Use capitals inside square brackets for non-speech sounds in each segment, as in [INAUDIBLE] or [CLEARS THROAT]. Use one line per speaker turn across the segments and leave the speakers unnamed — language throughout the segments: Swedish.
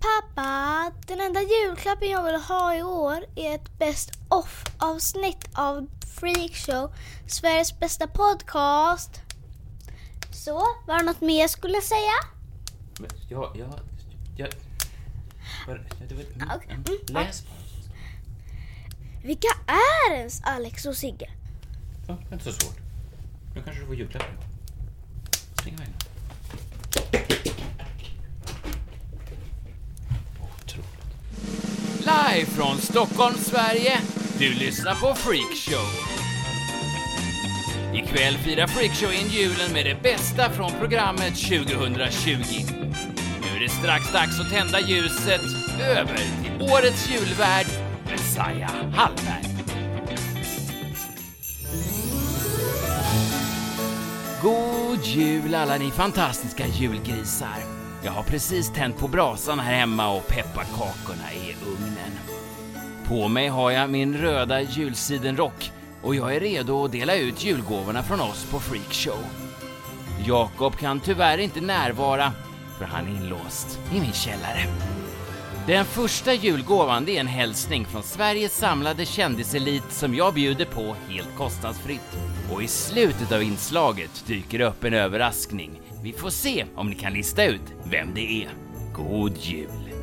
Pappa, den enda julklappen jag vill ha i år är ett Best of-avsnitt av Freakshow, Sveriges bästa podcast. Så, var det något mer jag skulle säga?
Men jag, jag, jag... Var, ja, det var, mm,
Okej,
mm,
mm,
läs
Vilka är ens Alex och Sigge?
bara. Ja, det är inte så svårt. Nu kanske du får julklappen. Spring iväg nu. Otroligt.
Live från Stockholm, Sverige. Du lyssnar på Freakshow. Ikväll firar Freakshow in julen med det bästa från programmet 2020. Nu är det strax dags att tända ljuset över till årets julvärd, Messiah Hallberg. God jul alla ni fantastiska julgrisar. Jag har precis tänt på brasan här hemma och pepparkakorna är i ugnen. På mig har jag min röda julsidenrock och jag är redo att dela ut julgåvorna från oss på Freakshow. Jakob kan tyvärr inte närvara för han är inlåst i min källare. Den första julgåvan det är en hälsning från Sveriges samlade kändiselit som jag bjuder på helt kostnadsfritt. Och i slutet av inslaget dyker upp en överraskning. Vi får se om ni kan lista ut vem det är. God jul!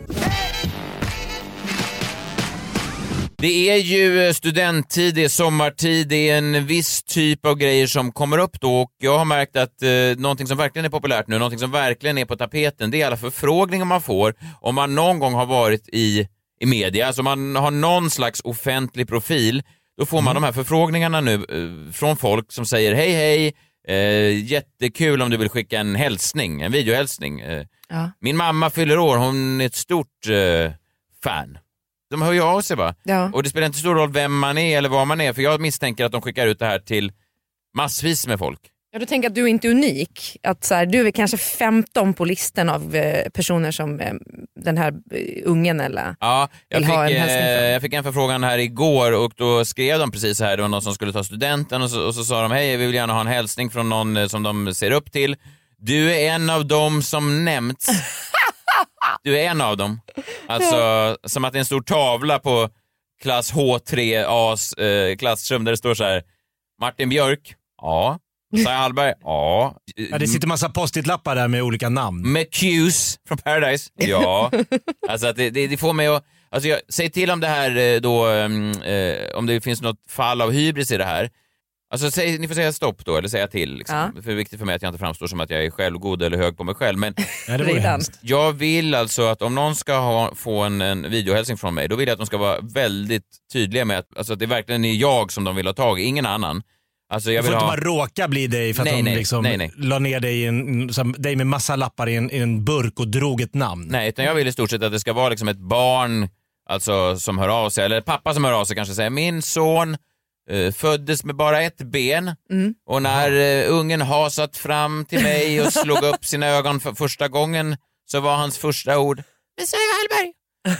Det är ju eh, studenttid, det är sommartid, det är en viss typ av grejer som kommer upp då och jag har märkt att eh, någonting som verkligen är populärt nu, någonting som verkligen är på tapeten, det är alla förfrågningar man får om man någon gång har varit i, i media, alltså man har någon slags offentlig profil, då får man
Mm.
de här förfrågningarna nu eh, från folk som säger hej hej, eh, jättekul om du vill skicka en hälsning, en videohälsning. Eh,
Ja.
[LAUGHS] Min mamma fyller år, hon är ett stort eh, fan. De hör ju av sig va?
Ja.
Och det spelar inte stor roll vem man är eller var man är, för jag misstänker att de skickar ut det här till massvis med folk.
Ja, du tänker att du är inte unik. Att så här, du är väl kanske 15 på listan av eh, personer som eh, den här eh, ungen eller...
Ja, jag
Vill
fick,
ha en
eh,
hälsning från-
jag fick en förfrågan här igår och då skrev de precis så här, det var någon som skulle ta studenten och så, och så sa de hej, vi vill gärna ha en hälsning från någon eh, som de ser upp till. Du är en av dem som nämnts. [LAUGHS] Du är en av dem. Alltså, som att det är en stor tavla på klass H3As eh, klassrum där det står så här, Martin Björk, ja. Messiah Hallberg, ja.
Ja, det sitter massa post-it-lappar där med olika namn.
McHughes från Paradise. Ja. alltså att det, det, det får mig att... Alltså jag, säg till om det här eh, då, mm, eh, om det finns något fall av hybris i det här. Alltså säg, ni får säga stopp då, eller säga till. Liksom.
Ja.
För det är viktigt för mig att jag inte framstår som att jag är självgod eller hög på mig själv. Men
Nej, det vore
Redan.
hemskt.
jag vill alltså att om någon ska ha, få en, en videohälsning från mig, då vill jag att de ska vara väldigt tydliga med att, alltså att det verkligen är jag som de vill ha tag i, ingen annan. Alltså jag
Du
vill
får inte
ha...
bara råka bli dig för att
Nej,
de
nej,
liksom
nej, nej.
la ner dig, i en, som, dig med massa lappar i en, i en burk och drog ett namn.
Nej, utan jag vill i stort sett att det ska vara liksom ett barn alltså, som hör av sig, eller pappa som hör av sig kanske säger min son eh, föddes med bara ett ben och när eh, ungen hasat fram till mig och slog upp sina ögon för första gången så var hans första ord Messiah Hallberg.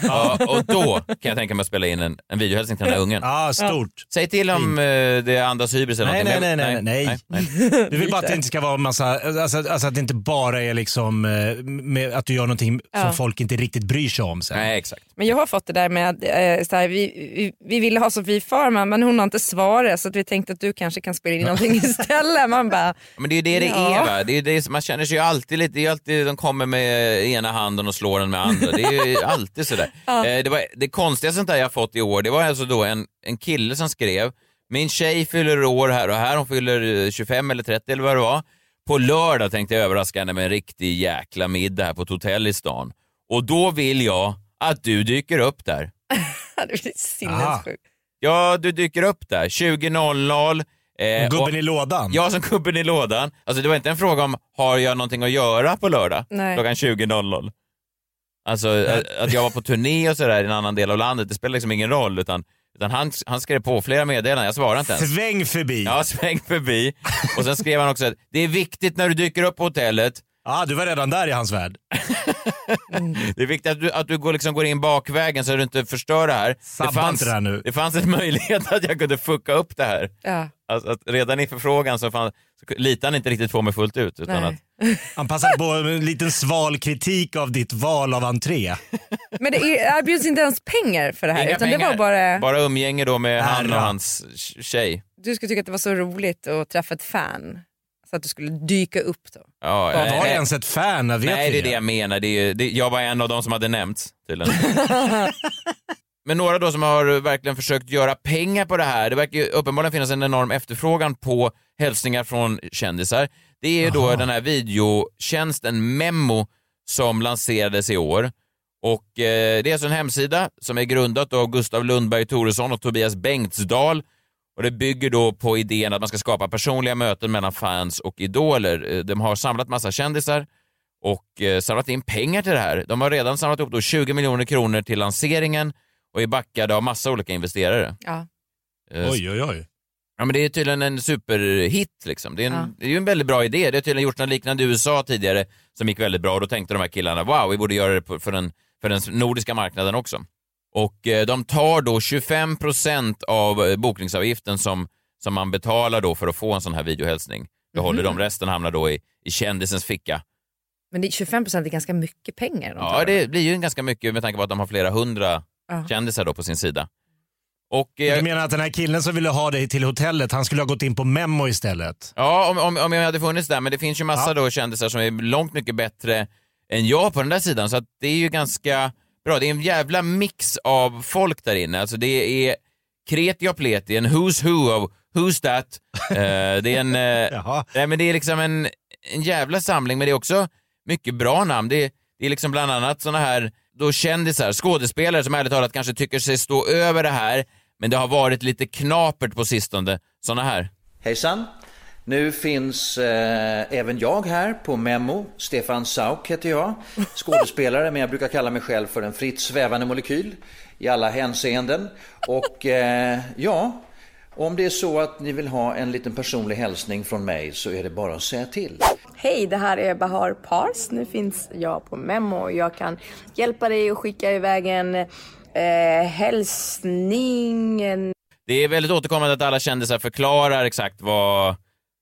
Ja, och då kan jag tänka mig att spela in en, en videohälsning till den här ungen.
Ja, ah, stort.
Säg till om eh, det andas hybris eller
Nej,
någonting.
nej,
men-
nej, nej, Du vill bara att det inte ska vara massa, alltså, alltså att det inte bara är liksom eh, med, att du gör någonting
Ja.
som folk inte riktigt bryr sig om sen.
Nej, exakt.
Men jag har fått det där med att eh, så här, vi, vi, vi ville ha Sofie Farman men hon har inte svaret så att vi tänkte att du kanske kan spela in någonting istället. Man bara,
Men det är ju det det
Ja.
är va? Det är ju det, som- man känner sig ju alltid lite, det är ju alltid de kommer med eh, ena handen och slår den med andra. Det är ju alltid sådär. Eh, Det, var, det konstigaste sånt där jag fått i år, det var alltså då en, en kille som skrev, min tjej fyller år här och här, hon fyller eh, 25 eller 30 eller vad det var. På lördag tänkte jag överraska henne med en riktig jäkla middag här på ett hotell i stan. Och då vill jag att du dyker upp där.
det blir sinnessjukt.
Ja, du dyker upp där 20.00. eh, och-
Gubben i lådan.
jag som gubben i lådan. Alltså det var inte en fråga om har jag någonting att göra på lördag
Nej.
klockan 20.00. Alltså att- att jag var på turné och sådär i en annan del av landet, det spelar liksom ingen roll utan, utan han, han skrev på flera meddelanden, jag svarade inte ens.
Sväng förbi. Ja.
Ja, sväng förbi. Och sen skrev han också att det är viktigt när du dyker upp på hotellet,
Ah, du var redan där i hans värld.
[LAUGHS] det är viktigt att du, att du går, liksom, går in bakvägen så att du inte förstör det här.
Sabba
det, fanns,
inte det här nu.
det fanns en [LAUGHS] möjlighet att jag kunde fucka upp det här.
Ja.
Alltså, att redan i förfrågan så, fann, så litade han inte riktigt på mig fullt ut. Utan
Nej.
att,
Han passade på en liten sval kritik av ditt val av entré.
Men det är- erbjuds inte ens pengar för det här
Inga
utan det
pengar.
var bara,
Bara umgänge då med han och
Ära.
hans tjej.
du skulle tycka att det var så roligt att träffa ett fan så att du skulle dyka upp då.
Ja,
Var
eh,
det
eh,
ens ett fan? Jag Vet
Nej, det är
inte.
det jag menar. Det är, det, jag var en av de som hade nämnts tydligen. Men några då som har verkligen försökt göra pengar på det här, det verkar ju uppenbarligen finnas en enorm efterfrågan på hälsningar från kändisar. Det är ju då den här videotjänsten Memo som lanserades i år. Och eh, det är alltså en hemsida som är grundat av Gustav Lundberg Toresson och Tobias Bengtsdal. Och det bygger då på idén att man ska skapa personliga möten mellan fans och idoler. Eh, De har samlat massa kändisar och eh, samlat in pengar till det här. De har redan samlat ihop då 20 miljoner kronor till lanseringen och är backade av massa olika investerare.
Ja.
Eh,
Oj, oj, oj.
Ja, men det är tydligen en superhit. Liksom. Det, är en,
Ja.
det är ju en väldigt bra idé. Det har tydligen gjorts något liknande i USA tidigare som gick väldigt bra och då tänkte de här killarna wow, vi borde göra det på- för den, för den nordiska marknaden också. Och eh, de tar då 25 procent av eh, bokningsavgiften som, som man betalar då för att få en sån här videohälsning. Behåller de, resten hamnar då i, i kändisens ficka.
Men det, 25% är ganska mycket pengar. de
Ja,
tar.
det blir ju ganska mycket med tanke på att de har flera hundra
Ja.
kändisar då på sin sida. Och, eh,
Du menar att den här killen som ville ha dig till hotellet, han skulle ha gått in på Memo istället?
Ja, om, om, om jag hade funnits där, men det finns ju massa
Ja.
då kändisar som är långt mycket bättre än jag på den där sidan, så att det är ju ganska bra. Det är en jävla mix av folk där inne. Alltså det är kreti och pleti, en who's who av who's that. Eh, det är en... eh,
[LAUGHS] Jaha.
nej, men det är liksom en, en jävla samling, men det är också mycket bra namn. Det, det är liksom bland annat såna här då kändisar, skådespelare som ärligt talat kanske tycker sig stå över det här, men det har varit lite knapert på sistone. Såna här.
Hejsan! Nu finns eh, även jag här på Memo. Stefan Sauk heter jag.
[LAUGHS]
Skådespelare, men jag brukar kalla mig själv för en fritt svävande molekyl i alla hänseenden. Och eh, ja, om det är så att ni vill ha en liten personlig hälsning från mig så är det bara att säga till.
Hej, det här är Bahar Pars. Nu finns jag på Memo och jag kan hjälpa dig att skicka iväg en eh, hälsning, en
Det är väldigt återkommande att alla kändisar förklarar exakt vad,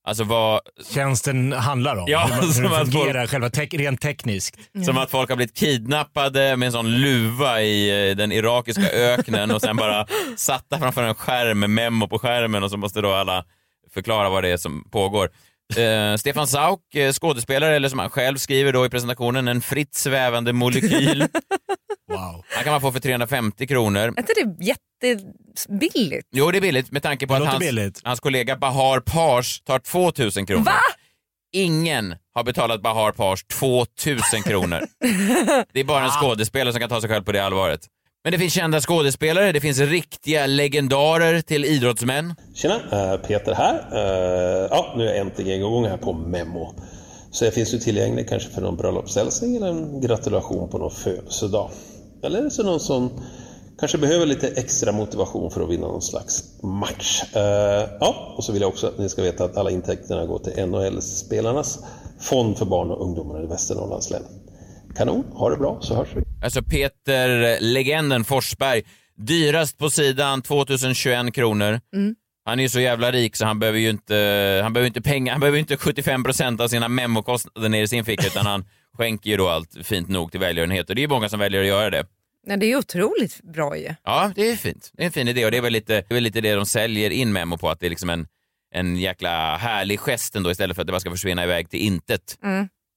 alltså vad,
Tjänsten handlar om.
Ja,
hur man,
[LAUGHS]
hur
som
den
att
fungerar själva tek- rent tekniskt.
som att folk har blivit kidnappade med en sån luva i eh, den irakiska öknen och sen
[LAUGHS]
bara satta framför en skärm med memo på skärmen och så måste då alla förklara vad det är som pågår. Eh, Stefan Sauk, eh, skådespelare, eller som han själv skriver då i presentationen, en fritt svävande molekyl.
[LAUGHS] Wow.
Han kan man få för 350 kronor.
Är inte det jättebilligt?
Jo, det är billigt med tanke på
Det
att
låter
hans,
billigt.
hans kollega Bahar Pars tar 2000 kronor. Va? Ingen har betalat Bahar Pars 2000 kronor. det är bara en skådespelare som kan ta sig själv på det allvaret. Men det finns kända skådespelare, det finns riktiga legendarer till idrottsmän.
Tjena, eh, Peter här. Eh, Ja, nu är jag äntligen igång här på Memo. Så jag finns ju tillgänglig kanske för någon bröllopshälsning eller en gratulation på någon födelsedag. Eller så någon som kanske behöver lite extra motivation för att vinna någon slags match. Eh, Ja, och så vill jag också att ni ska veta att alla intäkterna går till NHL-spelarnas fond för barn och ungdomar i Västernorrlands län. Kanon, ha det bra så hörs vi.
Alltså Peter, eh, legenden Forsberg. Dyrast på sidan, 2021 kronor. Han är ju så jävla rik så han behöver ju inte, han behöver inte pengar, han behöver ju inte 75 procent av sina memokostnader ner i sin ficka utan han skänker ju då allt fint nog till välgörenhet och det är ju många som väljer att göra det.
Nej, det är ju otroligt bra ju.
Ja, det är fint. Det är en fin idé och det är väl lite det, är väl lite det de säljer in Memo på, att det är liksom en, en jäkla härlig gest ändå istället för att det bara ska försvinna iväg till intet.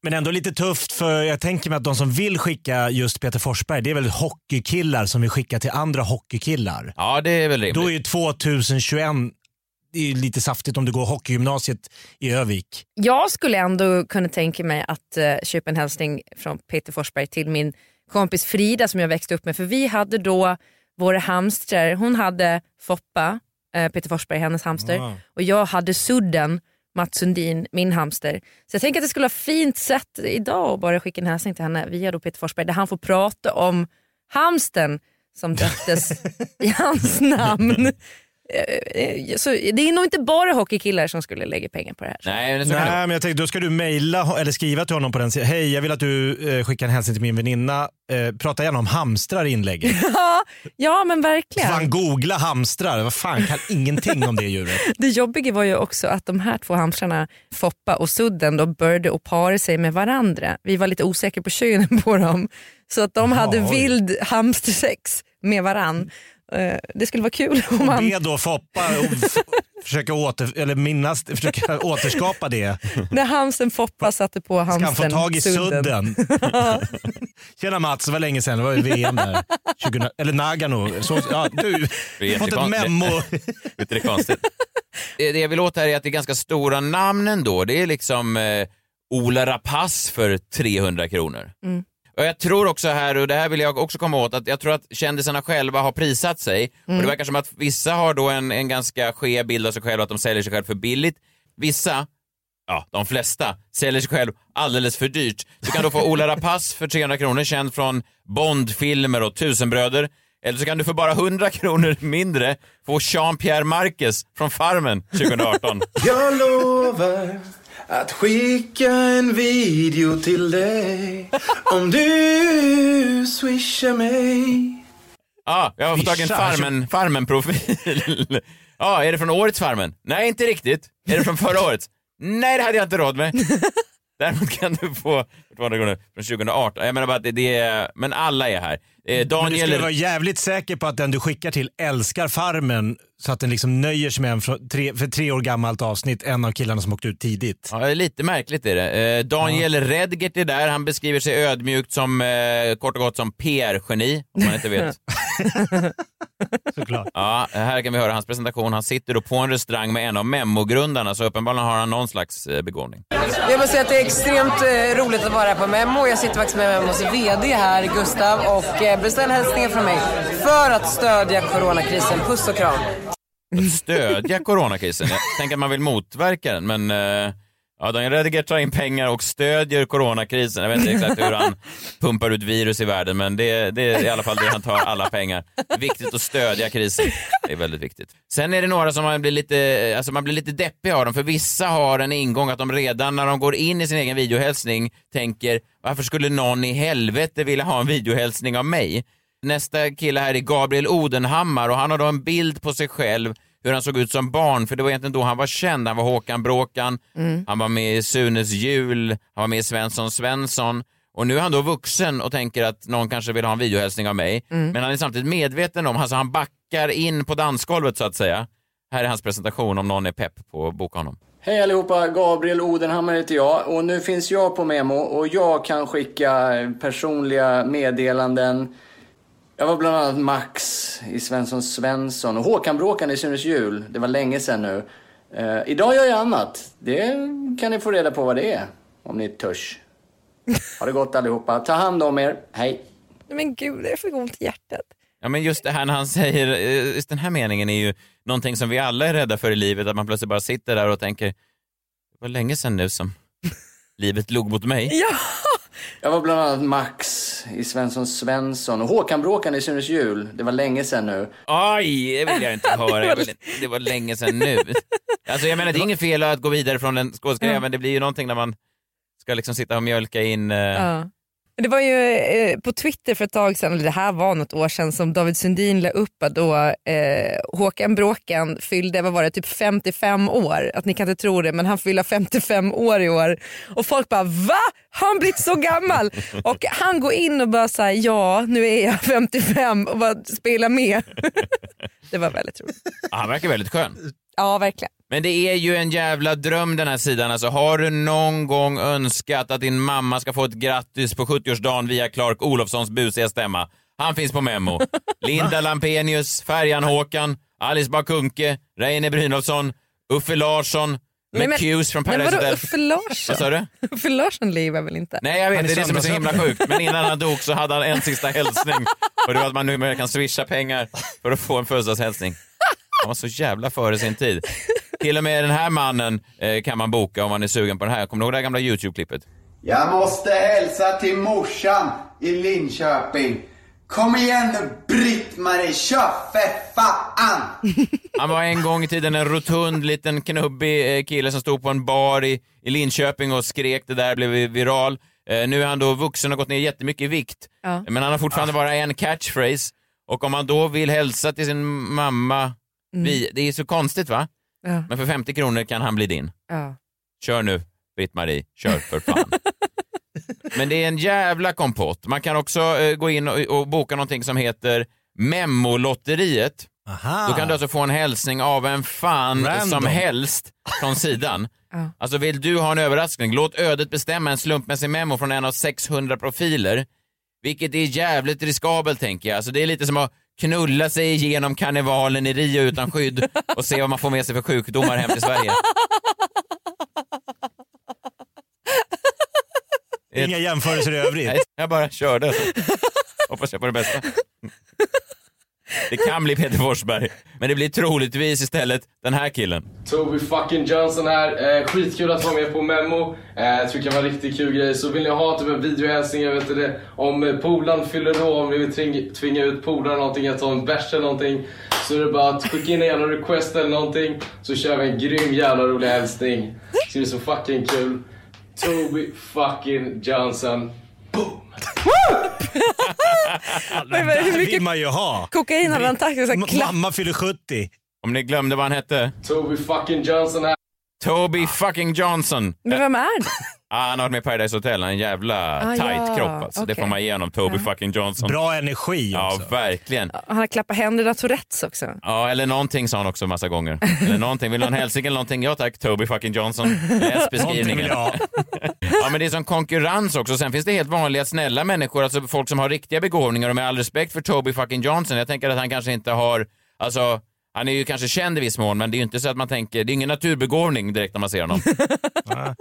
Men ändå lite tufft för jag tänker mig att de som vill skicka just Peter Forsberg, det är väl hockeykillar som vill skicka till andra hockeykillar.
Ja, det är väl rimligt.
Då är ju 2021, det är ju lite saftigt om du går hockeygymnasiet i Övik.
Jag skulle ändå kunna tänka mig att eh, köpa en hälsning från Peter Forsberg till min kompis Frida som jag växte upp med. För vi hade då våra hamstrar, hon hade Foppa, eh, Peter Forsberg, hennes hamster. Och jag hade Sudden, Mats Sundin, min hamster. Så jag tänker att det skulle vara fint sätt idag att bara skicka en hälsning till henne via då Peter Forsberg där han får prata om hamsten som döptes i hans namn. Eh, eh, Så det är nog inte bara hockeykillar som skulle lägga pengar på det här.
Nej,
så kan det
men jag tänkte, då ska du mejla eller skriva till honom på den sidan. Hej, jag vill att du eh, skickar en hälsning till min väninna. Eh, prata gärna om hamstrar i inlägget.
Ja, [LAUGHS] ja men verkligen.
Fan, googla hamstrar. Vad fan, kan ingenting om det djuret.
Det jobbiga var ju också att de här två hamstrarna, Foppa och Sudden, då började att para sig med varandra. Vi var lite osäkra på könen [LAUGHS] på dem. Så att de hade
oj.
vild hamstersex med varann. Eh, Det skulle vara kul om man...
Be då Foppa och f- försöka, åter, eller minnas, försöka återskapa det.
När hamsten Foppa satte på
Ska
hamsten
han få tag i sudden?
[LAUGHS]
Tjena Mats, det var länge sedan. Det var ju VM där. 2000, eller Nagano. Så, ja,
[LAUGHS]
du
Det är
fått ett
jättekonstigt.
memo.
Vet du, det är konstigt. Det, det jag vill åt här är att det är ganska stora namn ändå. Det är liksom eh, Ola Rapace för 300 kronor.
Mm.
Och jag tror också här, och det här vill jag också komma åt, att jag tror att kändisarna själva har prisat sig. Och det verkar som att vissa har då en, en ganska skev bild av sig själva, att de säljer sig själv för billigt. Vissa, ja de flesta, säljer sig själv alldeles för dyrt. Du kan då få Ola Rapace för 300 kronor, känd från Bondfilmer och Tusenbröder. Eller så kan du för bara 100 kronor mindre få Jean-Pierre Marquez från Farmen 2018.
Jag lovar att skicka en video till dig om du swishar mig.
Ja, jag har fått tag i en
Vissa, alltså.
farmen, Farmen-profil. [LAUGHS] Ja, är det från årets Farmen? Nej, inte riktigt. Är det från förra årets? Nej, det hade jag inte råd
[LAUGHS]
med. Däremot kan du få 200 kronor från 2018. Jag menar bara att det, det är, men alla är här. Eh,
Men du skulle vara
[LAUGHS] Daniel...
jävligt säker på att den du skickar till älskar Farmen så att den liksom nöjer sig med en från tre, för tre år gammalt avsnitt, en av killarna som åkte ut tidigt.
Ja, lite märkligt är det. Eh, Daniel Redgert är där. Han beskriver sig ödmjukt som, eh, kort och gott, som PR-geni, om man inte
[LAUGHS]
vet.
Såklart.
Ja, här kan vi höra hans presentation. Han sitter då på en restaurang med en av memogrundarna, så uppenbarligen har han någon slags eh, begåvning.
Jag måste säga att det är extremt eh, roligt att vara här på Memmo. Jag sitter faktiskt med Memmos VD här, Gustav, och eh, beställ hälsningar från mig för att stödja coronakrisen. Puss och kram.
att stödja coronakrisen. Jag tänker att man vill motverka den, men eh, ja, Daniel Rediger tar in pengar och stödjer coronakrisen. Jag vet inte exakt hur han pumpar ut virus i världen, men det, det är i alla fall det han tar alla pengar. Viktigt att stödja krisen. Det är väldigt viktigt. Sen är det några som man blir lite, alltså man blir lite deppig av dem, för vissa har en ingång att de redan när de går in i sin egen videohälsning tänker varför skulle någon i helvete vilja ha en videohälsning av mig? Nästa kille här är Gabriel Odenhammar och han har då en bild på sig själv hur han såg ut som barn, för det var egentligen då han var känd. Han var Håkan Bråkan,
Mm.
han var med i Sunes jul, han var med i Svensson Svensson och nu är han då vuxen och tänker att någon kanske vill ha en videohälsning av mig.
Mm.
Men han är samtidigt medveten om, alltså han backar in på dansgolvet så att säga. Här är hans presentation om någon är pepp på att boka honom.
Hej allihopa, Gabriel Odenhammar heter jag och nu finns jag på Memo och jag kan skicka personliga meddelanden. Jag var bland annat Max i Svensson Svensson och Håkan Bråkan i Sunes jul. Det var länge sedan nu. Eh, idag gör jag annat. Det kan ni få reda på vad det är om ni törs. Ha det gott allihopa. Ta hand om er. Hej.
Nej, Men gud, jag fick ont i hjärtat.
Ja men just det här när han säger, eh, just den här meningen är ju någonting som vi alla är rädda för i livet, att man plötsligt bara sitter där och tänker, det var länge sedan nu som [LAUGHS] livet log mot mig.
Ja.
Jag var bland annat Max i Svensson Svensson och Håkan Bråkan i Sunes jul. Det var länge sedan nu.
Aj, det vill jag
[LAUGHS]
inte höra. Jag vill, inte- det var länge sedan nu. Alltså jag menar, det är inget fel att gå vidare från en skådespelare, men det blir ju någonting när man ska liksom sitta och mjölka in. eh,
Ja. Det var ju eh, på Twitter för ett tag sedan, eller det här var något år sedan, som David Sundin la upp att då eh, Håkan Bråkan fyllde, vad var det, typ 55 år. Att ni kan inte tro det, men han fyller 55 år i år. Och folk bara VA? Har han blivit
[LAUGHS]
så gammal? och han går in och bara säger ja, nu är jag 55 och bara spelar med. [LAUGHS] det var väldigt roligt.
Ja, han verkar väldigt skön.
Ja, verkligen.
Men det är ju en jävla dröm den här sidan. Alltså, har du någon gång önskat att din mamma ska få ett grattis på 70-årsdagen via Clark Olofssons busiga stämma? Han finns på
[LAUGHS]
Memo. Linda Lampenius, Färjan Håkan, Alice Bah Kuhnke, Reine Brynolfsson, Uffe Larsson,
Men- men-
McHughes från
Men
Paradise
vadå
Hotel.
Uffe Larsson?
Vad sa
[LAUGHS]
du?
Uffe Larsson lever väl inte?
Nej, jag vet, det är det som är så himla sjukt. Men innan han dog så hade han en sista hälsning. Och det var att man numera kan swisha pengar för att få en födelsedagshälsning. Han var så jävla före sin tid. Till och med den här mannen eh, kan man boka om man är sugen på den här. Kommer du ihåg det här gamla YouTube-klippet?
Jag måste hälsa till morsan i Linköping. Kom igen nu Britt-Marie, kör för fan!
Han var en gång i tiden en rotund, liten knubbig eh, kille som stod på en bar i, i Linköping och skrek det där, blev viral. Eh, nu är han då vuxen och gått ner jättemycket i vikt.
Ja.
Men han har fortfarande bara en catchphrase. Och om han då vill hälsa till sin mamma, vi, det är så konstigt va?
Ja.
Men för 50 kronor kan han bli din.
Ja.
Kör nu, Britt-Marie. Kör för
[LAUGHS]
fan. Men det är en jävla kompott. Man kan också eh, gå in och, och boka någonting som heter Memolotteriet.
Aha.
Då kan du alltså få en hälsning av en fan
Random.
som helst från sidan.
Ja.
Alltså vill du ha en överraskning, låt ödet bestämma en slumpmässig memo från en av 600 profiler. Vilket är jävligt riskabelt tänker jag. Alltså det är lite som att knulla sig igenom karnevalen i Rio utan skydd och se vad man får med sig för sjukdomar hem till Sverige.
Inga jämförelser i övrigt.
Nej, jag bara körde. Hoppas jag på det bästa. Det kan bli Peter Forsberg, men det blir troligtvis istället den här killen.
Toby fucking Johnson här. Eh, skitkul att vara med på Memo. Eh, jag tycker det var en riktigt kul grej. Så vill ni ha typ en videohälsning, jag vet inte det, om eh, polaren fyller år, om ni vill tring- tvinga ut polaren eller någonting, att ta en bärs eller någonting. Så är det bara att skicka in en jävla request eller någonting, så kör vi en grym jävla rolig hälsning. Det ska bli så fucking kul. Toby fucking Johnson.
[LAUGHS] Den där vill man ju ha.
Kokain hade han tagit och så här klapp-
Mamma fyller 70.
Om ni glömde vad han hette.
Toby fucking Johnson här.
Toby fucking Johnson.
Men vem är det?
[LAUGHS] Ah, han har varit med i Paradise Hotel, han har en jävla
Ah,
tight
ja.
kropp alltså. Det
Okej.
får man igenom. Toby fucking Johnson.
Bra energi
också. Ja, verkligen.
Han har klappat händerna Tourettes också.
Ja, eller någonting sa han också massa gånger. Eller någonting. Vill du ha en hälsning eller någonting? Ja tack, Toby fucking Johnson. Läs
[LAUGHS] Någonting vill
beskrivningen.
jag ha.
[LAUGHS] Ja, men det är som konkurrens också. Sen finns det helt vanliga snälla människor, alltså folk som har riktiga begåvningar och med all respekt för Toby fucking Johnson, jag tänker att han kanske inte har, alltså, han är ju kanske känd i viss mån, men det är ju inte så att man tänker, det är ingen naturbegåvning direkt när man ser honom.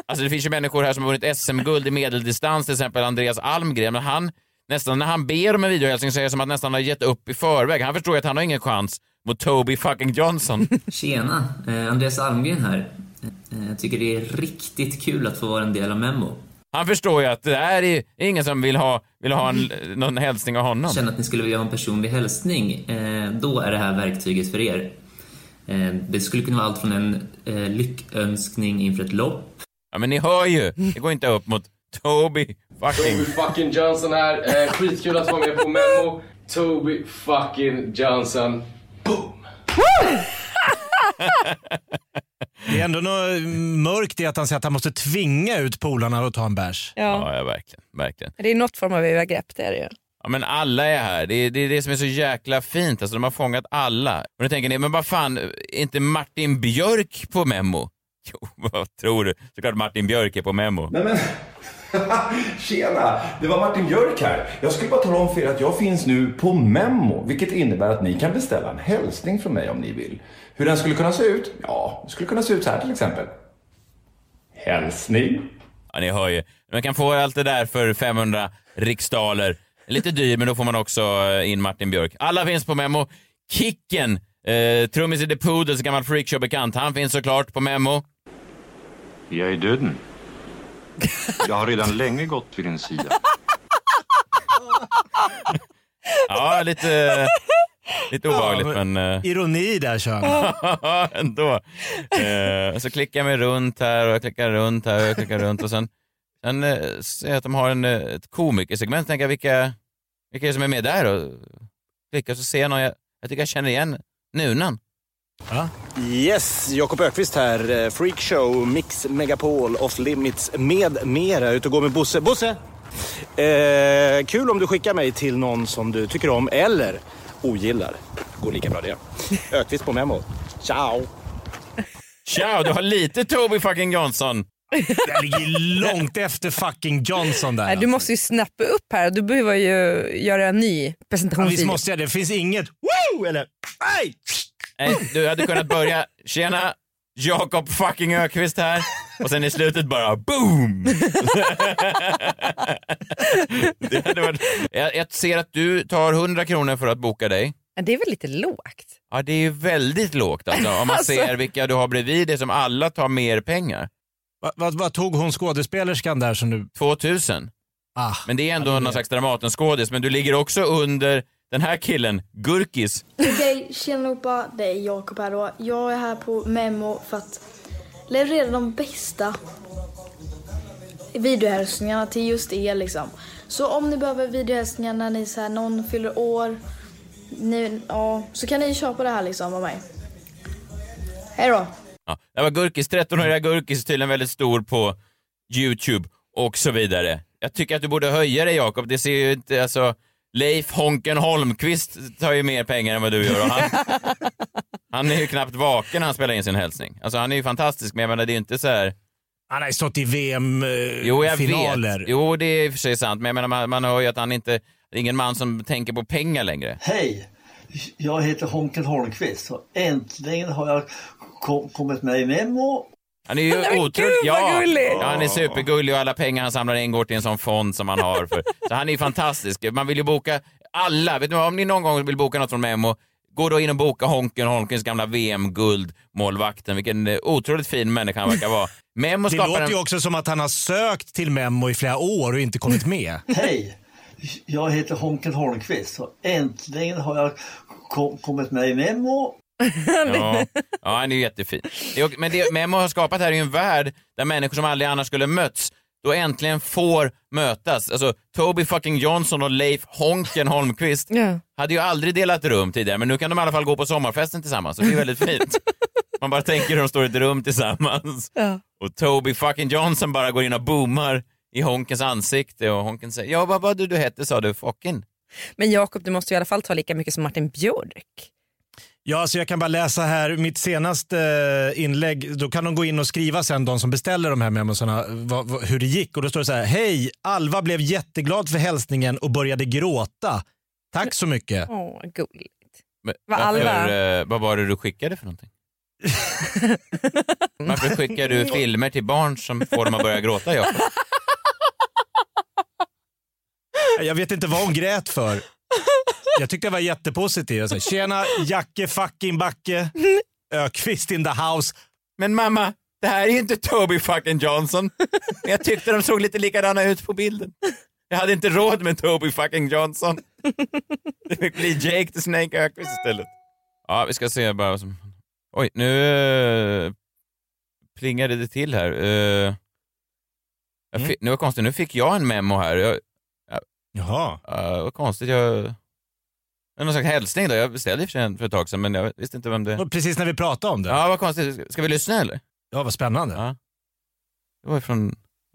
alltså det finns ju människor här som har vunnit SM-guld i medeldistans, till exempel Andreas Almgren, men han, nästan när han ber om en videohälsning så är det som att nästan har gett upp i förväg. Han förstår ju att han har ingen chans mot Toby fucking Johnson.
Tjena, eh, Andreas Almgren här. Eh, Jag tycker det är riktigt kul att få vara en del av Memo.
Han förstår ju att det här är ingen som vill ha, vill ha en, någon hälsning av honom.
Känner att ni skulle vilja ha en personlig hälsning, eh, då är det här verktyget för er. Eh, Det skulle kunna vara allt från en eh, lyckönskning inför ett lopp.
Ja, men ni hör ju. Det går inte upp mot Toby fucking...
Toby fucking Johnson här. Eh, skitkul att vara med på Memo. Toby fucking Johnson.
Det är ändå något mörkt i att han säger att han måste tvinga ut polarna att ta en bärs.
Ja.
ja, verkligen. verkligen.
Det är något form av övergrepp, det är det ju.
Ja, men alla är här. Det är, det är det som är så jäkla fint. Alltså, de har fångat alla. Och då tänker ni, men vad fan, är inte Martin Björk på Memo? [LAUGHS] Jo, vad tror du? Såklart Martin Björk är på Memo.
Nej, men... [LAUGHS] Tjena! Det var Martin Björk här. Jag skulle bara tala om för er att jag finns nu på Memo, vilket innebär att ni kan beställa en hälsning från mig om ni vill. Hur den skulle kunna se ut? Ja, det skulle kunna se ut så här till exempel. Hälsning.
Ja, ni hör ju. Man kan få allt det där för 500 riksdaler. Lite dyr, men då får man också eh, in Martin Björk. Alla finns på Memo. Kicken, eh, trummis i The Poodles, gammal freakshow-bekant, han finns såklart på Memo.
Jag är
[LAUGHS]
döden. Jag har redan länge gått vid din sida.
Ja, lite, lite obehagligt, men... eh,
Ironi där kör han.
Ja, [LAUGHS] ändå. Eh, så klickar jag mig runt här och jag klickar runt här och jag klickar runt och sen, sen eh, ser jag att de har en, eh, ett komikersegment. Tänker jag, vilka, vilka är det som är med där och klickar så ser jag någon jag, jag tycker jag känner igen Nunan.
Yes, Jakob Ökvist här. eh, Freakshow, Mix Megapol, Off Limits med mera. Ute och går med Bosse. Bosse! Eh, kul om du skickar mig till någon som du tycker om eller ogillar. Går lika bra det. Ökvist på memo. Ciao!
Ciao, du har lite Toby fucking Johnson.
Jag ligger långt efter fucking Johnson där.
Nej, du måste ju snappa upp här. Du behöver ju göra en ny
Ja,
presentation.
visst måste jag det. Det finns inget woo eller nej.
Nej, du hade kunnat börja, tjena, Jakob fucking Ökvist här. Och sen i slutet bara boom! [LAUGHS] Det hade varit, jag, jag ser att du tar 100 kronor för att boka dig.
Ja, Det är väl lite lågt?
Ja, det är ju väldigt lågt alltså, om man
Alltså.
ser vilka du har bredvid dig som alla tar mer pengar.
Vad tog hon skådespelerskan där som du...
2000.
Ah,
men det är ändå någon slags Dramatenskådis, men du ligger också under den här killen, Gurkis.
Okej, tjena allihopa. Det är Jakob här då. Jag är här på Memo för att leverera de bästa videohälsningarna till just er liksom. Så om ni behöver videohälsningar när ni så här, någon fyller år, ni, ja, så kan ni köpa det här liksom av mig. Hej då!
Ja, det var Gurkis, 13-åriga Gurkis, tydligen väldigt stor på YouTube och så vidare. Jag tycker att du borde höja dig Jakob, det ser ju inte, alltså Leif Honken Holmqvist tar ju mer pengar än vad du gör och han, han är ju knappt vaken när han spelar in sin hälsning. Alltså han är ju fantastisk, men jag menar det är ju inte så här
Han har ju stått i eh, VM-finaler.
Jo, jag vet. Jo, det är i och för sig sant, men jag menar, man, man hör ju att han inte, det är ingen man som tänker på pengar längre.
Hej! Jag heter Honken Holmqvist och äntligen har jag kom, kommit med i Memo.
Han är ju
[LAUGHS] Nej, men
otroligt...
gud, vad
ja.
gullig!
ja, han är supergullig och alla pengar han samlar in går till en sån fond som han har. För. Så han är ju fantastisk. Man vill ju boka alla. Vet du vad, om ni någon gång vill boka något från Memo, gå då in och boka Honken Holmqvists gamla VM-guld, målvakten. Vilken eh, otroligt fin människa han verkar vara. Memo
Det
skapar
låter
en...
ju också som att han har sökt till Memmo i flera år och inte kommit med.
Hej! Jag heter Honken Holmqvist och äntligen har jag kom, kommit med i Memo.
Ja, ja han är ju jättefin. Det är, men det Memo har skapat här är ju en värld där människor som aldrig annars skulle mötts, då äntligen får mötas. Alltså, Toby fucking Johnson och Leif Honken Holmqvist
Ja.
hade ju aldrig delat rum tidigare, men nu kan de i alla fall gå på sommarfesten tillsammans, så det är väldigt fint. Man bara tänker hur de står i ett rum tillsammans
Ja.
och Toby fucking Johnson bara går in och boomar i Honkens ansikte och Honken säger ja, vad var det du hette sa du, fucking?
Men Jakob, du måste ju i alla fall ta lika mycket som Martin Björk.
Ja, så jag kan bara läsa här, mitt senaste eh, inlägg, då kan de gå in och skriva sen, de som beställer de här memosarna, vad, vad, hur det gick. Och då står det så här, hej, Alva blev jätteglad för hälsningen och började gråta. Tack så mycket.
Åh, gulligt.
Men
Vad alla-
eh, vad var det du skickade för
[LAUGHS]
någonting? Varför skickar du filmer till barn som får dem att börja gråta,
[LAUGHS]
Jakob?
Jag vet inte vad hon grät för. Jag tyckte jag var jättepositiv. Jag sa, Tjena, Jacke fucking Backe. Ökvist in the house.
Men mamma, det här är ju inte Toby fucking Johnson. Men jag tyckte de såg lite likadana ut på bilden. Jag hade inte råd med Toby fucking Johnson. Det fick bli Jake the Snake Ökvist istället. Ja, vi ska se bara vad som... Oj, nu eh, plingade det till här. Eh, jag
Mm.
fi- Nu var konstigt, nu fick jag en memo här. Jag, jag,
Jaha.
vad konstigt, jag... Någon slags hälsning då. Jag beställde i och för sig en för ett tag sedan, men jag visste inte vem det...
Och Precis när vi pratade om det.
Ja, vad konstigt. Ska vi lyssna eller?
Ja, vad spännande.
Ja. Det var ju från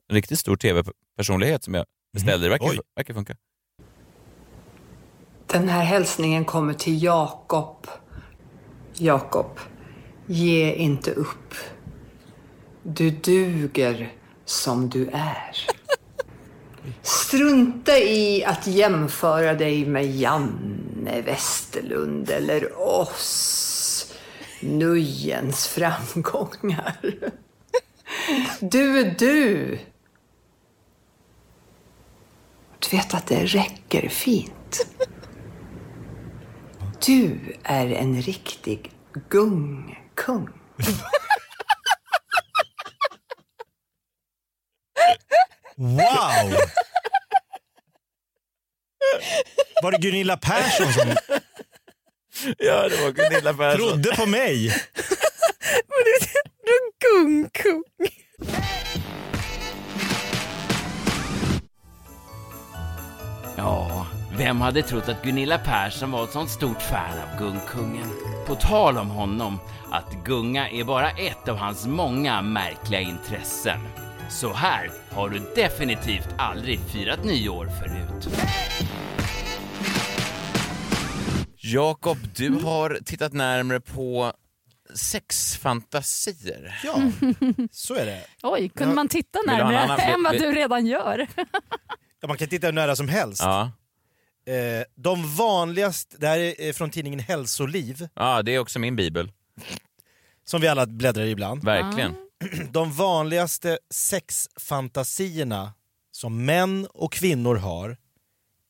en riktigt stor tv-personlighet
Mm.
som jag beställde. Det verkar, verkar funka.
Den här hälsningen kommer till Jakob. Jakob, ge inte upp. Du duger som du är. Strunta i att jämföra dig med Janne Westerlund eller oss. Nujens framgångar. Du är du. Du vet att det räcker fint. Du är en riktig gungkung.
Wow! Var det Gunilla Persson som
Ja, det var Gunilla Persson.
trodde på [LAUGHS] mig?
Men du, du gungkung.
Ja, vem hade trott att Gunilla Persson var ett sånt stort fan av Gungkungen? På tal om honom, att gunga är bara ett av hans många märkliga intressen. Så här har du definitivt aldrig firat nyår förut.
Jakob, du har tittat närmre på sexfantasier.
Ja, så är det.
[LAUGHS] Oj, kunde
Ja.
man titta
Vill du ha en
närmare
annan fl-
än vad
vi-
du redan gör?
Ja, man kan titta hur nära som helst.
Ja.
Eh, de vanligaste, det här är eh, från tidningen Hälsoliv,
ja, det är också min bibel.
som vi alla bläddrar i ibland.
Verkligen.
[CLEARS THROAT] De vanligaste sexfantasierna som män och kvinnor har,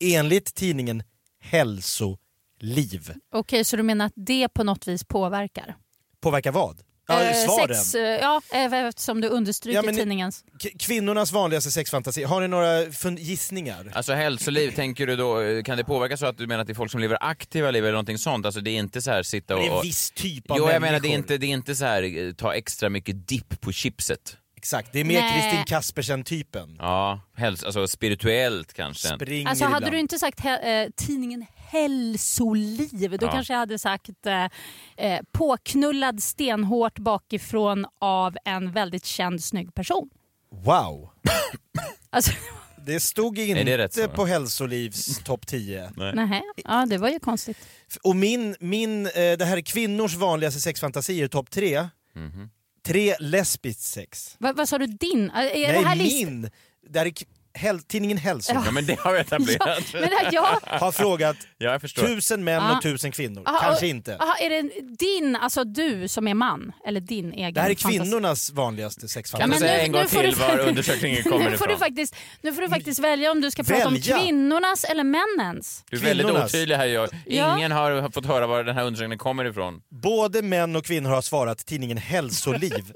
enligt tidningen Hälsoliv, liv.
[LAUGHS] Okej, så du menar att det på något vis påverkar?
Påverkar vad? Ja,
Eh,
svaren.
Sex, eh, ja, eh, eftersom du understryker
Ja, men-
tidningens.
K- Kvinnornas vanligaste sexfantasi. Har ni några fun- gissningar?
Alltså hälsoliv, tänker du då, eh, kan det påverka så att du menar att det är folk som lever aktiva liv eller någonting sånt? Alltså det är inte så här sitta och...
Det är en viss typ av
Jo, jag
människor.
menar det är inte, det är inte så här eh, ta extra mycket dipp på chipset.
Exakt, det är mer
Nej.
Kristin Kaspersen-typen.
Ja, häls- alltså spirituellt kanske.
Spring
Alltså hade du inte sagt he- eh, tidningen Hälsoliv, då
Ja.
kanske jag hade sagt eh, eh, påknullad stenhårt bakifrån av en väldigt känd snygg person.
Wow!
[COUGHS] Alltså,
Det stod inte
Är det rätt svar?
på Hälsolivs topp 10.
nej. Ja, det var ju konstigt.
Och min, min, eh, det här är kvinnors vanligaste sexfantasier, topp 3.
Mhm.
Tre lesbiskt sex.
Va, vad sa du din? Eh, Är
Nej,
det här list-
min! Det här är k- häl- tidningen Hälso.
Ja. Ja, men
det har vi etablerat.
Ja, men att jag-
Har frågat
ja, jag förstår.
tusen män
Ja.
och tusen kvinnor.
Aha,
Kanske
och-
inte.
Aha, är det din, alltså du som är man? Eller din egen
Det här är
fantasi?
kvinnornas vanligaste
Ja, men
sexfantasi.
nu- nu får du- [LAUGHS] nu får, du faktiskt, nu får du faktiskt välja om du ska prata
Välja?
om kvinnornas eller männens.
Du är väldigt
Kvinnornas.
otydlig här jag.
Ja.
Ingen har fått höra var den här undersökningen kommer ifrån.
[LAUGHS] Både män och kvinnor har svarat tidningen
[LAUGHS]
Hälsoliv.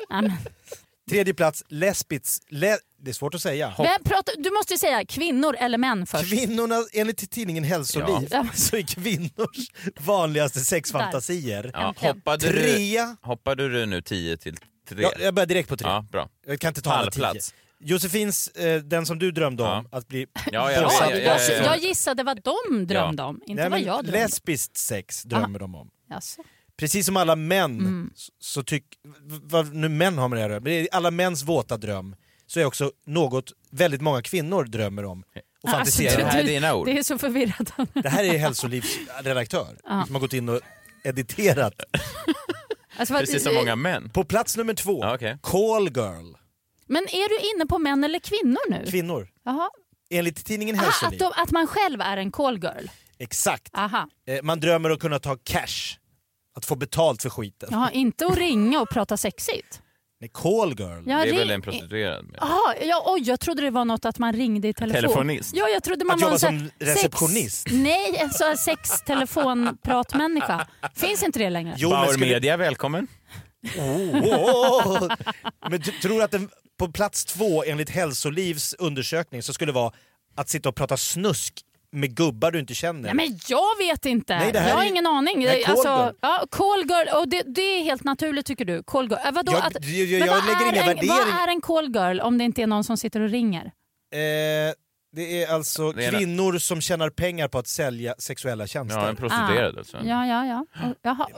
Tredje plats, lesbits... Le... Det är svårt att säga.
Vem pratar, du måste ju säga kvinnor eller män först.
Kvinnorna, enligt tidningen Hälsoliv,
Ja.
[LAUGHS] så är kvinnors vanligaste sexfantasier
Ja, hoppade,
trea.
du, hoppade du nu 10 till 3?
Ja, jag börjar direkt på tre.
Ja, bra.
Jag kan inte ta alla tio.
Pallplats.
Josefins, eh, den som du drömde om, att bli
ja, ja,
bossad.
ja, ja,
Jag, jag gissade vad de drömde om, inte
Nej,
vad
men
jag drömde om.
Lesbiskt sex drömmer de om.
Jaså.
Precis som alla män,
Mm.
så, så tyck, v- vad nu män har med det här att göra, men det är alla mäns våta dröm, så är också något väldigt många kvinnor drömmer om och fantiserar
Alltså,
om.
du- Det är så förvirrat.
Det här är hälsolivsredaktör
Ja.
som har gått in och editerat.
[LAUGHS] Alltså, vad-
män.
På plats nummer två, Call Girl.
Men är du inne på män eller kvinnor nu?
Kvinnor.
Jaha.
Enligt tidningen
Aha, Ah, att,
Hälsoliv.
de, att man själv är en call girl?
Exakt.
Aha.
Eh, Man drömmer om att kunna ta cash. Att få betalt för skiten.
Jaha, inte att ringa och prata sexigt?
Nej, call girl.
Ja, Det är ring- väl en
prostituerad.
Jaha, ja, oj, jag trodde det var något att man ringde i telefon.
Telefonist.
Ja, jag trodde man
Att
var
jobba
en sån här
som receptionist.
Sex, nej, en sån här sextelefonpratmänniska. Finns inte det längre?
Jo, men Bauer skulle-
Media, välkommen.
Åh! [LAUGHS] Men du tror att den, på plats två enligt Hälsolivs undersökning så skulle det vara att sitta och prata snusk med gubbar du inte känner.
Nej, men jag vet inte.
Nej, det här
jag har
är-
ingen aning. Alltså,
det här är call girl.
ja, call girl, och det, det är helt naturligt tycker du. Call girl. Äh, vadå,
Jag-
att,
jag- jag
men vad
lägger
är
inga
en,
värdering-
Vad är en call girl om det inte är någon som sitter och ringer?
Eh, det är alltså
Det är en-
kvinnor som tjänar pengar på att sälja sexuella tjänster.
Ja, en prostituerad alltså.
Ja, Ah. ja, ja. Och- Jaha.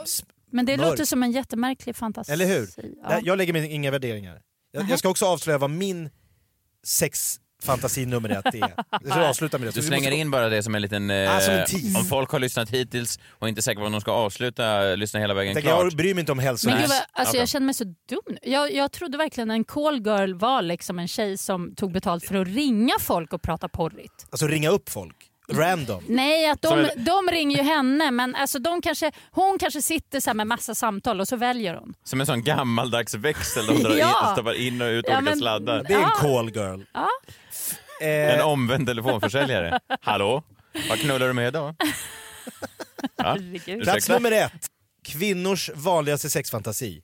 Men det
Mörkt.
låter som en jättemärklig fantasi.
Eller hur?
Ja.
Nej, Jag lägger mig inga värderingar. Jag, jag ska också avslöja vad min sexfantasi nummer ett
[LAUGHS]
är. Jag
Ah.
ska avsluta med det.
Du
Så vi
slänger
måste-
in bara det som en liten... eh,
Ah, som en tease.
om folk har lyssnat hittills och inte är säkra på om de ska avsluta, eh, lyssna hela vägen
Tänk,
klart.
jag bryr mig inte om hälsa.
Men gud, vad- alltså,
Ja, bra.
jag känner mig så dum. Jag, jag trodde verkligen en call girl var liksom en tjej som tog betalt för att ringa folk och prata porrigt.
Alltså ringa upp folk. Random.
Nej, att
Som
de,
en-
de ringer ju henne men alltså, de kanske, hon kanske sitter så här med massa samtal och så väljer hon.
Som en sån gammaldags växel de drar
Ja.
in, stoppar in och ut
Ja,
olika
men-
sladdar.
Det är en Ja.
call girl. Eh.
Ja.
En omvänd telefonförsäljare. Hallå? Vad knullar du med
[LAUGHS]
idag? Ja.
Herregud.
Plats
Ursäkta?
nummer ett. Kvinnors vanligaste sexfantasi.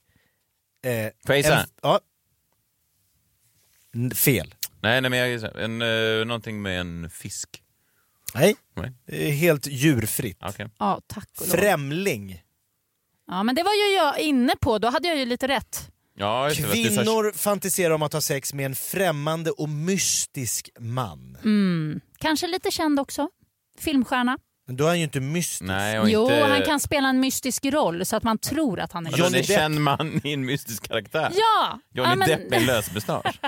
Eh,
Får jag gissa?
en- Ja. N- Fel.
Nej, nej men jag gissar. En, eh, någonting med en fisk.
Nej.
Nej.
Det är Helt djurfritt.
Ja, tack och lov.
Främling.
Ja, men det var ju jag inne på, då hade jag ju lite rätt.
Ja, just det, fast det är så här-
Kvinnor fantiserar om att ha sex med en främmande och mystisk man.
Mm. Kanske lite känd också. Filmstjärna.
Men då är han ju inte mystisk.
Nej, och
Jo,
inte...
han kan spela en mystisk roll så att man tror att han är
Johnny Depp. känd man i en mystisk karaktär.
Ja,
Johnny
ja, men-
Depp med lösmustasch.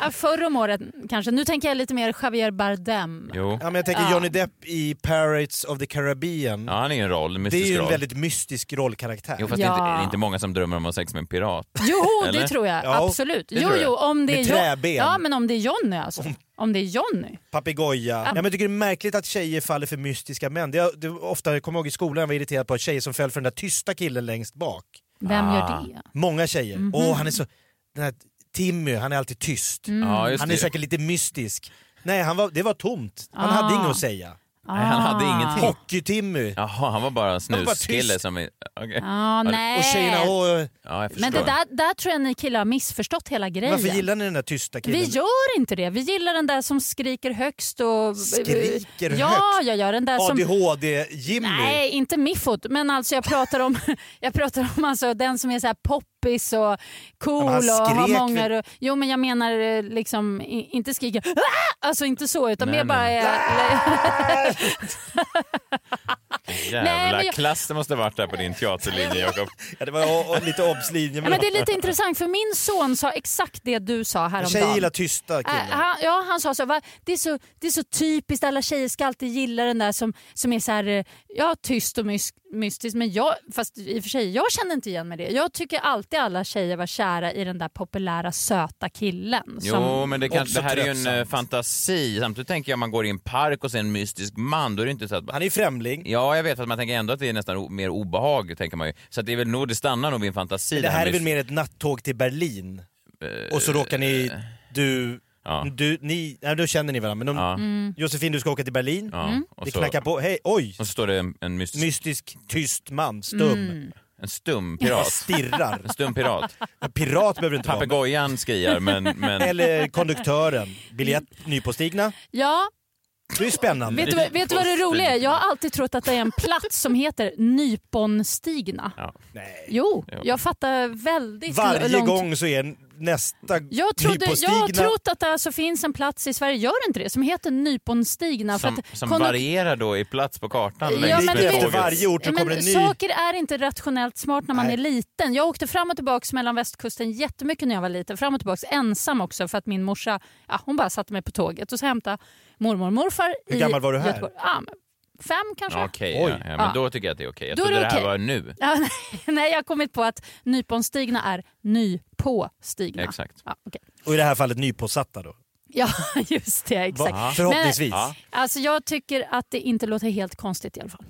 Ja, Förr om året kanske. Nu tänker jag lite mer Javier Bardem.
Ja, men jag tänker
Ja.
Johnny Depp i Pirates of the Caribbean.
Ja, han är ju en roll, en
det är
mystisk
ju en
roll.
väldigt mystisk rollkaraktär.
Jo, fast det, är inte, det är inte många som drömmer om att ha sex med en pirat.
Jo,
Eller?
det tror jag.
Ja,
Absolut.
det
Jo,
tror jag.
jo, om det
Med
är
träben.
Jo- Ja, men om det är Johnny alltså. Om det är Johnny.
Papegoja.
Ja.
Ja, men jag tycker det är märkligt att tjejer faller för mystiska män. Det, det, ofta, jag kommer ihåg i skolan, jag var irriterad på tjejer som föll för den där tysta killen längst bak.
Vem
Ah.
gör det?
Många tjejer.
Mhm.
Åh, han är så... Den här Timmy, han är alltid tyst.
Mm. Ja, just
han är
det.
säkert lite mystisk. Nej, han var, det var tomt. Han
Ah.
hade inget att säga.
Nej, han hade
Ah.
ingenting.
Hockey-Timmy.
Jaha, han var bara snuskille
tyst.
som... är- okej.
Ja, Ah, nej.
Och tjejerna, åh,
Ja, jag förstår.
Men det där, där tror jag ni killar har missförstått hela grejen.
varför gillar ni den där tysta killen?
Vi gör inte det. Vi gillar den där som skriker högst. Och...
Skriker
ja,
högt?
Ja, ja, den där som...
ADHD-Jimmy?
Nej, inte miffot. Men alltså jag pratar om, [LAUGHS] jag pratar om alltså den som är så här poppis och cool
Ja, men han
och har
skrek
många...
väl-
Jo, men jag menar eh, liksom i- inte skrika "Ah!" alltså inte så utan
Nej,
mer bara...
nej.
eh, Nej,
Jävla
men jag-
klass det måste ha varit där på din teaterlinje, Jakob.
ja, det var lite obslinje.
Ja, men det är lite intressant för min son sa exakt det du sa häromdagen.
Tjejer gillar tysta
Äh,
killar.
han, ja, han sa så, va? Det, är så det är så typiskt, alla tjejer ska alltid gilla den där som, som är så här, eh, ja, tyst och mys- mystisk. Men jag, fast i och för sig, jag känner inte igen mig i det. Jag tycker alltid alla tjejer var kära i den där populära söta killen.
Jo,
som-
men det, kan, det här är ju en eh, fantasi. Samtidigt tänker jag om man går i en park och ser en mystisk man, då är det inte så att...
Han är ju främling.
Ja, jag vet, att man tänker ändå att det är nästan o- mer obehag, tänker man ju. Så att det är väl nog, det stannar nog vid en fantasi.
Det här är väl
mys-
mer ett nattåg till Berlin?
Eh,
Och så råkar ni... Du... Du, ni, nej, då känner ni varandra, men de,
Ja. Mm.
Josefin du ska åka till Berlin,
Ja, Mm. och
det
så-
knackar på, hej, oj!
Och så står det en, en mystisk...
Mystisk, tyst man, stum.
Mm. En stum pirat.
Stirrar.
En stum
[LAUGHS]
pirat.
Pirat behöver det inte vara.
Papegojan skriar, men... men...
[LAUGHS] Eller konduktören, biljett nypåstigna.
Ja,
Det är ju spännande.
vet du, vad- vet du vad det roliga är? Jag har alltid trott att det är en plats som heter Nyponstigna.
Nej.
Jo, jag fattar väldigt
Varje
långt-
gång så är nästa
Jag, trodde, jag
nypåstigna...
har trott att det alltså finns en plats i Sverige, gör det inte det, som heter Nyponstigna.
Som,
för att
som
konduk-
varierar då i plats på kartan
Alltså, Ja,
längs
men
med
det-
tåget.
Ja, men Saker är inte rationellt smart när man är liten. Jag åkte fram och tillbaka mellan västkusten jättemycket när jag var liten. Fram och tillbaka ensam också för att min morsa ja, hon bara satte mig på tåget och så hämtade mormor och morfar
Hur
i
gammal var du här?
Göteborg. Ja, men fem kanske.
Ja, Okej, ja, ja, men
Ja.
då tycker jag att det är okej. Jag
Då är
trodde
det
det här
okej.
var nu.
Ja, [LAUGHS] nej, nej, jag har kommit på att nyponstigna är nypåstigna.
Exakt.
Ja, okej.
Och i det här fallet nypåsatta då.
[LAUGHS] ja just det. Exakt.
Va? Förhoppningsvis.
Men, alltså, jag tycker att det inte låter helt konstigt i alla fall.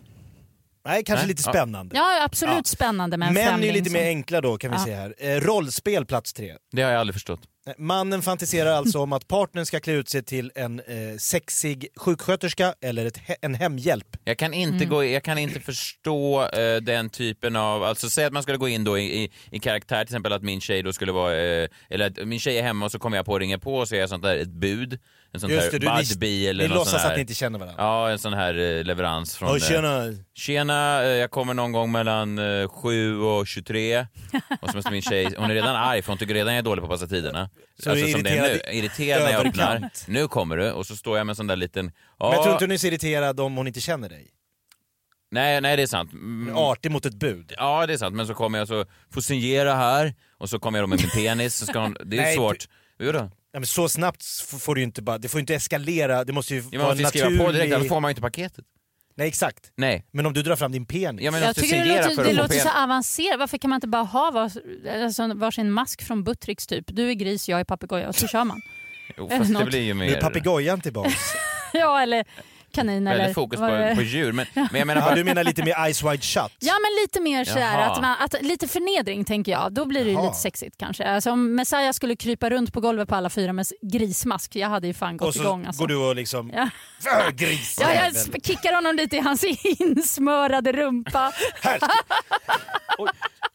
Nej, kanske
Nej.
lite
Ja.
spännande.
Ja, absolut spännande med en
Män är ju
främling
lite mer
som-
enkla då kan vi
Ja.
se här. Eh, rollspel plats tre.
Det har jag aldrig förstått.
Nej, Eh, Mannen fantiserar alltså om att partnern ska klä ut sig till en eh, sexig sjuksköterska eller ett he- en hemhjälp.
Jag kan inte,
Mm.
gå, jag kan inte förstå eh, den typen av, alltså säg att man skulle gå in då i, i, i karaktär till exempel att min tjej då skulle vara, eh, eller att min tjej är hemma och så kommer jag på och ringer på och så är jag sånt där ett bud, en sån
Just
där
det, du- ni-
budbee eller
ni
något
låtsas
sån här,
att ni inte känner varandra.
Ja, en sån här eh, leverans från...
Ja,
eh,
tjena.
Tjena, eh, jag kommer någon gång mellan eh, 7 och
[LAUGHS]
23 och så måste min tjej, hon är redan arg för hon tycker redan jag är dålig på att passa tiderna. Alltså,
Så du är
som det är nu,
irriterad i-
irriterad när jag öppnar.
överkant.
Nu kommer du och så står jag med en sån där liten...
Men jag tror
"Ja,
inte hon är så irriterad om hon inte känner dig.
Nej, nej det är sant. Mm.
Artig mot ett bud.
Ja, det är sant. Men så kommer jag så, får signera här och så kommer jag då med min penis. Så
[LAUGHS]
ska hon, det är
Nej,
svårt. Jo då.
Ja, men så snabbt f- får du ju inte bara, det får ju inte eskalera, det måste ju
Man
vara
måste
en
ju skriva
naturlig...
på direkt, annars får man ju inte paketet.
Nej exakt.
Nej.
Men om du drar fram din penis.
Ja, men
Jag tycker det låter, det låter så avancerat. Varför kan man inte bara ha var, alltså, varsin mask från Buttricks typ? Du är gris, jag är papegoja och så
[LAUGHS]
kör man.
Jo,
Eller
fast det
något.
blir ju
Nu är
mer...
papegojan tillbaks.
ja, eller kanin eller...
Väldigt fokus
vad det- [LAUGHS]
på, på djur. Men, men jag menar
ja,
bara...
du menar lite mer Ice Wide Shut?
Ja men lite mer sådär,
Jaha.
att man, att, lite förnedring tänker jag. Då blir det ju
Jaha.
lite sexigt kanske. Alltså, om Messiah skulle krypa runt på golvet på alla fyra med s- grismask, jag hade ju fan gått
Och så
igång. Alltså.
går du och liksom...
Ja.
För gris!
Ja, jag sp- kickar honom lite i hans [LAUGHS]
[LAUGHS]
insmörade rumpa.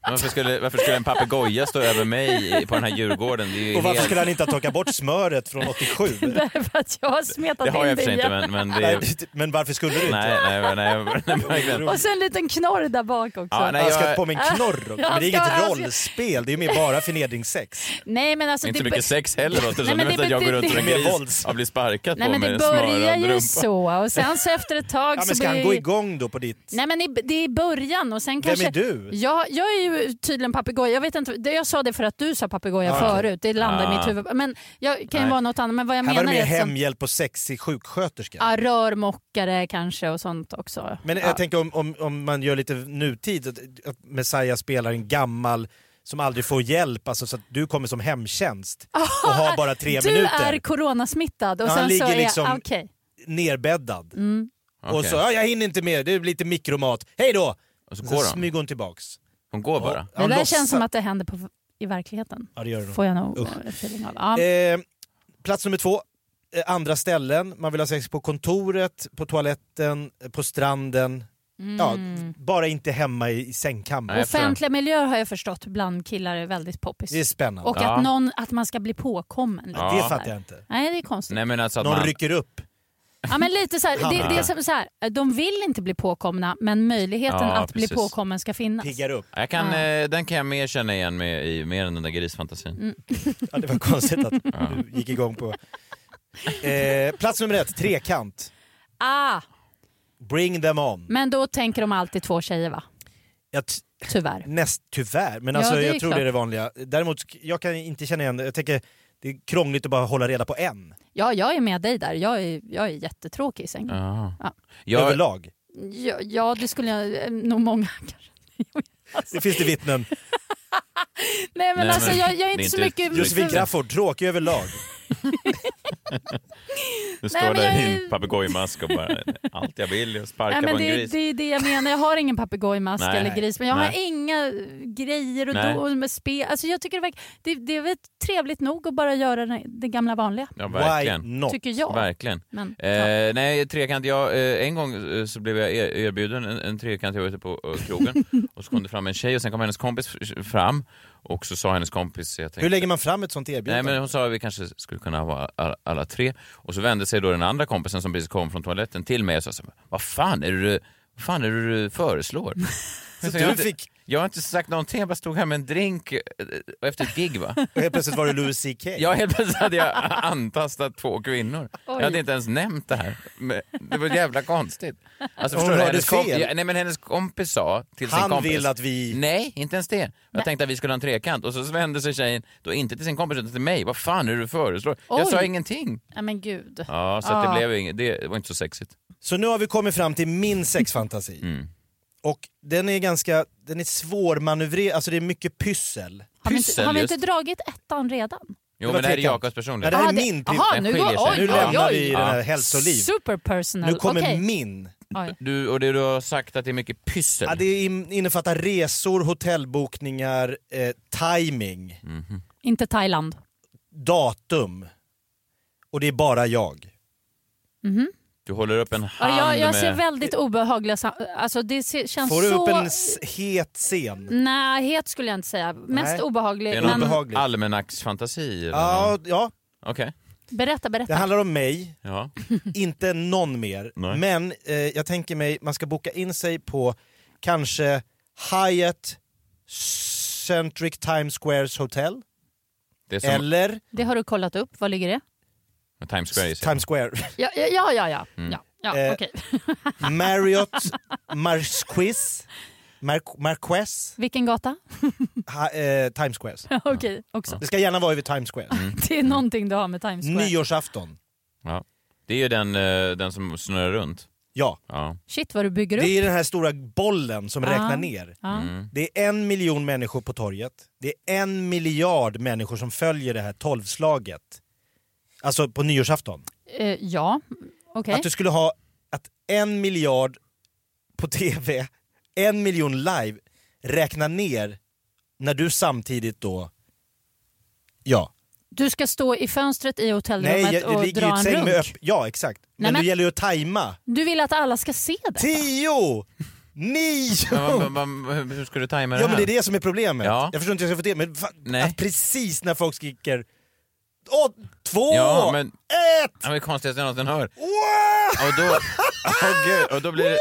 Varför skulle, varför skulle en papegoja stå över mig i- på den här djurgården? Det är ju
Och varför
helt-
skulle han inte ha torkat bort smöret från 87?
Därför att jag har smetat
Det har
in
jag i och för sig
igen.
inte, men, men det
[LAUGHS] Nej,
är...
men varför skulle du inte?
Nej, nej, nej. nej, verkligen.
Och så en liten knorr där bak också.
Ja, nej,
han
jag-
ska på min knorr också. Men
Ja,
det är
ska-
inget
han ska-
rollspel, det är ju mer bara förnedringssex.
Nej men alltså...
inte
det
så mycket
bör-
sex heller låter det
Nej,
som.
men
Nu
det
vet att jag går
betyder-
runt som en
Mer
gris och blir sparkad
Nej
på
men
med
det
en
börjar
smörad
ju
rumpa.
så och sen så efter
[LAUGHS]
ett tag
Ja,
så
men ska han
blir
gå igång då på ditt...
Nej men i- det är i början och sen kanske...
är du?
Jag, jag är ju tydligen papegoja. Jag vet inte, det- jag sa det för att du sa papegoja
Ja, okej.
förut. Det landade i
Ah.
mitt huvud. Men jag kan ju
Nej.
vara något annat. Men vad jag
Här var det
menar
mer
är som,
hemhjälp och sexig sjuksköterska.
ja, rörmokare kanske och sånt också.
Men
ja.
jag tänker om, om, om man gör lite nutid, att, att Messiah spelar en gammal som aldrig får hjälp, alltså så att du kommer som hemtjänst och har bara tre
[LAUGHS] du
minuter.
är coronasmittad och
Ja, han
sen så
ligger
är
liksom-
jag... ah, Okej.
Nerbäddad.
Mm.
Och så, ja, jag hinner inte med, det är lite mikromat. Hej då!
Och så
Sen
går hon.
smyger hon tillbaks.
Hon går bara.
Ja,
Det där
låtsas-
känns som att det händer på, i verkligheten.
Ja, det gör det nog.
Får jag nog
Usch.
feeling av. Ja.
Eh, plats nummer två. eh, andra ställen, man vill ha sex på kontoret, på toaletten, eh, på stranden.
Mm.
Ja, bara inte hemma i, i sängkammaren.
Offentliga miljöer har jag förstått bland killar är väldigt poppis.
Det är spännande.
Och
Ja.
att, någon, att man ska bli påkommen. lite
Ja.
så
Det
här.
fattar jag inte.
Nej, det är konstigt.
Nej, men alltså att
Någon
man...
rycker upp.
Ja, men lite så här, det, det är
Ja.
som så här, de vill inte bli påkomna men möjligheten
Ja,
att bli
precis.
påkommen ska finnas.
Jag kan,
Ja.
eh, Den kan jag mer känna igen med, i mer än den där grisfantasin.
Mm.
Ja, det var
[LAUGHS]
konstigt att du gick igång på... Eh, plats nummer ett, trekant.
Ah,
Bring them on.
men då tänker de alltid två tjejer va?
Jag t-
Tyvärr.
Näst, tyvärr, men
Ja,
alltså,
det är
jag tror
klart.
det är det vanliga. Däremot, sk- jag kan inte känna igen det. Jag tänker, det är krångligt att bara hålla reda på en.
Ja, jag är med dig där. Jag är, jag är jättetråkig i sängen. Ja.
Överlag.
Ja, ja, det skulle jag eh, nog många [LAUGHS] kanske.
Det finns det vittnen.
Nej men alltså jag, jag är inte så mycket...
Josefin Crafoord, tråkig
[LAUGHS]
överlag.
Du
Nej,
står
men
där
jag
i
är-
en papegojmask och bara allt jag vill är att sparka
Nej, men
på en
det,
gris.
det är det jag menar. Jag har ingen papegojmask
Nej.
eller gris men jag har
Nej.
inga grejer och
Nej.
då med spel. Alltså jag tycker det, verkar, det, det är väl trevligt nog att bara göra det, det gamla vanliga.
Ja, verkligen.
Tycker jag.
Verkligen.
Men,
eh, Nej, trekant. Jag, eh, en gång eh, så blev jag er- erbjuden en, en trekant. Jag var ute på eh,
[LAUGHS]
krogen och så kom det fram en tjej och sen kom hennes kompis f- fram och så sa hennes kompis... Jag tänkte,
Hur lägger man fram ett sånt erbjudande?
Nej, men hon sa att vi kanske skulle kunna vara alla, alla tre. Och så vände sig då den andra kompisen som precis kom från toaletten till mig och sa så här, vad fan är det du, vad fan är det du
[LAUGHS]
föreslår?
Så
Jag sa,
du
jag, har inte-
fick-
jag har inte sagt någonting, jag bara stod här med en drink eh, och efter ett gig va?
Och helt plötsligt var det Louis CK.
Ja, helt plötsligt hade jag antastat två kvinnor.
Oj.
Jag hade inte ens nämnt det här. Men Det var jävla konstigt. Alltså,
Hon
förstår du,
hörde
hennes komp-
fel.
Ja, nej, men hennes kompis sa till
Han
sin kompis...
vill att vi-
Nej, inte ens det. Jag tänkte att vi skulle ha en trekant och så vände sig tjejen då inte till sin kompis utan till mig. Vad fan är det du föreslår? Jag
Oj. Ah.
sa ingenting.
Ja, men gud.
Ja, så att det
Ja.
blev inget. Det var inte så sexigt.
Så nu har vi kommit fram till min sexfantasi.
Mm.
Och den är ganska, den är svårmanövrerad, alltså det är mycket pyssel.
Har vi, inte, har vi inte dragit ettan redan?
Jo,
var
men det här är
trekant.
Jakobs personliga.
Ja, det här
Ah,
är min priv-
aha,
Den
nu,
skiljer
går,
sig. Nu
oj,
lämnar vi
oj, oj.
den här hälsoliv.
Super personal.
Nu kommer
Okej.
min.
Oj.
Du, och det du har sagt att det är mycket pyssel.
Ja, det in- innefattar resor, hotellbokningar, eh, timing,
Mhm.
Inte Thailand.
datum. Och det är bara jag.
Mhm.
Du håller upp en
Ja,
hand
jag, jag ser
med...
väldigt obehagliga sam- Alltså det ser, känns
Får du
så...
upp en s- het scen?
Nej, het skulle jag inte säga. Mest
Nej.
Det är
obehaglig.
någon
Men...
allmanacksfantasi? eller
Ja,
något?
ja,
Okej.
Berätta,
det
berätta.
handlar om mig,
Ja.
[LAUGHS] inte någon mer.
Nej.
Men eh, jag tänker mig, man ska boka in sig på kanske Hyatt Centric Times Squares Hotel.
Det är som
Eller
Det har du kollat upp. Var ligger det?
Times Square. gissar jag.
Times Square. [LAUGHS]
Ja, ja, ja. ja, ja.
Mm.
ja. Ja,
Eh,
okej. [LAUGHS]
Marriott Marquis. Mar- Marquess.
Vilken gata? [LAUGHS]
Ha, eh, Times Square.
Okej, också. Mm.
Det ska gärna vara över Times Square.
Det är någonting du har med Times Square.
Nyårsafton.
Ja. Det är ju den, eh, den som snurrar runt.
Ja.
ja.
Shit vad du bygger upp.
Det är den här stora bollen som
Ja.
räknar ner.
Ja. Mm.
Det är en miljon människor på torget. Det är en miljard människor som följer det här tolvslaget. Alltså på nyårsafton.
Eh, ja, okej.
Att du skulle ha att en miljard på tv, en miljon live räknar ner när du samtidigt då... Ja.
Du ska stå i fönstret i hotellrummet
Nej, jag-
och
det ligger ju
dra
ett
en
säng
runk.
med öpp... Ja, exakt. Men,
men-
det gäller ju att tajma.
Du vill att alla ska se det?
Tio! Nio!
[LAUGHS] Men, vad- vad- vad- hur ska du tajma det
Ja
här?
men det är det som är problemet.
Ja.
Jag förstår inte hur jag ska få det, men fa-
Nej.
att precis när folk skriker Åh, två,
Ja, men-
ett!
Ja, men det är konstigt att någon hör.
Wow!
Och då, Åh gud, och då blir det...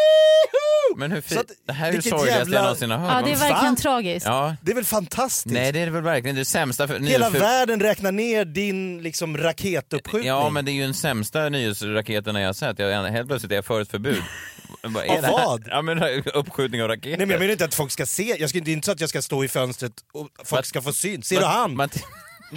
Men hur
Så
fint.
att-
Det här är det
vilket
sorgligaste jag
jävla-
någonsin har hört.
Ja, det är
Vad
verkligen
fan?
tragiskt.
Ja.
Det är väl fantastiskt?
Nej, det är det väl verkligen. Det är det sämsta för,
Hela
nyhetsför-
världen räknar ner din liksom raketuppskjutning.
Ja, men det är ju den sämsta nyhetsraketen jag har sett. Jag, helt plötsligt är jag för ett
[LAUGHS]
förbud. Vad
Av
är det här?
vad?
Ja, men uppskjutning av raketer.
Nej men jag menar inte att folk ska se, jag ska, det är inte så att jag ska stå i fönstret och folk ska få syn. Ser du han?
[LAUGHS]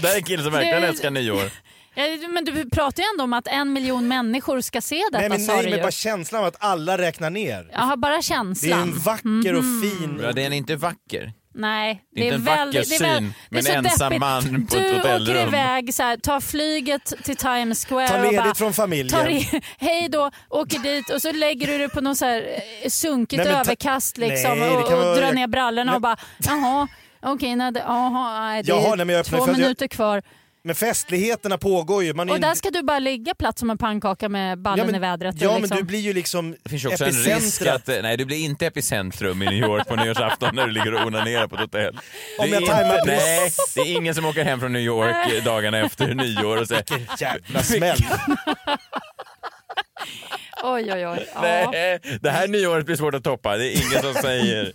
Det här är en kille som verkligen älskar nyår.
Ja, men du pratar ju ändå om att en miljon människor ska se detta
Nej men,
sa du
nej, men
ju.
bara känslan av att alla räknar ner.
Jaha, bara
Det är
känslan.
en vacker
Mhm.
och fin...
Ja, den är inte vacker.
Nej,
Det är inte en vacker
väldigt, det är väl-
syn
det är
med en
så
ensam
deppigt.
man på ett
Du åker
hotellrum.
iväg, så här, tar flyget till Times Square.
Ta
och bara,
ledigt från familjen.
tar i- [LAUGHS] hej då, åker dit och så lägger du dig på något så här eh, sunkigt
Nej, men ta-
överkast liksom,
Nej, det
och,
kan vara-
och drar
jag-
ner brallorna och bara jaha, okej, nej, det, jaha, nej, det
Jaha,
är
nej, men jag öppnar
två
för att jag-
minuter kvar.
Men festligheterna pågår ju. Man är
Och
ju-
där ska du bara ligga platt som en pannkaka med ballen
men-
i vädret.
Ja,
och
men
liksom.
du blir ju liksom
Det finns ju också en risk
epicentrat.
att... eh, Nej, du blir inte epicentrum i New York på nyårsafton när du ligger och onanerar på ett hotell. Det
Om
är
jag tajmar
inte-
precis.
Nej, det är ingen som åker hem från New York eh, dagarna efter nyår och säger... [LAUGHS]
jävla smäll.
Oj, oj, oj. Ja.
Nej, det här nyåret blir svårt att toppa. Det är ingen som säger...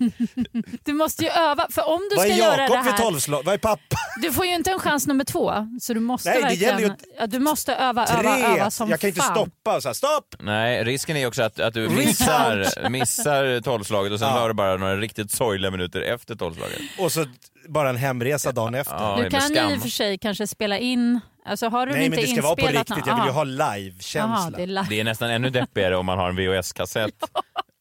Du måste ju öva, för om du
Vad
ska
är
göra det
Jakob för
här...
tolvslag? Vad är pappa?
Du får ju inte en chans nummer två, så du måste
Nej, det
verkligen...
gäller ju att-
ja, du måste öva, öva, öva som
Tre! Jag kan inte
fan.
stoppa och säga stopp!
Nej, risken är ju också att, att du missar, missar tolvslaget och sen var det bara några riktigt sorgliga minuter efter tolvslaget.
Och så bara en hemresa dagen efter.
Du kan ju i och för sig kanske spela in... Alltså har du
Nej
inte
men det ska vara
inspelat
på riktigt,
något-
jag vill ju
Aha.
ha
Aha,
live-känsla.
det är live.
Det är nästan ännu deppigare om man har en VHS-kassett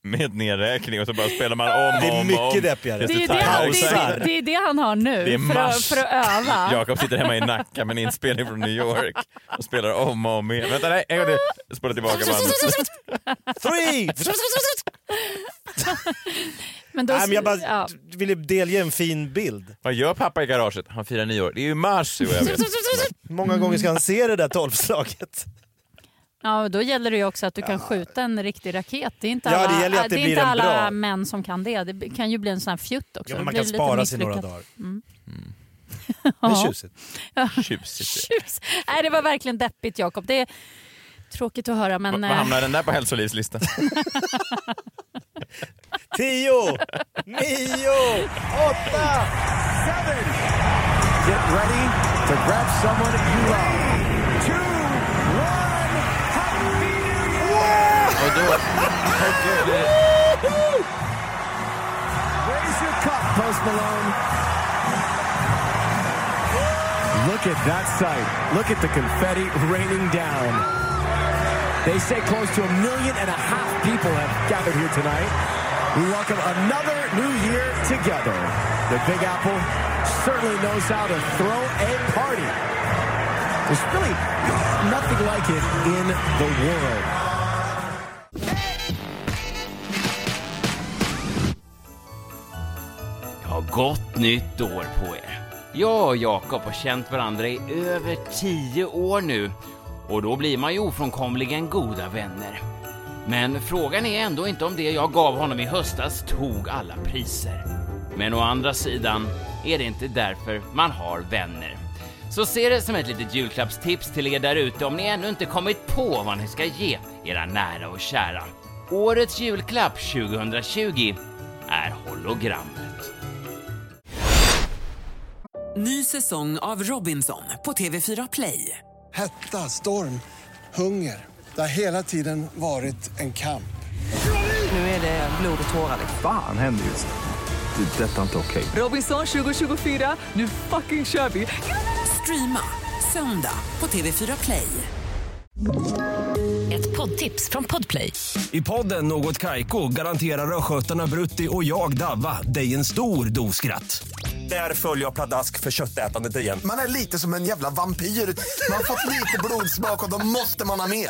med nedräkning och så bara spelar man om och om.
Det är mycket
och om.
deppigare.
Det är,
Tills
ju det, han, det,
pausar.
är, det är det han har
Det är
nu för att,
mars.
för att öva.
Jakob sitter hemma i Nacka med en inspelning från New York och spelar om och om igen. Vänta, nej, en gång till. Spola tillbaka bandet.
Three!
Men då,
Nej, men jag bara
ja.
ville delge en fin bild.
Vad gör pappa i garaget? Han firar nyår. Det är ju mars, jo, jag vet.
Många gånger
Mm.
ska han se det där tolvslaget.
Ja, och då gäller det ju också att du kan skjuta en riktig raket. Det är inte
Ja,
alla,
det gäller ju att det
är
blir
inte
en
alla
bra.
män som kan det. Det kan ju bli en sån här fjutt också.
Ja, men
Det
man
blir
kan
lite
spara sig några
misslyckat.
dagar.
Mm.
Det
[LAUGHS] Ja.
är tjusigt.
Tjusigt.
[LAUGHS] Tjus. Nej, det var verkligen deppigt Jakob. Det är tråkigt att höra men...
Vad
eh,
hamnar den där på hälsolivslistan?
Tio! Nio! Åtta!
Get ready to grab someone you love.
Och då...
Raise your cup, Post Malone. Look at that sight. Look at the confetti raining down. They say close to a million and a half people have gathered here tonight. We welcome another new year together. The Big Apple certainly knows how to throw a party. There's really nothing like it in the world.
Ja, gott nytt år på er. Jag och Jakob har känt varandra i över tio år nu och då blir man ju ofrånkomligen goda vänner. Men frågan är ändå inte om det jag gav honom i höstas tog alla priser. Men å andra sidan är det inte därför man har vänner. Så se det som ett litet julklappstips till er där ute om ni ännu inte kommit på vad ni ska ge era nära och kära. Årets julklapp 2020 är hologrammet.
Ny säsong av Robinson på TV4 Play.
Hetta, storm, hunger. Det har hela tiden varit en kamp.
Nu är det blod och tårar.
liksom.
Fan händer just det. Det är detta inte okej.
Robinson 2024, nu fucking kör vi! Streama söndag på TV4 Play. Ett poddtips från Podplay.
I podden Något Kaiko garanterar östgötarna Brutti och jag, Davva, dig en stor dos skratt. Där följer jag pladask för köttätandet igen.
Man är lite som en jävla vampyr. Man har fått lite blodsmak och då måste man ha mer.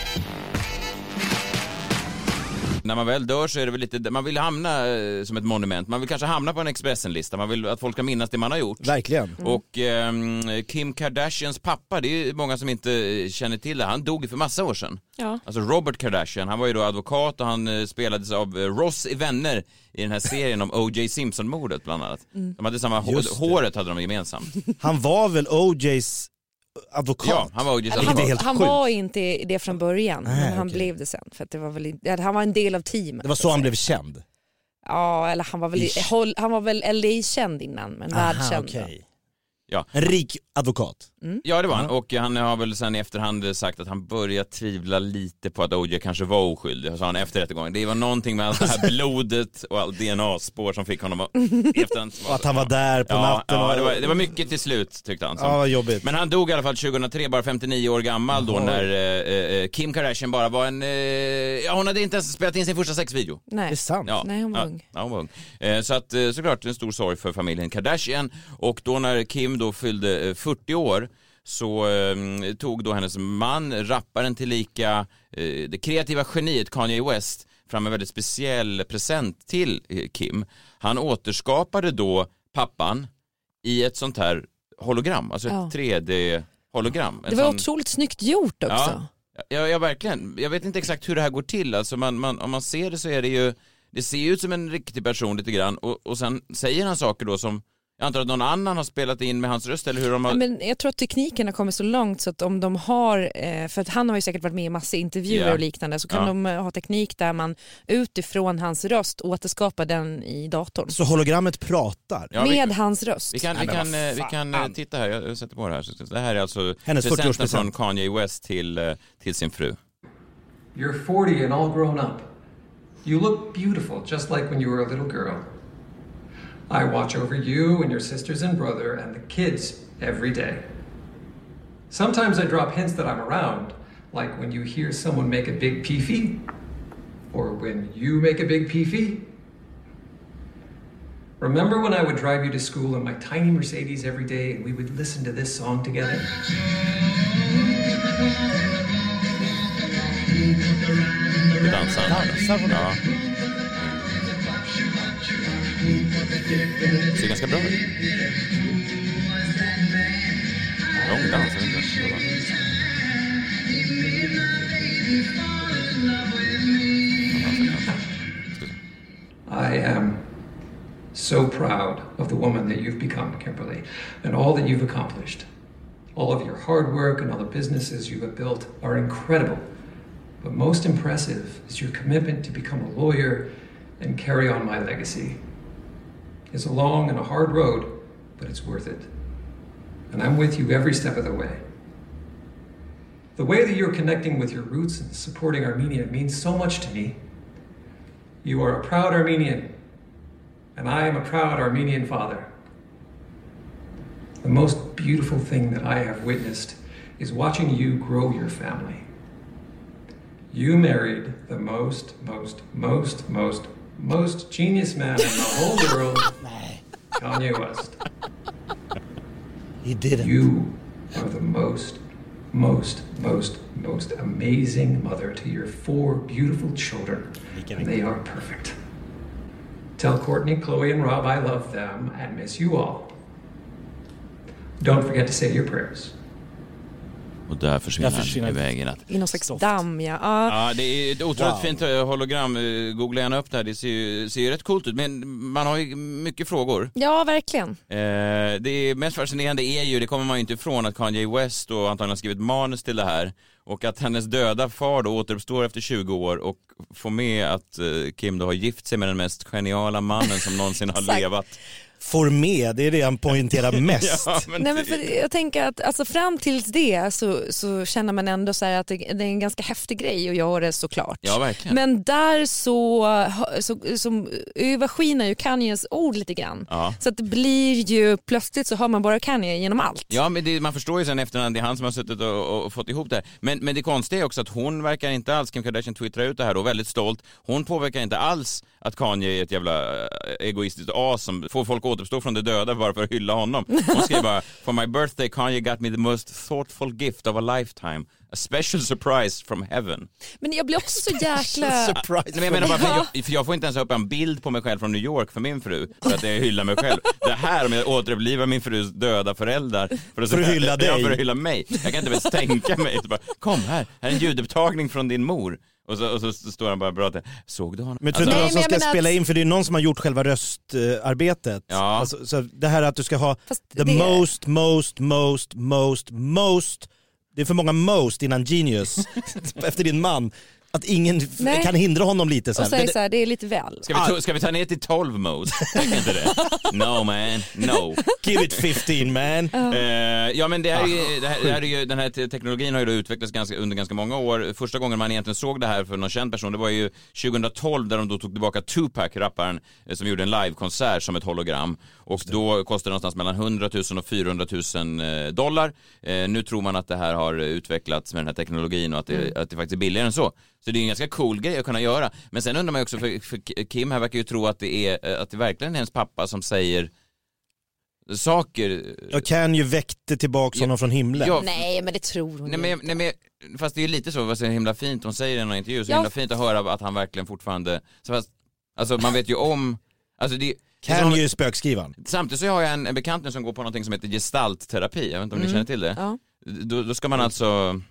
När man väl dör så är det väl lite, man vill hamna eh, som ett monument. Man vill kanske hamna på en Expressen-lista. Man vill att folk ska minnas det man har gjort.
Verkligen.
Mm. Och ehm, Kim Kardashians pappa, det är ju många som inte eh, känner till det. Han dog ju för massa år sedan.
Ja.
Alltså Robert Kardashian, han var ju då advokat och han eh, spelades av eh, Ross i Vänner i den här serien om O.J. Simpson-mordet bland annat.
Mm.
De hade samma hår,
Just det.
håret hade de gemensamt.
Han var väl OJs advokat?
Ja, han var OJs
Vilket
advokat.
är
Han-
helt
Han
sjukt.
var inte det från början,
Nej,
men han blev det sen. För att det var väl, inte- han var en del av teamet.
Det var så han blev känd.
Ja, eller han var väl,
Ish.
håll- han var väl LA-känd innan, men
Aha,
världskänd. då.
okej.
Ja.
En rik advokat.
Ja det var han och han har väl sen i efterhand sagt att han börjar tvivla lite på att OJ kanske var oskyldig, sa han efter rättegången. Det var någonting med allt det
[LAUGHS]
här blodet och allt DNA-spår som fick honom att i efterhand...
Och att han var där på
Ja,
natten.
ja
och-
det, var, det var mycket till slut tyckte han.
Ja, vad jobbigt.
Men han dog i alla fall 2003, bara 59 år gammal då
Oj.
när eh, eh, Kim Kardashian bara var en, eh, ja hon hade inte ens spelat in sin första sexvideo.
Nej. Det är sant.
Ja.
Nej, hon var
ja.
ung.
Ja, hon var ung. Eh, Så att eh, såklart en stor sorg för familjen Kardashian och då när Kim då fyllde eh, 40 år så eh, tog då hennes man, rapparen tillika eh, det kreativa geniet Kanye West fram en väldigt speciell present till eh, Kim. Han återskapade då pappan i ett sånt här hologram, alltså ett
Ja.
3D-hologram.
Det var otroligt snyggt gjort också.
Ja, ja, ja, verkligen. Jag vet inte exakt hur det här går till. Alltså man, man, om man ser det så är det ju, det ser ju ut som en riktig person lite grann och, och sen säger han saker då som, jag antar att någon annan har spelat in med hans röst eller hur de har...
Ja, men jag tror att tekniken har kommit så långt så att om de har, eh, för att han har ju säkert varit med i massa intervjuer
Ja.
och liknande, så kan
Ja.
de eh, ha teknik där man utifrån hans röst återskapar den i datorn.
Så hologrammet pratar?
Ja, vi-
med hans röst.
Vi kan, vi kan, eh, vi kan eh, titta här, jag jag sätter på det här. Så Det här är alltså
Hennes
presenten
40-årspresent.
från Kanye West till, eh, till sin fru.
You're 40 and all grown up. You look beautiful, just like when you were a little girl. I watch over you and your sisters and brother and the kids every day. Sometimes I drop hints that I'm around, like when you hear someone make a big peefee, or when you make a big peefee. Remember when I would drive you to school in my tiny Mercedes every day and we would listen to this song together?
Nu dansar han. Ja. Det ser ganska bra ut. Lång dans, jag vet inte.
I am so proud of the woman that you've become, Kimberly, and all that you've accomplished. All of your hard work and all the businesses you have built are incredible. But most impressive is your commitment to become a lawyer and carry on my legacy. It's a long and a hard road, but it's worth it. And I'm with you every step of the way. The way that you're connecting with your roots and supporting Armenia means so much to me. You are a proud Armenian, and I am a proud Armenian father. The most beautiful thing that I have witnessed is watching you grow your family. You married the most, most, most, most, most genius man in the whole world, Kanye West.
He didn't.
You are the most, most, most, most amazing mother to your four beautiful children. And they are perfect. Tell Courtney, Chloe, and Rob I love them and miss you all. Don't forget to say your prayers.
Och där försvinner,
Där
försvinner han iväg i natt.
I någon slags damm ja. Ja.
Ja, det är ett otroligt
Wow.
fint eh, hologram. Eh, Googla gärna upp det här. Det ser ju, ser ju rätt coolt ut, men man har ju mycket frågor.
ja, verkligen.
Eh, det mest fascinerande är ju, det kommer man ju inte ifrån, att Kanye West då antagligen har skrivit manus till det här och att hennes döda far då återuppstår efter 20 år och får med att eh, Kim då har gift sig med den mest geniala mannen som någonsin har
Exakt.
levat.
Får med, det är det
[LAUGHS]
han poängterar mest.
Ja, men
Nej, men för jag tänker att alltså, fram tills det så, så känner man ändå så här att det, det är en ganska häftig grej att göra det såklart.
Ja, verkligen.
Men där så, så, så överskynar ju Kanyes ord lite grann.
Ja.
Så att det blir ju, plötsligt så hör man bara Kanye genom allt.
Ja, men det, man förstår ju sen efterhand, det är han som har suttit och, och fått ihop det här. Men, men det konstiga är också att hon verkar inte alls, Kim Kardashian twittrar ut det här då, väldigt stolt. Hon påverkar inte alls att Kanye är ett jävla eh, egoistiskt as som får folk att återuppstå från de döda bara för att hylla honom. Hon skriver bara, for my birthday Kanye got me the most thoughtful gift of a lifetime. A special surprise from heaven.
Men jag blir också
[LAUGHS]
så jäkla...
Nej, men jag menar bara, för jag, för jag får inte ens upp en bild på mig själv från New York för min fru, för att jag hyllar mig själv. Det här om jag återupplivar min frus döda föräldrar för
För att hylla
Ja,
dig.
för att hylla mig. Jag kan inte ens tänka mig. Så Bara, Kom här, här är en ljudupptagning från din mor. Och så, och så står han bara och pratar. Såg du honom?
Men tror du
Alltså-
inte någon som ska spela in, för det är någon som har gjort själva röstarbetet.
Ja.
Alltså, så det här att du ska ha the
det-
most, most, most, most, most. Det är för många most innan
[LAUGHS]
genius, efter din man. Att ingen f-
Nej.
kan hindra honom lite så
Och
här.
säger
Det-
så här, det är lite väl.
Ska vi, ta- ska vi ta ner till 12 mode? Tycker inte det? No man, no.
Give it 15 man.
Eh, ja men det här, är ju, det här, det här är ju, den här te- teknologin har ju då utvecklats ganska, under ganska många år. Första gången man egentligen såg det här för någon känd person, det var ju 2012 där de då tog tillbaka Tupac, rapparen, eh, som gjorde en livekonsert som ett hologram. Och då kostade det någonstans mellan 100 000 och 400 000 eh, dollar. Eh, nu tror man att det här har utvecklats med den här teknologin och att det, att det faktiskt är billigare än så. Så det är en ganska cool grej att kunna göra. Men sen undrar man ju också, för, för Kim här verkar ju tro att det är, eh, att det verkligen är hennes pappa som säger saker.
Jag kan ju väckte tillbaka honom från himlen.
Ja,
Nej, men det tror hon
Nej men, nej, men, fast det är lite så, vad så himla fint hon säger i någon intervju, så
Ja.
himla fint att höra att han verkligen fortfarande, så fast, alltså man vet ju om, alltså det det är
Kan
som-
ju spökskrivaren.
Samtidigt så har jag en, en bekant nu som går på någonting som heter gestaltterapi, jag vet inte om
Mm.
ni känner till det.
Ja.
Då, då ska man alltså,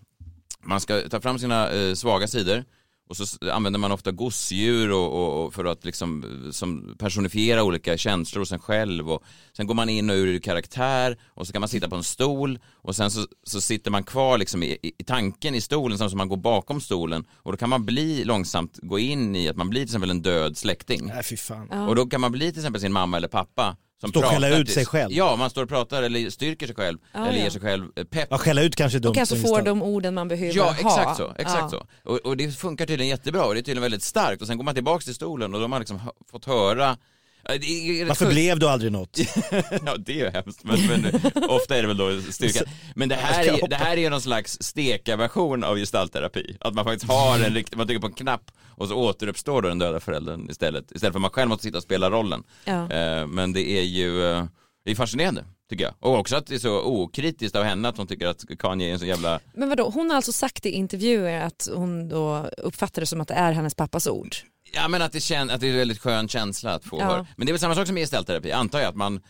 man ska ta fram sina eh, svaga sidor och så s- använder man ofta gosedjur och, och, och för att liksom eh, som personifiera olika känslor hos en själv och sen går man in och ur karaktär och så kan man sitta på en stol och sen så, så sitter man kvar liksom i, i- i tanken i stolen samtidigt som man går bakom stolen och då kan man bli långsamt gå in i att man blir till exempel en död släkting.
Nej, fy fan.
Ja.
Och då kan man bli till exempel sin mamma eller pappa som
Står och skälla ut
till-
sig själv.
Ja, man står och pratar eller styrker sig själv
Ja,
eller
ja.
ger sig själv eh, pepp.
Ja, skälla ut kanske är dumt.
Och kanske
men
får
visst.
de orden man behöver
Ja,
ha.
exakt så. Exakt
Ja.
så. Och, och det funkar tydligen jättebra och det är tydligen väldigt starkt och sen går man tillbaks till stolen och då har man liksom hö- fått höra Ja, det är-
Varför blev du aldrig något?
[LAUGHS] ja det är ju hemskt men,
[LAUGHS]
men ofta är det väl då styrka. Men det här är, det här är ju någon slags steka-version av gestaltterapi. Att man faktiskt har en riktig, man trycker på en knapp och så återuppstår då den döda föräldern istället. Istället för att man själv måste sitta och spela rollen.
Ja.
Eh, Men det är ju eh, det är fascinerande tycker jag. Och också att det är så okritiskt av henne att hon tycker att Kanye är en så jävla
Men vadå, hon har alltså sagt i intervjuer att hon då uppfattar det som att det är hennes pappas ord.
Ja men att det, kän- att det är en väldigt skön känsla att få
Ja.
höra. Men det är väl samma sak som i gestaltterapi, antar jag att man,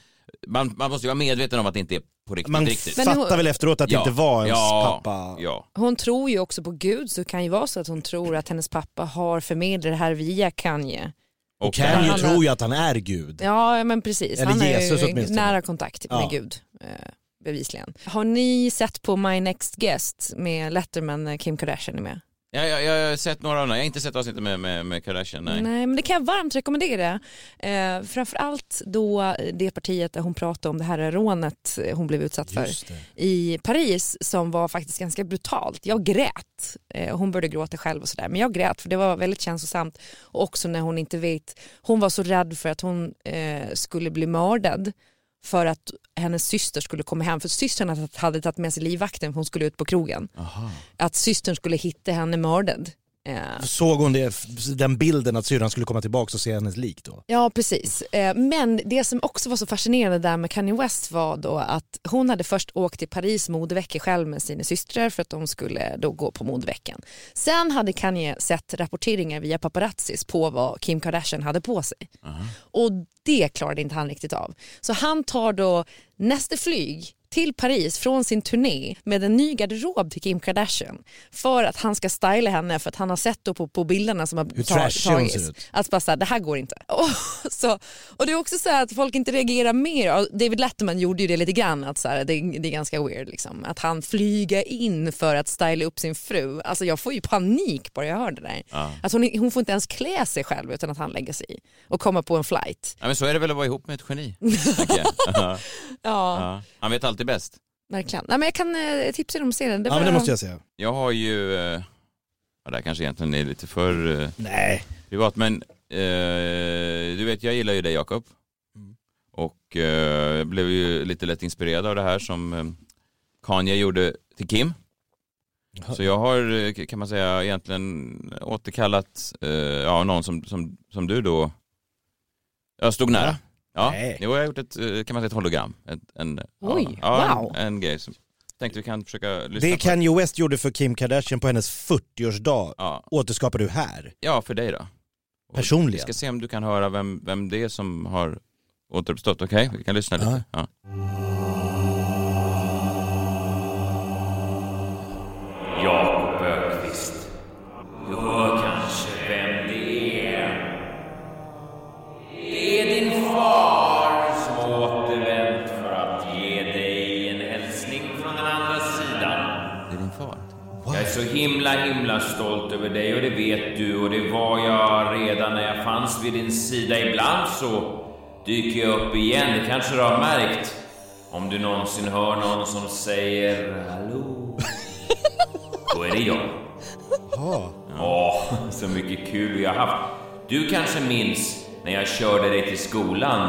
man, man måste ju vara medveten om att det inte är på riktigt.
Man
riktigt.
Men fattar hon- väl
efteråt att det inte var ens pappa.
Ja.
Hon tror ju också på Gud så det kan ju vara så att hon tror att hennes pappa har förmedlat det här via Kanye.
Och
han
Kanye
har-
tror ju att han är gud.
Ja men precis,
Eller
han
Jesus
är ju
åtminstone.
nära kontakt med
Ja.
Gud eh, bevisligen. Har ni sett på My Next Guest med Letterman när Kim Kardashian är med?
Ja, ja, jag har sett några av dem, jag har inte sett avsnittet med, med, med Kardashian, nej.
men det kan jag varmt rekommendera. Eh, framförallt då det partiet där hon pratade om det här rånet hon blev utsatt för
Just
i Paris som var faktiskt ganska brutalt. Jag grät. Eh, hon började gråta själv och sådär men jag grät för det var väldigt känslosamt och också när hon inte vet, hon var så rädd för att hon eh, skulle bli mördad för att hennes syster skulle komma hem för systern hade- hade tagit med sig livvakten för hon skulle ut på krogen. Att systern skulle hitta henne mördad. Eh,
Såg hon det, den bilden att syrran skulle komma tillbaka och se hennes lik då?
Ja, precis. Eh, Men det som också var så fascinerande där med Kanye West var då att hon hade först åkt till Paris modevecka själv med sina systrar för att de skulle då gå på modeveckan. Sen hade Kanye sett rapporteringar via paparazzis på vad Kim Kardashian hade på sig. Och det klarade inte han riktigt av. Så han tar då nästa flyg till Paris från sin turné med en ny garderob till Kim Kardashian för att han ska styla henne för att han har sett då på, på bilderna som har
Hur
ta-
trashig hon ser ut.
att bara så här, det här går inte. [LAUGHS] Och, så, och det är också så här att folk inte reagerar mer. Och David Letterman gjorde ju det lite grann, att så här, det, det är ganska weird liksom. Att han flyger in för att styla upp sin fru. Alltså jag får ju panik bara jag hör det där.
Ja.
Att Alltså, hon, hon får inte ens klä sig själv utan att han lägger sig i och kommer på en flight.
Ja, men så är det väl att vara ihop med ett geni. tänker jag. ja.
Ja,
Han vet alltid bäst.
verkligen. Nej, men jag kan eh, tipsa er om serien.
Ja, men det
var-
måste jag säga. Jag har ju, eh, ja, det här kanske egentligen är lite för eh,
Nej.
privat men eh, du vet jag gillar ju dig Jakob. Mm. Och eh, jag blev ju lite lätt inspirerad av det här som eh, Kanye gjorde till Kim. Så jag har eh, kan man säga egentligen återkallat eh, ja, någon som, som, som du då jag stod nära. Ja,
Nej.
jo, jag har gjort ett, eh, kan man säga ett hologram. Ett, en,
Oj,
ja,
wow.
En, en grej som tänkte vi kan försöka lyssna
Det
på.
Kanye West gjorde för Kim Kardashian på hennes 40-årsdag
Ja.
återskapar du här.
Ja, för dig då. Och Vi
Personligen.
ska se om du kan höra vem, vem det är som har återuppstått. Okej, vi kan lyssna lite. Ja.
Jakob Ökvist. Du hör kanske vem det är. Det är din far som återvänt för att ge dig en hälsning från den andra sidan.
Det är din far.
Jag är så himla, himla stolt över dig och det vet du och det var jag redan när jag fanns vid din sida. Ibland så dyker jag upp igen, det kanske du har märkt. Om du någonsin hör någon som säger hallå, då är det jag. Ja, så mycket kul vi har haft. Du kanske minns när jag körde dig till skolan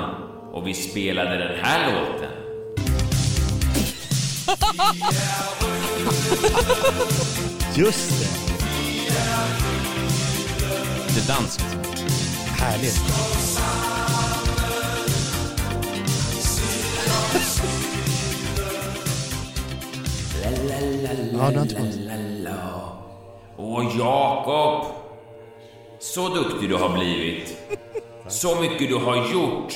och vi spelade den här låten.
Just det.
Det är danskt.
Härligt.
la,
Ja, det har inte kommit.
la, la. Åh, Jakob! Så duktig du har blivit. Så mycket du har gjort.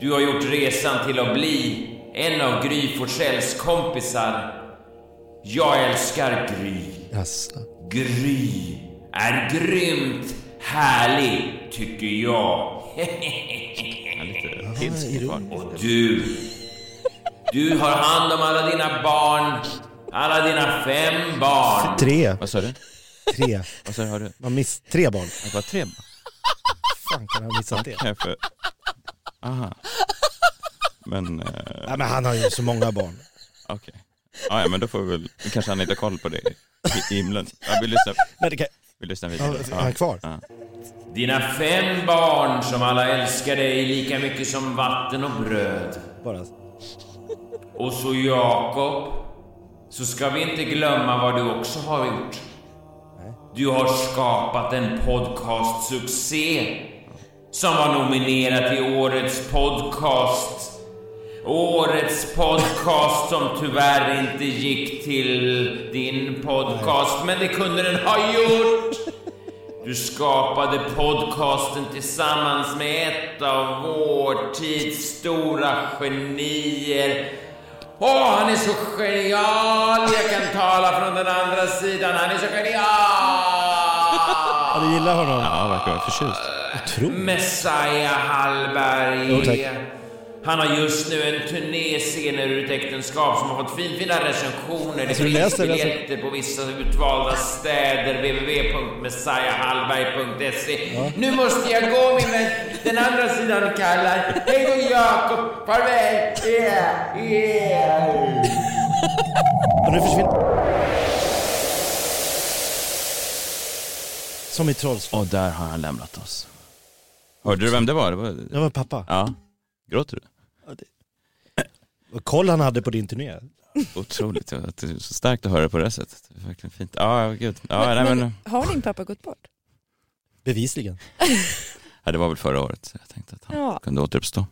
Du har gjort resan till att bli en av Gry Forssells kompisar. Jag älskar Gry.
Jaså.
Gry är grymt härlig, tycker jag. Och du, du har hand om alla dina barn. Alla dina fem barn.
Tre.
Vad sa du?
Tre.
[LAUGHS] Vad sa du? Hörde du?
Man miss tre barn.
Det var tre barn.
fan kan han ha missat det?
Kan jag få- Aha. Men... eh,
Nej, men han har ju så många barn.
Okej. Ah, ja, men då får vi väl... Kanske han inte har koll på det i i himlen. Ja, vi lyssnar.
Nej, det kan...
Vi lyssnar vidare.
Ja, är han kvar?
Ja.
Dina fem barn som alla älskar dig lika mycket som vatten och bröd.
Bara.
Och så Jakob, så ska vi inte glömma vad du också har gjort. Du har skapat en podcastsuccé som var nominerad till Årets podcast. Årets podcast som tyvärr inte gick till din podcast, men det kunde den ha gjort. Du skapade podcasten tillsammans med ett av vår tids stora genier. Åh, han är så genial! Jag kan tala från den andra sidan. Han är så genial!
Ja, du gillar honom?
Ja, verkar vara förtjust.
Messiah Hallberg.
Jo, tack.
han har just nu en turné scener ur ett äktenskap som har fått finfina recensioner. Det
Alltså, du
finns
läser, läser.
biljetter på vissa utvalda städer. www.messiahallberg.se Nu måste jag gå min vän. Den andra sidan kallar. Hej då Jakob. Farväl. Yeah. Yeah.
Och nu försvinner... Som i Trolls.
Och där har han lämnat oss. Hörde du vem det var? Det var,
Det var pappa.
Ja. Gråter du?
Och koll han hade på din turné.
Otroligt. att det är Så starkt att höra på det här sättet. Det är verkligen fint. Ja, ja, gud. Ja,
Men-
nej, men,
men Har din pappa gått bort?
Bevisligen.
[LAUGHS] ja, det var väl förra året. Så jag tänkte att han
Ja.
kunde återuppstå.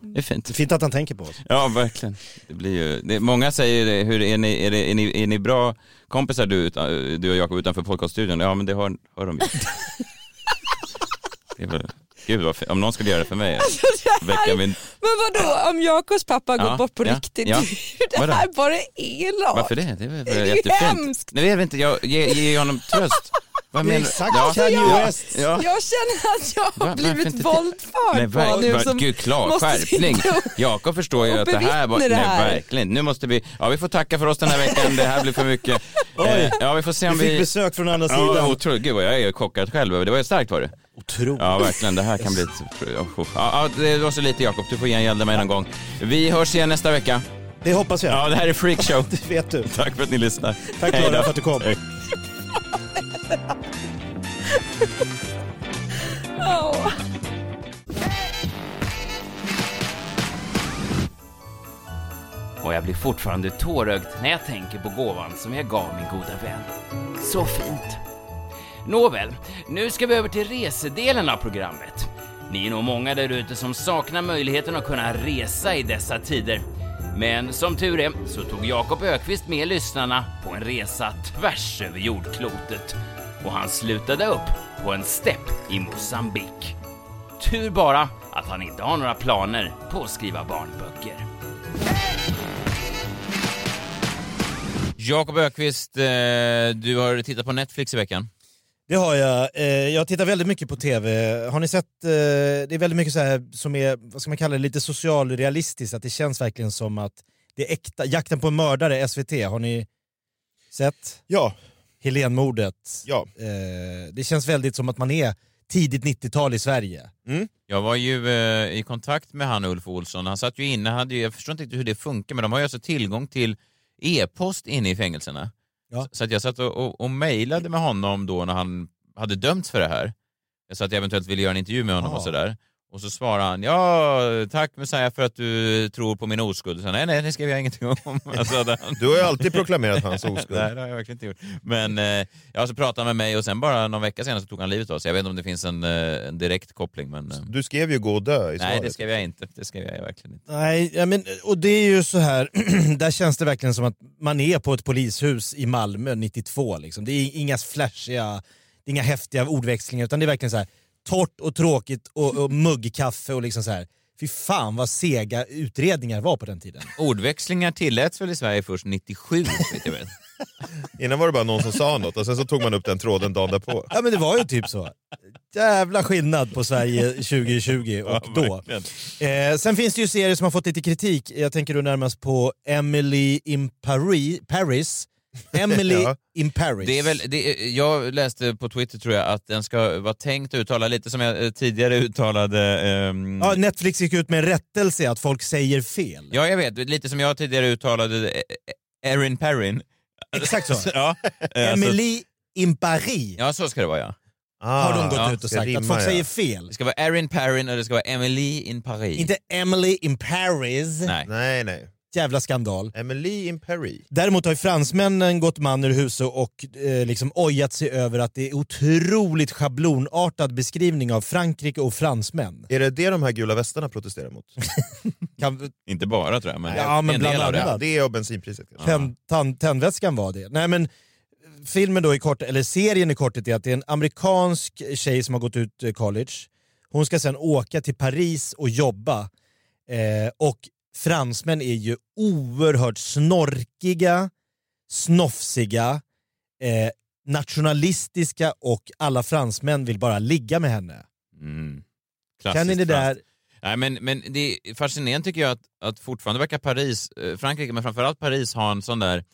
Det är fint.
Fint att han tänker på oss.
Ja, verkligen. Det blir ju, det, många säger det, hur är ni, är, det, är, ni, är ni bra kompisar du, utan- du och Jakob utanför podcaststudion? Ja, men det hör, hör de ju. Det är väl, gud, vad, fint. om någon skulle göra det för mig.
[LAUGHS] Alltså, det här
Veckan
är-
min,
Men vadå, om Jakobs pappa har
Ja,
gått bort på
ja,
riktigt,
ja.
[LAUGHS] det
Vadå?
här är bara elakt.
varför det? Det är väl
Det är ju
jättefint.
hemskt.
Nej, jag vet inte, jag ger ge ger honom tröst. Vad
Det är
menar du?
exakt
Ja,
Kanye
ja,
West.
Ja.
Alltså, Jag känner att jag
Va-
har
varför
blivit
inte
våldförd på nu.
verkligen.
Som
Gud, klar
måste
skärpning.
sitta och-
Jakob förstår ju
och
att det här var...
bevittna det här.
Nej, verkligen. Nu måste vi... Ja, vi får tacka för oss den här veckan. Det här blir för mycket. Eh, ja, vi får se om
Vi
vi...
fick besök från andra
Ja,
sidan.
otroligt. Gud, vad jag är chockad själv. över- Det var ju starkt var det.
Otroligt.
Ja, verkligen. Det här kan bli... Ja, ja, det var så lite, Jakob. Du får gengälda mig någon gång. Vi hörs igen nästa vecka.
Det hoppas jag.
Ja, det här är Freakshow.
[LAUGHS] Det vet du.
Tack för att ni lyssnar.
Tack
Hej då.
Klara för att du kom.
Åh.
Och jag blir fortfarande tårögd när jag tänker på gåvan som jag gav min goda vän. Så fint. Nåväl, nu ska vi över till resedelen av programmet. Ni är nog många där ute som saknar möjligheten att kunna resa i dessa tider. Men som tur är så tog Jakob Ökvist med lyssnarna på en resa tvärs över jordklotet. Och han slutade upp på en stepp i Mosambik. Tur bara att han inte har några planer på att skriva barnböcker.
Jakob Ökvist, eh, du har tittat på Netflix i veckan.
Det har jag. Eh, Jag tittar väldigt mycket på TV. Har ni sett, eh, det är väldigt mycket så här som är, vad ska man kalla det, lite socialrealistiskt. Att det känns verkligen som att det är äkta. Jakten på en mördare, SVT, har ni sett?
Ja.
Helenmordet. Ja. Det känns väldigt som att man är tidigt 90-tal i Sverige.
Jag var ju eh, i kontakt med han Ulf Olsson. Han satt ju inne, hade, ju- jag förstår inte riktigt hur det funkar, men de har ju alltså tillgång till e-post inne i fängelserna.
Ja.
Så att jag satt och, och, och mejlade med honom då när han hade dömts för det här. Jag sa att jag eventuellt ville göra en intervju med honom
Ah.
och sådär. Och så svarar han ja, tack Messiah för att du tror på min oskuld. Så, nej, nej, det skrev jag ingenting om. [LAUGHS] Alltså, det-
Du har ju alltid proklamerat hans oskuld.
nej, det har jag verkligen inte gjort. Men eh, ja, så pratade han med mig och sen bara någon vecka senare så tog han livet av sig. Jag vet inte om det finns en, eh, en direkt koppling. Men, eh,
Du skrev ju gå och dö i
nej,
svaret.
det skrev jag inte. Det skrev jag verkligen inte.
Nej, ja, men, och det är ju så här, [CLEARS THROAT] där känns det verkligen som att man är på ett polishus i Malmö 92. Liksom. Det är inga flashiga, det är inga häftiga ordväxlingar utan det är verkligen så här torrt och tråkigt och, och muggkaffe och liksom så här. Fy fan vad sega utredningar var på den tiden.
Ordväxlingar tilläts väl i Sverige först 97, vet jag
[LAUGHS]
vet.
Innan var det bara någon som sa något och sen så tog man upp den tråden dagen därpå.
Ja men det var ju typ så. Jävla skillnad på Sverige 2020 och
Ja,
då. Eh, sen finns det ju serier som har fått lite kritik. Jag tänker då närmast på Emily in Paris. Paris. Emily
Ja.
in Paris.
Det är väl, det är, jag läste på Twitter tror jag att den ska vara tänkt att uttala lite som jag eh, tidigare uttalade... ehm,
Ja, Netflix gick ut med en rättelse att folk säger fel.
Ja, jag vet. Lite som jag tidigare uttalade eh, eh, Erin Perrin.
Exakt så.
[LAUGHS]
[LAUGHS]
ja. eh, alltså-
Emily in Paris.
Ja, så ska det vara ja. Ah,
Har de gått ut och sagt, att folk säger fel.
Det ska vara Erin Perrin och det ska vara Emily in Paris.
Inte Emily in Paris.
Nej.
nej, nej.
Jävla skandal.
Emily in Paris.
Däremot har ju fransmännen gått man ur hus och eh, liksom ojat sig över att det är otroligt schablonartad beskrivning av Frankrike och fransmän.
Är det det de här gula västarna protesterar
[LAUGHS]
mot?
Inte bara tror jag, men,
Ja, men
en
bland
del av det.
annat.
Det är av bensinpriset kanske.
Tänd, tan- tändvätskan var det. Nej men filmen då i kort, eller serien i korthet är att det är en amerikansk tjej som har gått ut eh, college. Hon ska sen åka till Paris och jobba. Eh, och fransmän är ju oerhört snorkiga, snofsiga, eh, nationalistiska och alla fransmän vill bara ligga med henne.
Mm.
Kan ni det
Klassiskt
där-
franskt. Nej, men, men det är fascinerande tycker jag att, att fortfarande verkar Paris, eh, Frankrike, men framförallt Paris ha en sån där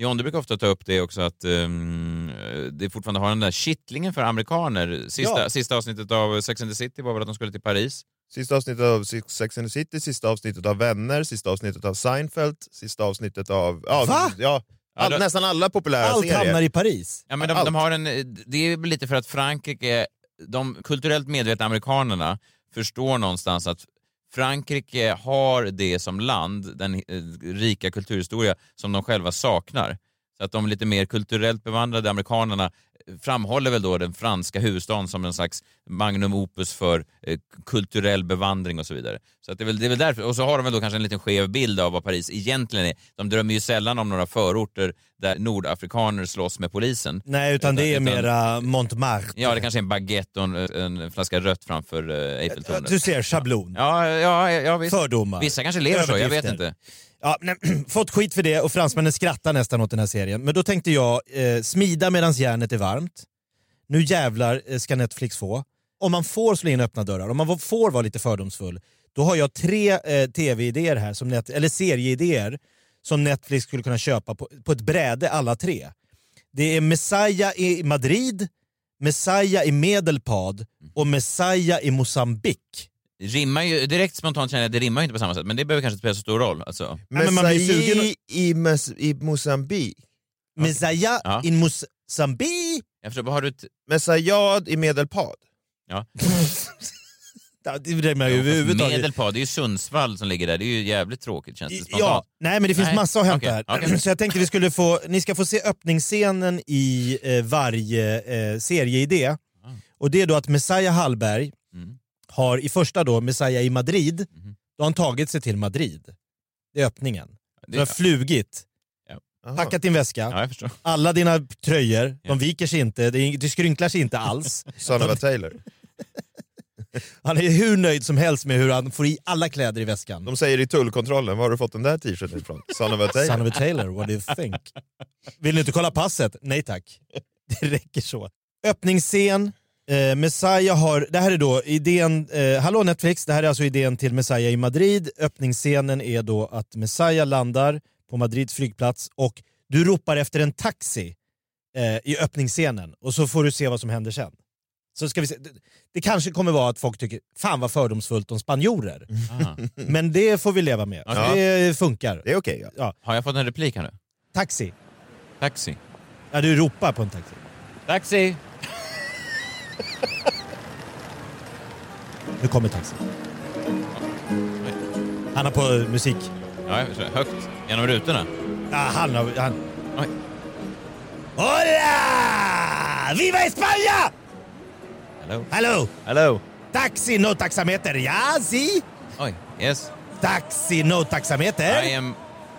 John, du brukar ofta ta upp det också att um, det fortfarande har den där kittlingen för amerikaner. Sista,
Ja.
sista avsnittet av Sex and the City var väl att de skulle till Paris?
Sista avsnittet av Sex and the City, sista avsnittet av Vänner, sista avsnittet av Seinfeld, sista avsnittet av... Ja,
Va?
Ja, all,
Ja, då-
nästan alla populära
Allt
serier.
hamnar i Paris.
Ja, men de, de har en, eh, det är väl lite för att Frankrike, de kulturellt medvetna amerikanerna förstår någonstans att Frankrike har det som land, den eh, rika kulturhistoria, som de själva saknar. Så att de lite mer kulturellt bevandrade amerikanerna framhåller väl då den franska huvudstaden som en slags magnum opus för eh, kulturell bevandring och så vidare. Så att det, är väl, det är väl därför. Och så har de väl då kanske en liten skev bild av vad Paris egentligen är. De drömmer ju sällan om några förorter där nordafrikaner slåss med polisen.
Nej, utan det är
Utan- utan-
mera Montmartre.
Ja, det kanske är en baguette och en, en flaska rött framför eh, Eiffeltornet.
Du ser schablon.
Ja, ja, ja, visst.
Fördomar.
Vissa kanske lever så, jag vet
Överdrifter.
inte.
Ja, nej, [CLEARS THROAT] fått skit för det och fransmännen skrattar nästan åt den här serien. Men då tänkte jag, eh, smida medan järnet är varmt. Nu jävlar eh, ska Netflix få. Om man får slå in öppna dörrar, om man får vara lite fördomsfull, då har jag tre eh, tv-idéer här, som net- eller serieidéer, som Netflix skulle kunna köpa på, på ett bräde alla tre. Det är Messiah i Madrid, Messiah i Medelpad och Messiah i Mosambik.
Rimmar ju, direkt spontant känner jag att det rimmar ju inte på samma sätt, men det behöver kanske inte spela så stor roll. Alltså.
Nej, men man blir sugen
Messiah i, Mes- i Mozambique.
Messiah
Ja.
in Mozambique.
Jag förstår, vad har du... T-
Messiah i Medelpad.
[LAUGHS]
ja.
Ja, Det rimmar ju överhuvudtaget.
Medelpad, det är ju Sundsvall som ligger där. Det är ju jävligt tråkigt känns det spontant.
Ja, nej men det finns
Nej,
massa att hämta
okej,
här.
okej.
[CLEARS THROAT] Så jag tänkte vi skulle få, ni ska få se öppningsscenen i eh, varje eh, serieidé.
Ah.
Och det är då att Messiah Hallberg
Mm.
har i första då, Messiah i Madrid,
Mm-hmm.
då har han tagit sig till Madrid. Det är öppningen.
Det-
Du har flugit, packat din väska,
Ja, jag förstår.
alla dina tröjor, de viker sig inte, det är ing- det skrynklar sig inte alls.
Son of a Taylor.
[LAUGHS] Han är hur nöjd som helst med hur han får i alla kläder i väskan.
De säger i tullkontrollen, var har du fått den där t-shirten
[LAUGHS]
ifrån? Son of a Taylor.
Son of a Taylor, what do you think? Vill ni inte kolla passet? Nej tack. [LAUGHS] Det räcker så. Öppningsscen. Eh, Messiah har, det här är då idén, eh, hallå Netflix, det här är alltså idén till Messiah i Madrid. Öppningsscenen är då att Messiah landar på Madrids flygplats och du ropar efter en taxi eh, i öppningsscenen och så får du se vad som händer sen. Så ska vi se. Det, det kanske kommer vara att folk tycker, fan vad fördomsfullt om spanjorer.
Ah.
Men det får vi leva med.
Ja.
Mm. Det funkar.
Det är okej. ja.
Har jag fått en replik här nu?
Taxi.
Taxi.
Ja, du ropar på en taxi.
Taxi!
[LAUGHS] Nu kommer taxin. Han har på eh, musik.
Ja, jag förstår. högt. Genom rutorna.
Ja, han har... Han...
Oj.
Hola! Viva España!
Hello.
Hello!
Hello.
Taxi, no taxameter. Ja, si?
Oj, yes.
Taxi, no taxameter.
I am,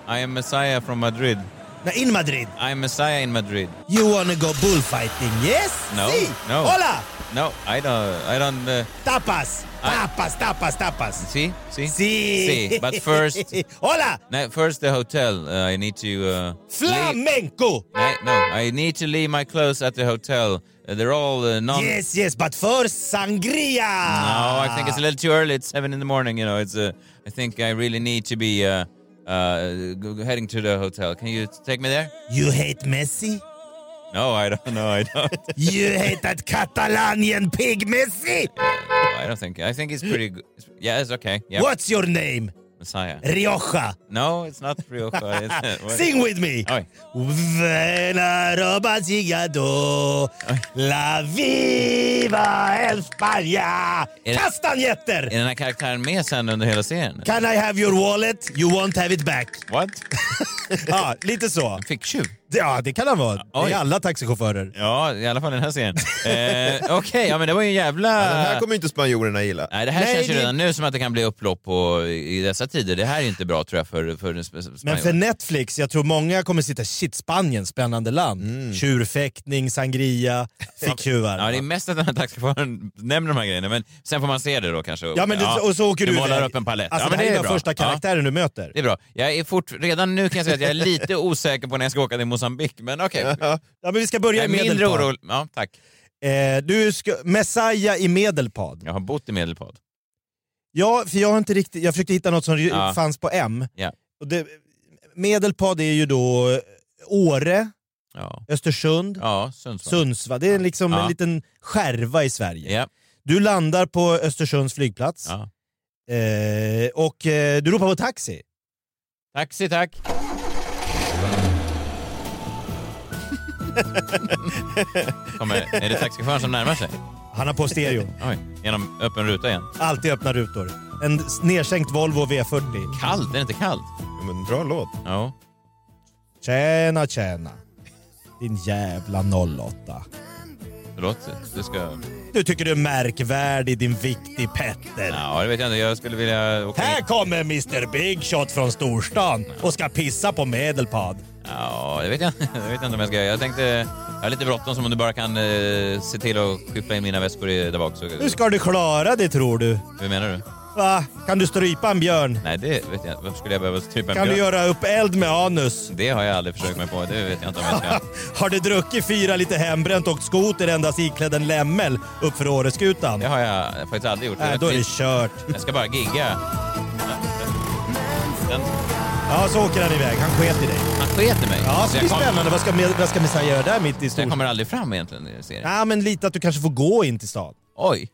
I am Messiah from Madrid.
No, in Madrid.
I am Messiah in Madrid.
You wanna go bullfighting, yes?
No,
Si.
no.
Hola!
No, I don't, I don't, uh,
Tapas! Tapas, tapas, tapas.
see, see?
Si.
See, but
[LAUGHS]
first,
Hola!
no, first the hotel. Uh, I need to, uh, leave-
Flamenco!
I, no, I need to leave my clothes at the hotel. Uh, they're all uh, non...
Yes, yes, but first sangria!
No, I think it's a little too early. It's seven in the morning. You know, it's. Uh, I think I really need to be uh, uh, g- g- heading to the hotel. Can you take me there?
You hate Messi?
No, I don't. No, I don't.
[LAUGHS] You hate that Catalanian pig Messi?
[LAUGHS] I don't think. I think he's pretty good. Yeah, it's okay. Yeah.
What's your name?
Messiah.
Rioja.
No, it's not Rioja.
[LAUGHS]
It's, what-
Sing with me.
Oj.
Vena roba sigado, la viva España.
Är det-
Kastanjetter!
Är den här karaktären med sen under hela serien?
Can I have your wallet? You won't have it back.
What?
[LAUGHS] ja, lite så.
Ficktjuv?
Ja, det kan han vara. Det
Oj.
är alla taxichaufförer.
Ja, i alla fall i den här serien. [LAUGHS] eh, Okej,
[LAUGHS]
ja men det var ju en jävla...
Den här kommer ju inte spanjorerna gilla.
Nej, det här
Nej,
känns ju
det-
redan nu som att det kan bli upplopp på, i dessa tider. Det här är inte bra tror jag för, för den sp- sp-
Men för Netflix, jag tror många kommer sitta shit, Spanien, spännande land. Tjurfäktning, sangria, ficktjuvar.
Mm. Ja, det är mest att den här taxichauffören nämner de här grejerna, men sen får man se det då kanske.
Ja, men det, och så åker du
målar
iväg.
upp en palett.
Alltså,
ja, men
det här är
bra.
den första karaktären du möter.
Ja, det är bra. Jag är fort, redan nu kan jag säga att jag är lite [LAUGHS] osäker på när jag ska åka till Mosambik men okej.
Ja, men vi ska
Jag
börja
är
i
mindre
Medelpad.
orolig. Ja, tack.
[LAUGHS] Eh, du ska, Messiah i Medelpad.
Jag har bott i Medelpad.
Ja, för jag har inte riktigt... Jag försökte hitta något som ju
Ja.
fanns på M.
Ja.
Och det, Medelpad är ju då Åre,
Ja,
Östersund,
ja Sundsvall.
Sundsvall. Det är liksom
Ja.
en liten skärva i Sverige.
Ja.
Du landar på Östersunds flygplats
Ja.
eh, och eh, du ropar på taxi.
Taxi, tack. [LAUGHS] Kommer, är det taxichauffören som närmar sig?
Han har på stereo.
Oj, genom öppen ruta igen.
Alltid öppna rutor. En s- nedsänkt Volvo V40.
Kallt? Är det inte kallt?
Men bra låt.
Ja.
Tjena, tjena. Din jävla 08.
Förlåt, du ska...
Du tycker du är märkvärdig din viktig Petter.
Ja, det vet jag inte. Jag skulle vilja åka...
Här kommer Mr Big Shot från storstan och ska pissa på Medelpad.
Ja, det vet jag, det vet jag inte [LAUGHS] om jag ska göra. Jag tänkte... Jag har lite bråttom så om du bara kan eh, se till att skyffla in mina väskor i- där bak så...
Hur ska du klara det tror du?
Hur menar du?
Va? Kan du strypa en björn?
Nej, det vet jag Varför skulle jag behöva strypa en
Kan du
björn?
göra upp eld med anus? [LAUGHS]
Det har jag aldrig försökt mig på. Det vet jag inte om jag ska...
Har du druckit fyra lite hembränt och åkt skoter endast iklädd en lämmel uppför Åreskutan?
Det har jag faktiskt aldrig gjort.
Äh, då är det kört.
Jag ska bara gigga. Den,
Ja, så åker han iväg. Han sket i dig.
han sket i mig.
Ja,
Så
så det är
jag, kom,
spännande. Vad ska, vad ska Messiah göra där mitt i
så jag
storstan?
kommer aldrig fram egentligen i serien.
Ja, men lite att du kanske får gå in till stan. [LAUGHS]
Oj!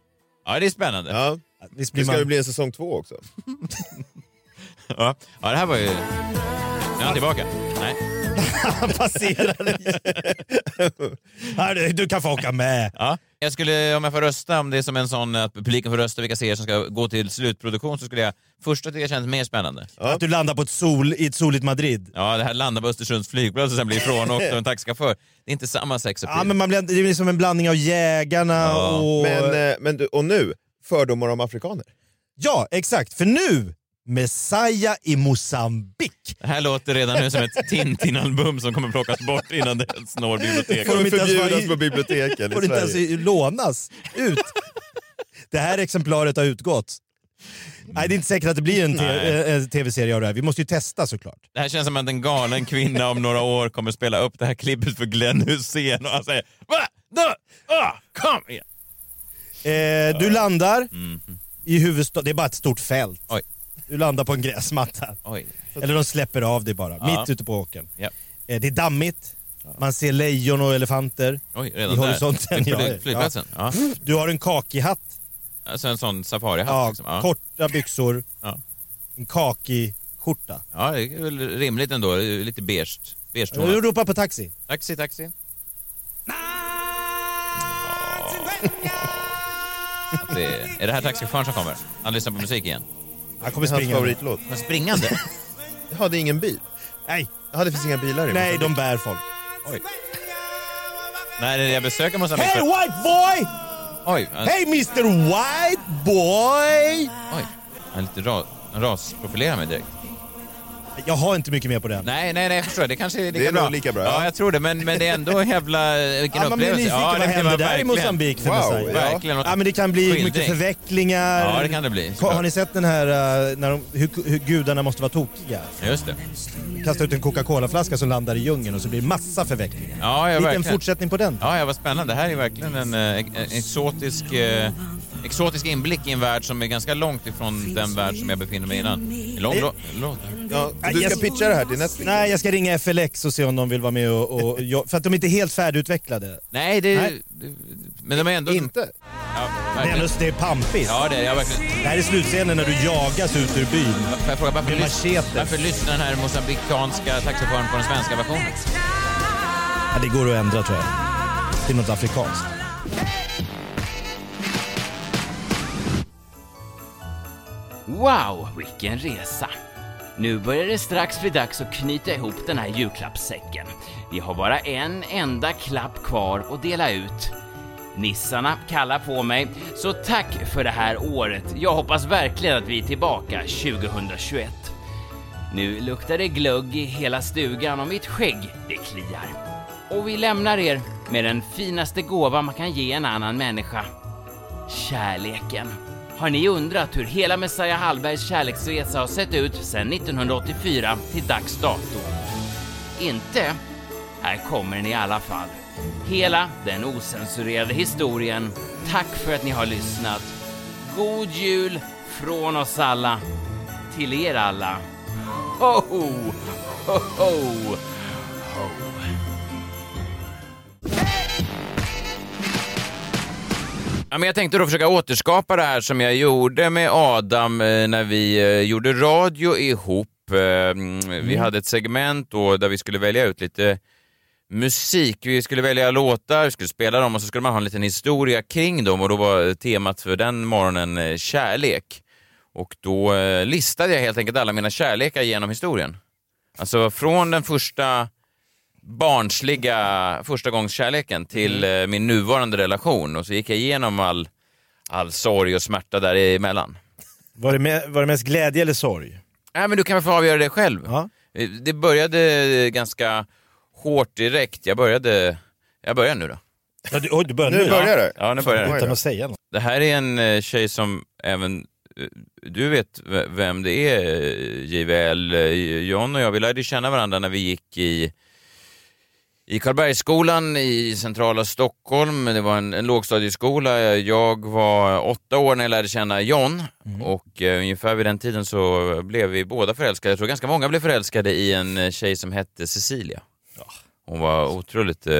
Ja, det är spännande.
Ja.
Visst
Det
blir
ska
man...
det bli en säsong två också.
Ja, ja det här var ju... Nu är han tillbaka. Nej.
Han passerar. [LAUGHS] Ja, du, du kan få åka med.
Ja. Jag skulle, om jag får rösta, om det är som en sån att publiken får rösta vilka serier som ska gå till slutproduktion, så skulle jag... Första tycker jag känns mer spännande.
Att du landar på ett sol, i ett soligt Madrid.
Ja, det här landar på Östersunds flygplats och sen blir ifrånåkt av en taxichaufför. Det är inte samma sex
Ja, men man blir, det är liksom en blandning av jägarna
Ja,
och...
Men, eh, men du, och nu, fördomar om afrikaner.
Ja, exakt. För nu, Messiah i Mosambik.
Det här låter redan nu som ett Tintin-album som kommer plockas bort innan det ens når biblioteket.
Får de inte ens vara
Förbjudas
i-
på biblioteken
Får
i
inte ens
Sverige.
lånas ut. Det här exemplaret har utgått. Nej, det är inte säkert att det blir en te-
Nej.
eh, eh, tv-serie av det här. Vi måste ju testa såklart.
Det här känns som att en galen kvinna om några år kommer spela upp det här klippet för Glenn Hussein och han säger Va? Då? Ah, kom igen!
Eh, du landar i huvudstaden. Det är bara ett stort fält.
Oj.
Du landar på en gräsmatta.
Oj.
Eller de släpper av dig bara,
Ja.
mitt ute på åkern.
Ja.
Eh, det är dammigt. Man ser lejon och elefanter.
Oj,
I
redan
horisonten,
där.
ja, ja.
Flyg- Flygplatsen? Ja.
Du har en kakig hatt.
Alltså en sån safarihatt?
Ja,
liksom. ja.
Korta byxor.
Ja.
En kakig skjorta.
ja, det är väl rimligt ändå. Det är Lite beige. beige
Du ropar på taxi.
Taxi, taxi. Det är, är det här taxichauffören som kommer? Han lyssnar på musik igen.
Han kommer Hans springande. favoritlåt.
Men springande?
[LAUGHS] Ja, det är ingen bil.
Nej.
Ja, det finns inga bilar i
Nej, de bär folk.
Oj. Nej, det är jag besöker Moçambique
Hey white boy!
Oj, han,
Hey Mr White boy!
oj. Han är lite ra, han rasprofilerar mig direkt.
Jag har inte mycket mer på den.
Nej, nej, nej, jag förstår. Det kanske är lika
Det är nog
bra.
lika bra,
Ja.
ja.
jag tror det. Men, men det är ändå en jävla... Vilken
Ja, man blir
upplevelse.
nyfiken, vad
det blir
händer
man
där i
verkligen.
Moçambique för Messiah?
Verkligen.
Ja, men det kan bli
Skildring.
mycket förvecklingar.
Ja, det kan det bli,
Har-
såklart.
Har ni sett den här eh, när de, hur, hur gudarna måste vara tokiga?
Just det.
Kasta ut en Coca-Cola-flaska som landar i djungeln och så blir det massa förvecklingar.
Ja, ja,
Liten
verkligen.
fortsättning på den.
Ja, ja, vad spännande. Det här är verkligen en, eh, ex- en exotisk, eh, exotisk inblick i en värld som är ganska långt ifrån den värld som jag befinner mig i innan. En Lång lå- låt.
Eh, Nej, jag- Nej, jag ska ringa FLX och se om de vill vara med och... och jag, för att de är inte helt färdigutvecklade.
Nej, det...
Nej.
Men de är ändå...
Inte?
Ja,
Det är,
verkligen.
just- det är pampigt.
Ja, det är jag verkligen.
Det här är slutscenen när du jagas ut ur byn.
Får jag fråga, varför,
Med
lys- varför lyssnar den här mosambikanska taxichauffören på den svenska versionen?
Ja, det går att ändra tror jag. Till något afrikanskt.
Wow, vilken resa! Nu börjar det strax bli dags att knyta ihop den här julklappssäcken. Vi har bara en enda klapp kvar att dela ut. Nissarna kallar på mig, så tack för det här året. Jag hoppas verkligen att vi är tillbaka 2021. Nu luktar det glögg i hela stugan och mitt skägg, det kliar. Och vi lämnar er med den finaste gåva man kan ge en annan människa. Kärleken. Har ni undrat hur hela Messiah Hallbergs kärleksresa har sett ut sedan 1984 till dags dato? Inte? Här kommer den i alla fall. Hela den osensurerade historien. Tack för att ni har lyssnat. God jul från oss alla till er alla. Ho, ho, ho, ho.
Ja, men jag tänkte då försöka återskapa det här som jag gjorde med Adam eh, när vi eh, gjorde radio ihop. Eh, mm, Vi hade ett segment då där vi skulle välja ut lite musik. Vi skulle välja låtar, vi skulle spela dem och så skulle man ha en liten historia kring dem och då var temat för den morgonen eh, kärlek. Och då eh, listade jag helt enkelt alla mina kärlekar genom historien. Alltså från den första barnsliga förstagångskärleken till eh, min nuvarande relation och så gick jag igenom all, all sorg och smärta däremellan.
Var det, me- var det mest glädje eller sorg?
Nej, men du kan väl få avgöra det själv. Eh, Det började ganska hårt direkt. Jag började... Jag börjar nu då.
Ja, du, oj, du börjar nu.
ja.
ja.
Ja, nu börjar det.
Utan att säga något.
Det här är en eh, tjej som även eh, du vet v- vem det är, eh, JVL. Eh, John och jag, vi lärde känna varandra när vi gick i i Karlbergsskolan i centrala Stockholm, det var en, en lågstadieskola. Jag var åtta år när jag lärde känna John och eh, ungefär vid den tiden så blev vi båda förälskade. Jag tror ganska många blev förälskade i en eh, tjej som hette Cecilia. Hon var otroligt, eh,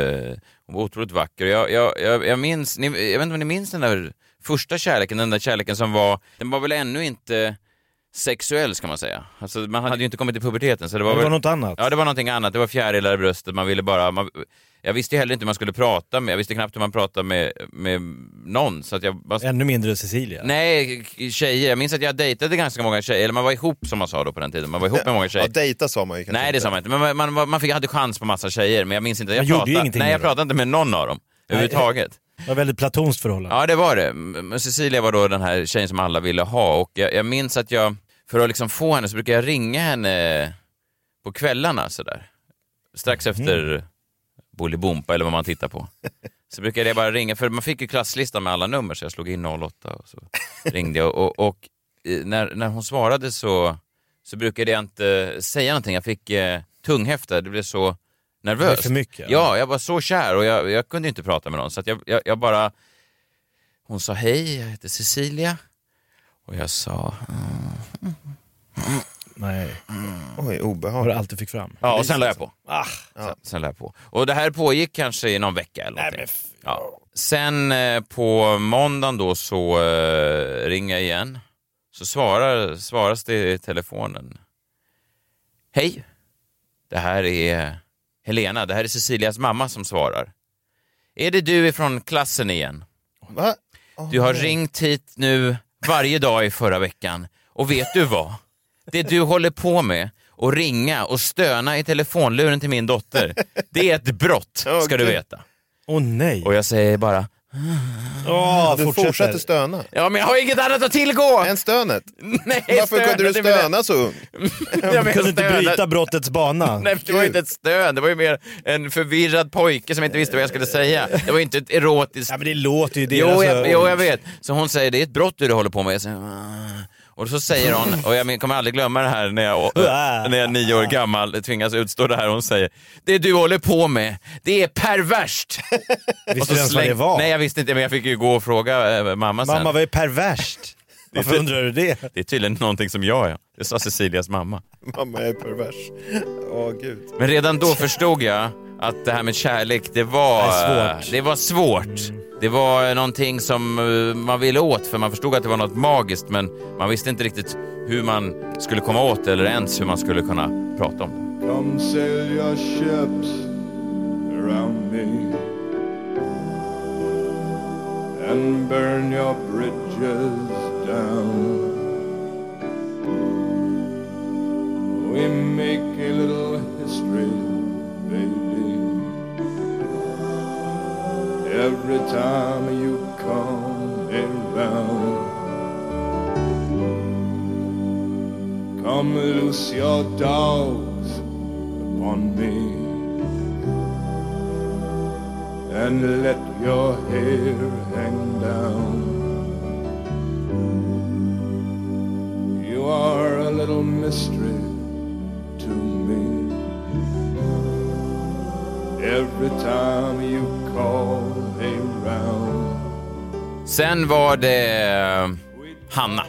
hon var otroligt vacker. Jag, jag, jag, jag, minns, ni, jag vet inte om ni minns den där första kärleken, den där kärleken som var, den var väl ännu inte sexuell ska man säga. Alltså, man hade ju inte kommit till puberteten så det var,
Det var
väl,
något annat.
Ja, det var någonting annat. Det var fjärilar i bröstet. Man ville bara... Man, jag visste ju heller inte hur man skulle prata med. Jag visste knappt hur man pratade med, med någon. Så att jag bara...
Ännu mindre Cecilia.
Nej, k- tjejer. Jag minns att jag dejtade ganska många tjejer. Eller man var ihop som man sa då på den tiden. Man var ihop med många tjejer.
Ja, dejta sa man ju kanske
Nej, det sa man inte. Men man, man, man fick, hade chans på massa tjejer. Men jag minns inte. Jag
Man gjorde ju
pratade-
ingenting
Nej, jag
med dem.
pratade inte med någon av dem. Överhuvudtaget.
Det var väldigt platonskt förhållande.
Ja, det var det. Men Cecilia var då den här tjejen som alla ville ha och jag, jag minns att jag, för att liksom få henne så brukar jag ringa henne på kvällarna sådär. Strax efter Bolibompa eller vad man tittar på. Så brukade jag bara ringa, för man fick ju klasslistan med alla nummer så jag slog in 08 och [LAUGHS] så ringde jag. Och, och, eh, när, när hon svarade så, så brukade jag inte säga någonting. Jag fick eh, tunghäfta, det blev så nervöst.
Det är för mycket.
Ja, jag var så kär och jag, jag kunde inte prata med någon så att jag, jag, jag bara... Hon sa hej, jag heter Cecilia. Och jag sa... "Mm."
Nej.
Oj,
Har
obehagligt.
du alltid fick fram.
Ja, och sen la jag på.
Ah.
Sen, sen la jag på. Och det här pågick kanske i någon vecka eller någonting. ja. Sen eh, på måndagen då så eh, ringer jag igen. Så svarar, svaras det i telefonen. Hej, det här är Helena, det här är Cecilias mamma som svarar. Är det du ifrån klassen igen?
Va?
Du har ringt hit nu varje dag i förra veckan. Och vet du vad? Det du håller på med, att ringa och stöna i telefonluren till min dotter, det är ett brott, ska du
Okej.
veta.
Åh nej.
Och jag säger bara...
du fortsätter. stöna.
Ja, men jag har inget annat att tillgå!
Än stönet.
Nej,
Varför kunde du stöna så ung?
Jag
kunde inte
stöna.
bryta brottets
[LAUGHS]
bana.
Nej, för det var ju inte ett stön, det var ju mer en förvirrad pojke som inte visste vad jag skulle säga. Det var ju inte ett erotiskt... Ja,
men det låter ju det,
Jo, jag,
alltså.
jo, jag vet. Så hon säger, det är ett brott du håller på med. Jag säger, "Ah." och så säger hon, och jag men- kommer aldrig glömma det här när
[LAUGHS]
jag,
Ah.
när jag är nio år gammal tvingas utstå det här. Hon säger, det du håller på med, det är [LAUGHS] perverst.
Visste
Och så
du ens vad det var?
Nej, jag visste inte, men jag fick ju gå och fråga eh, mamma sen.
Mamma, vad är perverst?
Det är
Varför
ty-
undrar du det?
Det är tydligen någonting som jag är. Det sa Cecilias mamma.
Mamma är pervers. Åh gud.
Men redan då förstod jag att det här med kärlek, det var
Det är svårt. Mm.
det var, svårt. Det var någonting som eh, man ville åt för man förstod att det var något magiskt men man visste inte riktigt hur man skulle komma åt det eller ens hur man skulle kunna prata om det.
Come sail your ships around me and burn your bridges down. We make a little history, baby. Every time you come around, come loose your dogs upon me and let your hair hang down. You are a little mystery to me. Every time you call around,
Sen var det eh, Hanna.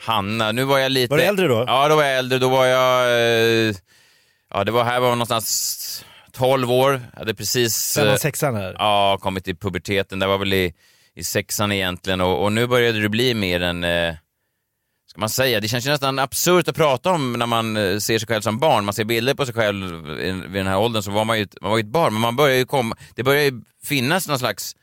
Hanna, nu var jag lite...
Var du äldre då?
Ja, då var jag äldre. Då var jag... eh, Ja, det var här var jag någonstans 12 år. Jag hade precis... eh,
Femman, sexan här.
Ja, kommit till puberteten. Det var väl i, i sexan egentligen och, och nu började det bli mer en, eh, ska man säga, det känns ju nästan absurt att prata om när man eh, ser sig själv som barn. Man ser bilder på sig själv i, vid den här åldern så var man ju, ett- man var ju ett barn, men man börjar ju komma, det börjar ju finnas någon slags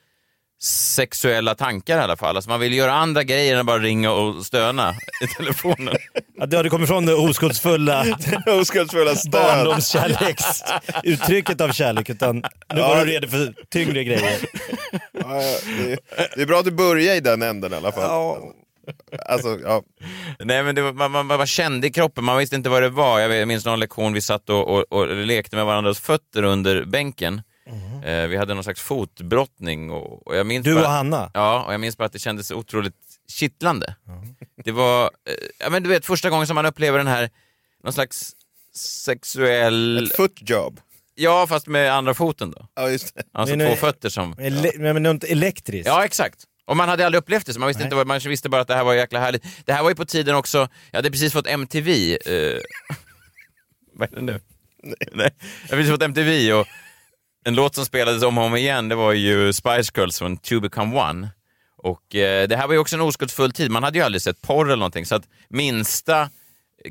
sexuella tankar i alla fall. Alltså man vill göra andra grejer än att bara ringa och stöna i [LAUGHS] telefonen.
Att du hade kommit från det oskuldsfulla,
[LAUGHS]
oskuldsfulla
barndomskärleksuttrycket av kärlek, utan nu var
Ja.
du redo för
[LAUGHS]
tyngre grejer.
Ja, ja, det, det är bra att du börjar i den änden i alla fall. Alltså, ja.
Nej, men det var, man, man, man bara kände i kroppen, man visste inte vad det var. Jag vet- jag minns någon lektion vi satt och, och, och lekte med varandras fötter under bänken.
Mhm.
Eh, vi hade någon slags fotbrottning. Och, och jag minns
Du
bara,
och Hanna?
Ja, och jag minns bara att det kändes otroligt kittlande. Det var, eh, ja men du vet första gången som man upplever den här, någon slags sexuell...
Ett footjob?
Ja, fast med andra foten då.
Ja, just det.
Alltså
Men,
två
eh,
fötter som...
Ele- men- men något elektriskt?
Ja, exakt. Och man hade aldrig upplevt det, så man visste, inte vad, man visste bara att det här var jäkla härligt. Det här var ju på tiden också, jag hade precis fått MTV. Eh, vad är det nu? Nej. Jag hade precis fått MTV och en låt som spelades om och om igen, det var ju Spice Girls från Two Become One. Och eh, det här var ju också en oskuldsfull tid, man hade ju aldrig sett porr eller någonting, så att minsta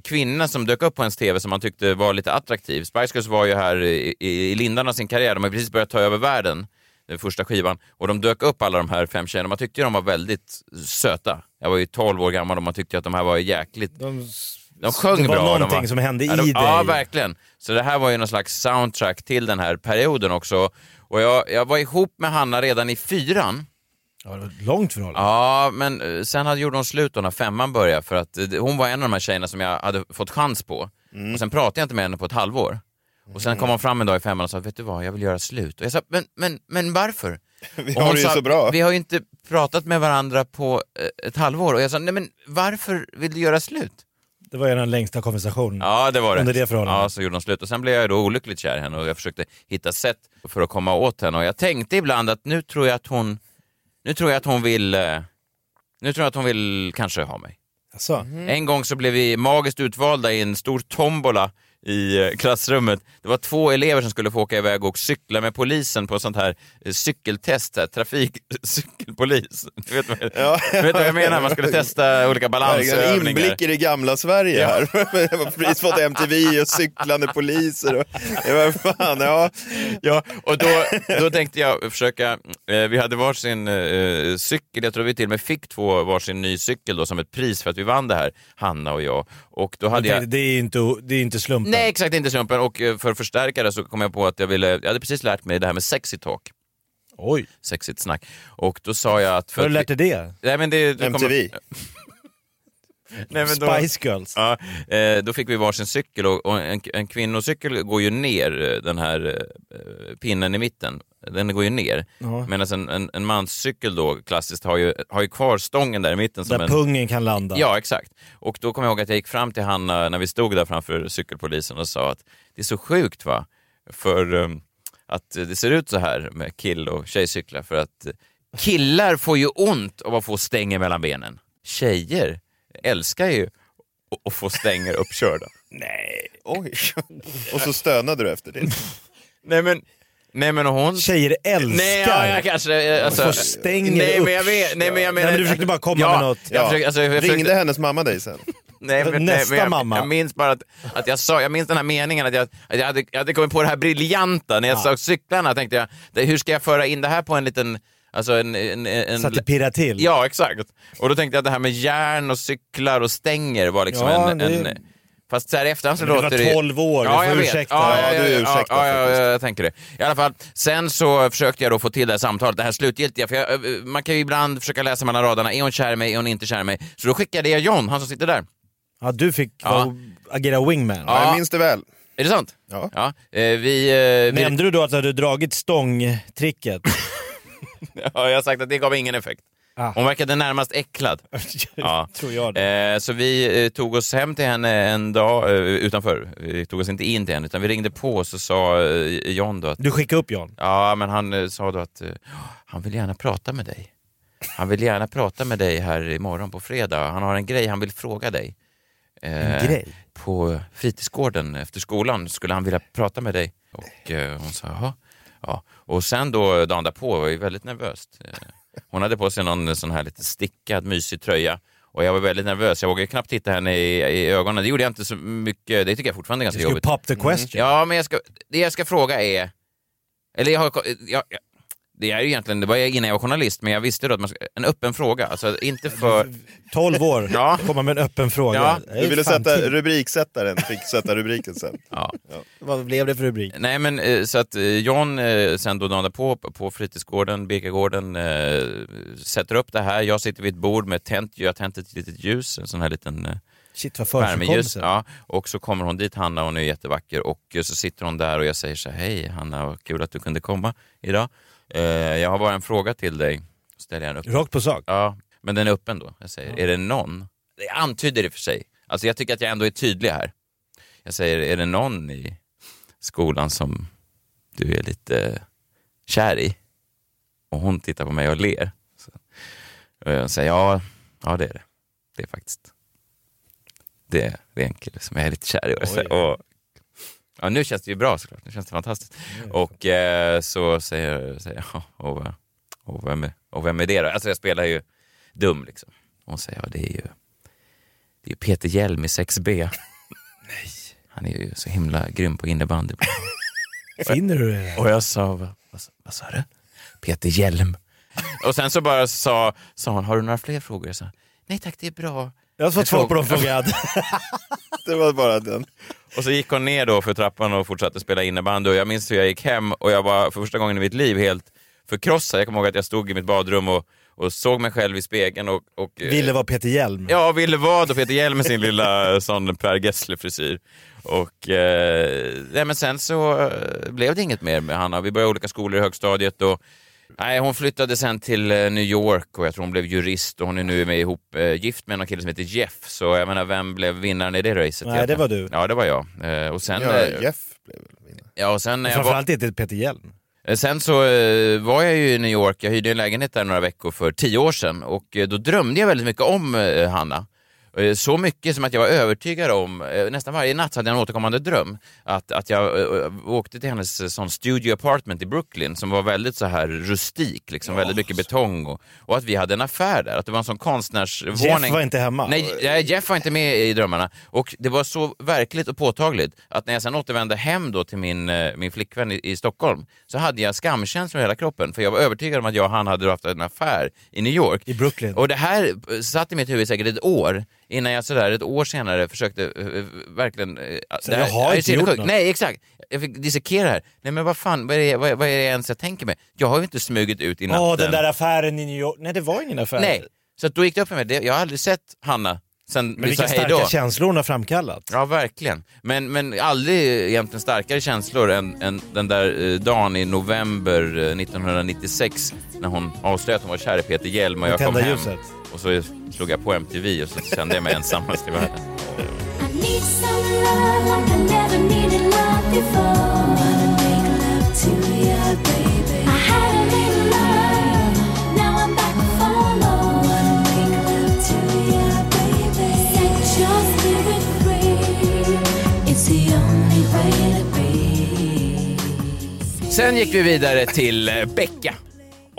kvinna som dök upp på ens TV som man tyckte var lite attraktiv. Spice Girls var ju här i, i i lindan av sin karriär, de har precis börjat ta över världen, den första skivan, och de dök upp alla de här fem tjejerna. Man tyckte ju de var väldigt söta. Jag var ju 12 år gammal och man tyckte ju att de här var jäkligt...
De,
de sjöng
det var
bra. de
någonting som hände
ja, de,
i
Ja,
dig.
verkligen. Så det här var ju någon slags soundtrack till den här perioden också. Och jag, jag var ihop med Hanna redan i fyran.
Långt förhållande.
Ja, men eh, sen hade, gjorde hon slut då när femman började för att eh, det- hon var en av de här tjejerna som jag hade fått chans på.
Mm.
Och sen pratade jag inte med henne på ett halvår. Och sen kom hon fram en dag i femman och sa, vet du vad, jag vill göra slut. Och jag sa, men, men, men
[LAUGHS]
varför?
Vi
Och
har
hon
det ju
sa,
så bra.
Vi har ju inte pratat med varandra på eh, ett halvår. Och jag sa, nej men varför vill du göra slut?
Det var ju den längsta konversationen.
Ja, det var det.
Under det förhållandet.
Ja, så gjorde de slut. Och sen blev jag då olyckligt kär i henne och jag försökte hitta sätt för att komma åt henne. Och jag tänkte ibland att nu tror jag att hon, nu tror jag att hon vill, eh, nu tror jag att hon vill kanske ha mig. Mm.
Alltså.
En gång så blev vi magiskt utvalda i en stor tombola i eh, klassrummet. Det var två elever som skulle få åka iväg och cykla med polisen på sånt här eh, cykeltest, så här, [LAUGHS] trafikcykelpolis. Du [LAUGHS] vet, vad- du vet vad jag menar? Man
[LAUGHS]
skulle testa olika
En
balansövningar.
inblick i det gamla Sverige
Ja.
här. [LAUGHS] Jag har precis fått MTV och cyklande poliser. Och, det var fan, ja.
Ja, och då, då tänkte jag försöka, eh, vi hade varsin eh, cykel, jag tror vi till och med fick två varsin ny cykel då som ett pris för att vi vann det här, Hanna och jag. Och då hade
Jag
jag...
tänkte, det, är inte, det är inte slumpen.
Nej, exakt, inte slumpen. Och eh, för att förstärka det så kom jag på att jag ville, jag hade precis lärt mig det här med sexy talk.
Oj.
Sexigt snack. Och då sa jag att... för
Har du
att
lärt dig det?
Nej, men det, det
MTV.
Nej, men då-
Spice Girls.
Ja, eh, då fick vi varsin cykel och, och en, en kvinnocykel går ju ner, eh, den här eh, pinnen i mitten. Den går ju ner.
Ja.
Medan en, en, en manscykel då klassiskt har ju, har ju kvar stången där i mitten. Som
Där
en,
pungen kan landa.
Ja, exakt. Och då kommer jag ihåg att jag gick fram till Hanna när vi stod där framför cykelpolisen och sa att det är så sjukt va, för ehm, att eh, det ser ut så här med kill och tjejcyklar för att eh, killar får ju ont av att få stänger mellan benen. Tjejer älskar ju att- att få stänger uppkörda.
[LAUGHS] Nej. Oj. Och så stönade du efter det.
Nej men, nej men hon...
Tjejer älskar
Nej, ja, jag kanske... eh, Alltså,
Får stänger
nej, men jag
upp.
vet, nej men jag
Nej,
menar...
men du försökte bara komma
ja,
med något.
Jag
Ja.
försökte, alltså, jag
Ringde
försökte,
hennes mamma dig sen?
Nej, men, nej,
Nästa
men jag,
mamma.
Jag minns bara att, att jag sa, jag minns den här meningen att jag, att jag, hade, jag hade kommit på det här briljanta. När jag sa cyklarna tänkte jag, det- hur ska jag föra in det här på en liten... Alltså en, en, en,
Så att det pirrar till.
Ja, exakt. Och då tänkte jag att det här med järn och cyklar och stänger var liksom
Ja,
en...
det-
en Fast så här i efterhand så
Men du var
låter det...
12 år, du
ja,
får
jag vet.
ursäkta.
Ja, ja,
Ja,
ja,
du är
ja,
ursäktad
ja, ja, jag tänker det. I alla fall, sen så försökte jag då få till det här samtalet, det här slutgiltiga, för jag, eh, man kan ju ibland försöka läsa mellan raderna, är hon kär i mig, är hon inte kär i mig? Så då skickade jag John, han som sitter där.
Ja, du fick vara- agera wingman.
Ja. Jag minns
det väl.
Är det sant?
Ja.
eh, vi, eh, vi...
Nämnde du då att du hade dragit stångtricket?
[LAUGHS] Ja, jag har sagt att det gav ingen effekt.
Ah.
Hon verkade närmast
[LAUGHS]
äcklad. ja.
Tror jag
eh, så vi eh, tog oss hem till henne en dag eh, utanför. Vi tog oss inte in till henne, utan vi ringde på och så sa eh, John då att...
Du skickade upp John.
Ja, men han eh, sa då att eh, han vill gärna prata med dig. Han vill gärna prata med dig här imorgon på fredag. Han har en grej han vill fråga dig. Eh,
En grej?
På fritidsgården efter skolan skulle han vilja prata med dig. Och eh, hon sa jaha. Ja. Och sen då dagen därpå var jag väldigt nervöst. Eh, hon hade på sig någon sån här lite stickad mysig tröja. Och jag var väldigt nervös. Jag vågade ju knappt titta henne i, i ögonen. Det gjorde jag inte så mycket. Det tycker jag fortfarande är ganska
Du skulle
jobbigt.
pop the question.
Ja, men jag ska, Mm. det jag ska fråga är... Eller jag har... Jag, jag, det är ju egentligen, det var jag innan jag var journalist, men jag visste då att man ska, en öppen fråga, alltså inte för...
12 år, komma med en öppen fråga.
Ja.
Det är
Du ville
fan
sätta
tid.
rubriksättaren, fick sätta rubriken sen.
Ja.
Vad blev det för rubrik?
Nej men eh, så att eh, John eh, sen då dagen på, på fritidsgården, Birkagården, eh, sätter upp det här. Jag sitter vid ett bord med tänt, jag har tänt ett litet ljus, en sån här liten eh,
Shit vad
värmeljus.
försigkommelser.
Ja. Och så kommer hon dit, Hanna, hon är jättevacker och eh, så sitter hon där och jag säger så här, hej Hanna, vad kul att du kunde komma idag. Eh, jag har bara en fråga till dig. Ställer jag den upp.
Rakt på sak.
Ja, men den är öppen då. Jag säger, är det någon? Det antyder det för sig. Alltså jag tycker att jag ändå är tydlig här. Jag säger, är det någon i skolan som du är lite kär i? Och hon tittar på mig och ler. Så, och jag säger, ja, ja det är det. Det är faktiskt. Det, det är en kille som jag är lite kär i. [LAUGHS] Och jag säger, "Åh." ja, nu känns det ju bra såklart. Nu känns det fantastiskt. Och eh, så säger, säger jag, "Ja, och, eh, och, vem är, och vem är det då? Alltså jag spelar ju dum liksom. Hon säger, ja det är ju, det är ju Peter Hjelm i 6B. Nej. Han är ju så himla grym på innebandy.
Finner du det?
Och jag sa, vad, vad, sa- vad sa du? Peter Hjelm. Och sen så bara sa, sa hon, har du några fler frågor? Jag sa, nej tack det är bra.
Jag har fått svar på de frågor jag hade.
[LAUGHS]
Det var bara den.
Och så gick hon ner då för trappan och fortsatte spela innebandy och jag minns hur jag gick hem och jag var för första gången i mitt liv helt förkrossad. Jag kommer ihåg att jag stod i mitt badrum och, och såg mig själv i spegeln och... och
Ville vara Peter Hjelm.
Ja, ville vad och Peter Hjelm med sin
[LAUGHS]
lilla eh, sån Per Gessle-frisyr. Och eh, nej, men sen så eh, blev det inget mer med Hanna. Vi började i olika skolor i högstadiet och nej, hon flyttade sen till eh, New York och jag tror hon blev jurist och hon är nu med ihop, eh, gift med någon kille som heter Jeff. Så jag menar, vem blev vinnaren i det racet?
Nej, det var du.
Ja, det var jag. Eh, och sen...
Ja,
eh,
Jeff
Ja, och sen när jag var...
Framförallt inte Peter Hjelm.
Eh, Sen så eh, var jag ju i New York, jag hyrde en lägenhet där några veckor för tio år sedan och eh, då drömde jag väldigt mycket om eh, Hanna. Eh, Så mycket som att jag var övertygad om, eh, nästan varje natt hade jag en återkommande dröm, att, att jag eh, åkte till hennes eh, sån studio apartment i Brooklyn som var väldigt så här rustik, liksom, väldigt mycket betong och, och att vi hade en affär där, att det var en sån konstnärsvåning.
Jeff var inte hemma.
Nej, nej, Jeff var inte med i drömmarna. Och det var så verkligt och påtagligt att när jag sen återvände hem då till min, eh, min flickvän i, i Stockholm så hade jag skamkänslor i hela kroppen för jag var övertygad om att jag och han hade haft en affär i New York. I
Brooklyn.
Och det här eh, satt i mitt huvud säkert ett år innan jag sådär ett år senare försökte eh, verkligen... eh,
Så jag har
det är
inte
så jävla
gjort
sjukt.
något.
Nej,
[LAUGHS]
exakt. Jag fick dissekera det här. Nej men vad fan, vad är det, vad, vad är det ens jag tänker mig? Jag har ju inte smugit ut i natten.
Åh, den där affären i New York. Nej, det var ingen affär.
Nej, så att då gick det upp för mig. Det- Jag har aldrig sett Hanna sen
Men
vi sa
vilka
hej
starka
då.
känslor hon har framkallat.
Ja, verkligen. Men, men aldrig egentligen starkare känslor än, än den där eh, dagen i november eh, 1996 när hon avslöjade att hon var kär i Peter Hjelm och
Med
jag kom
tända
hem.
ljuset.
Och så slog jag på MTV och så sände jag mig ensammast i världen.
I need some love like I never needed love before. Wanna make love to ya, baby. I had a little love, now I'm back for more. Wanna make love to ya, baby. Set your spirit free, it's the only way to be.
Sen gick vi vidare till eh, Becka.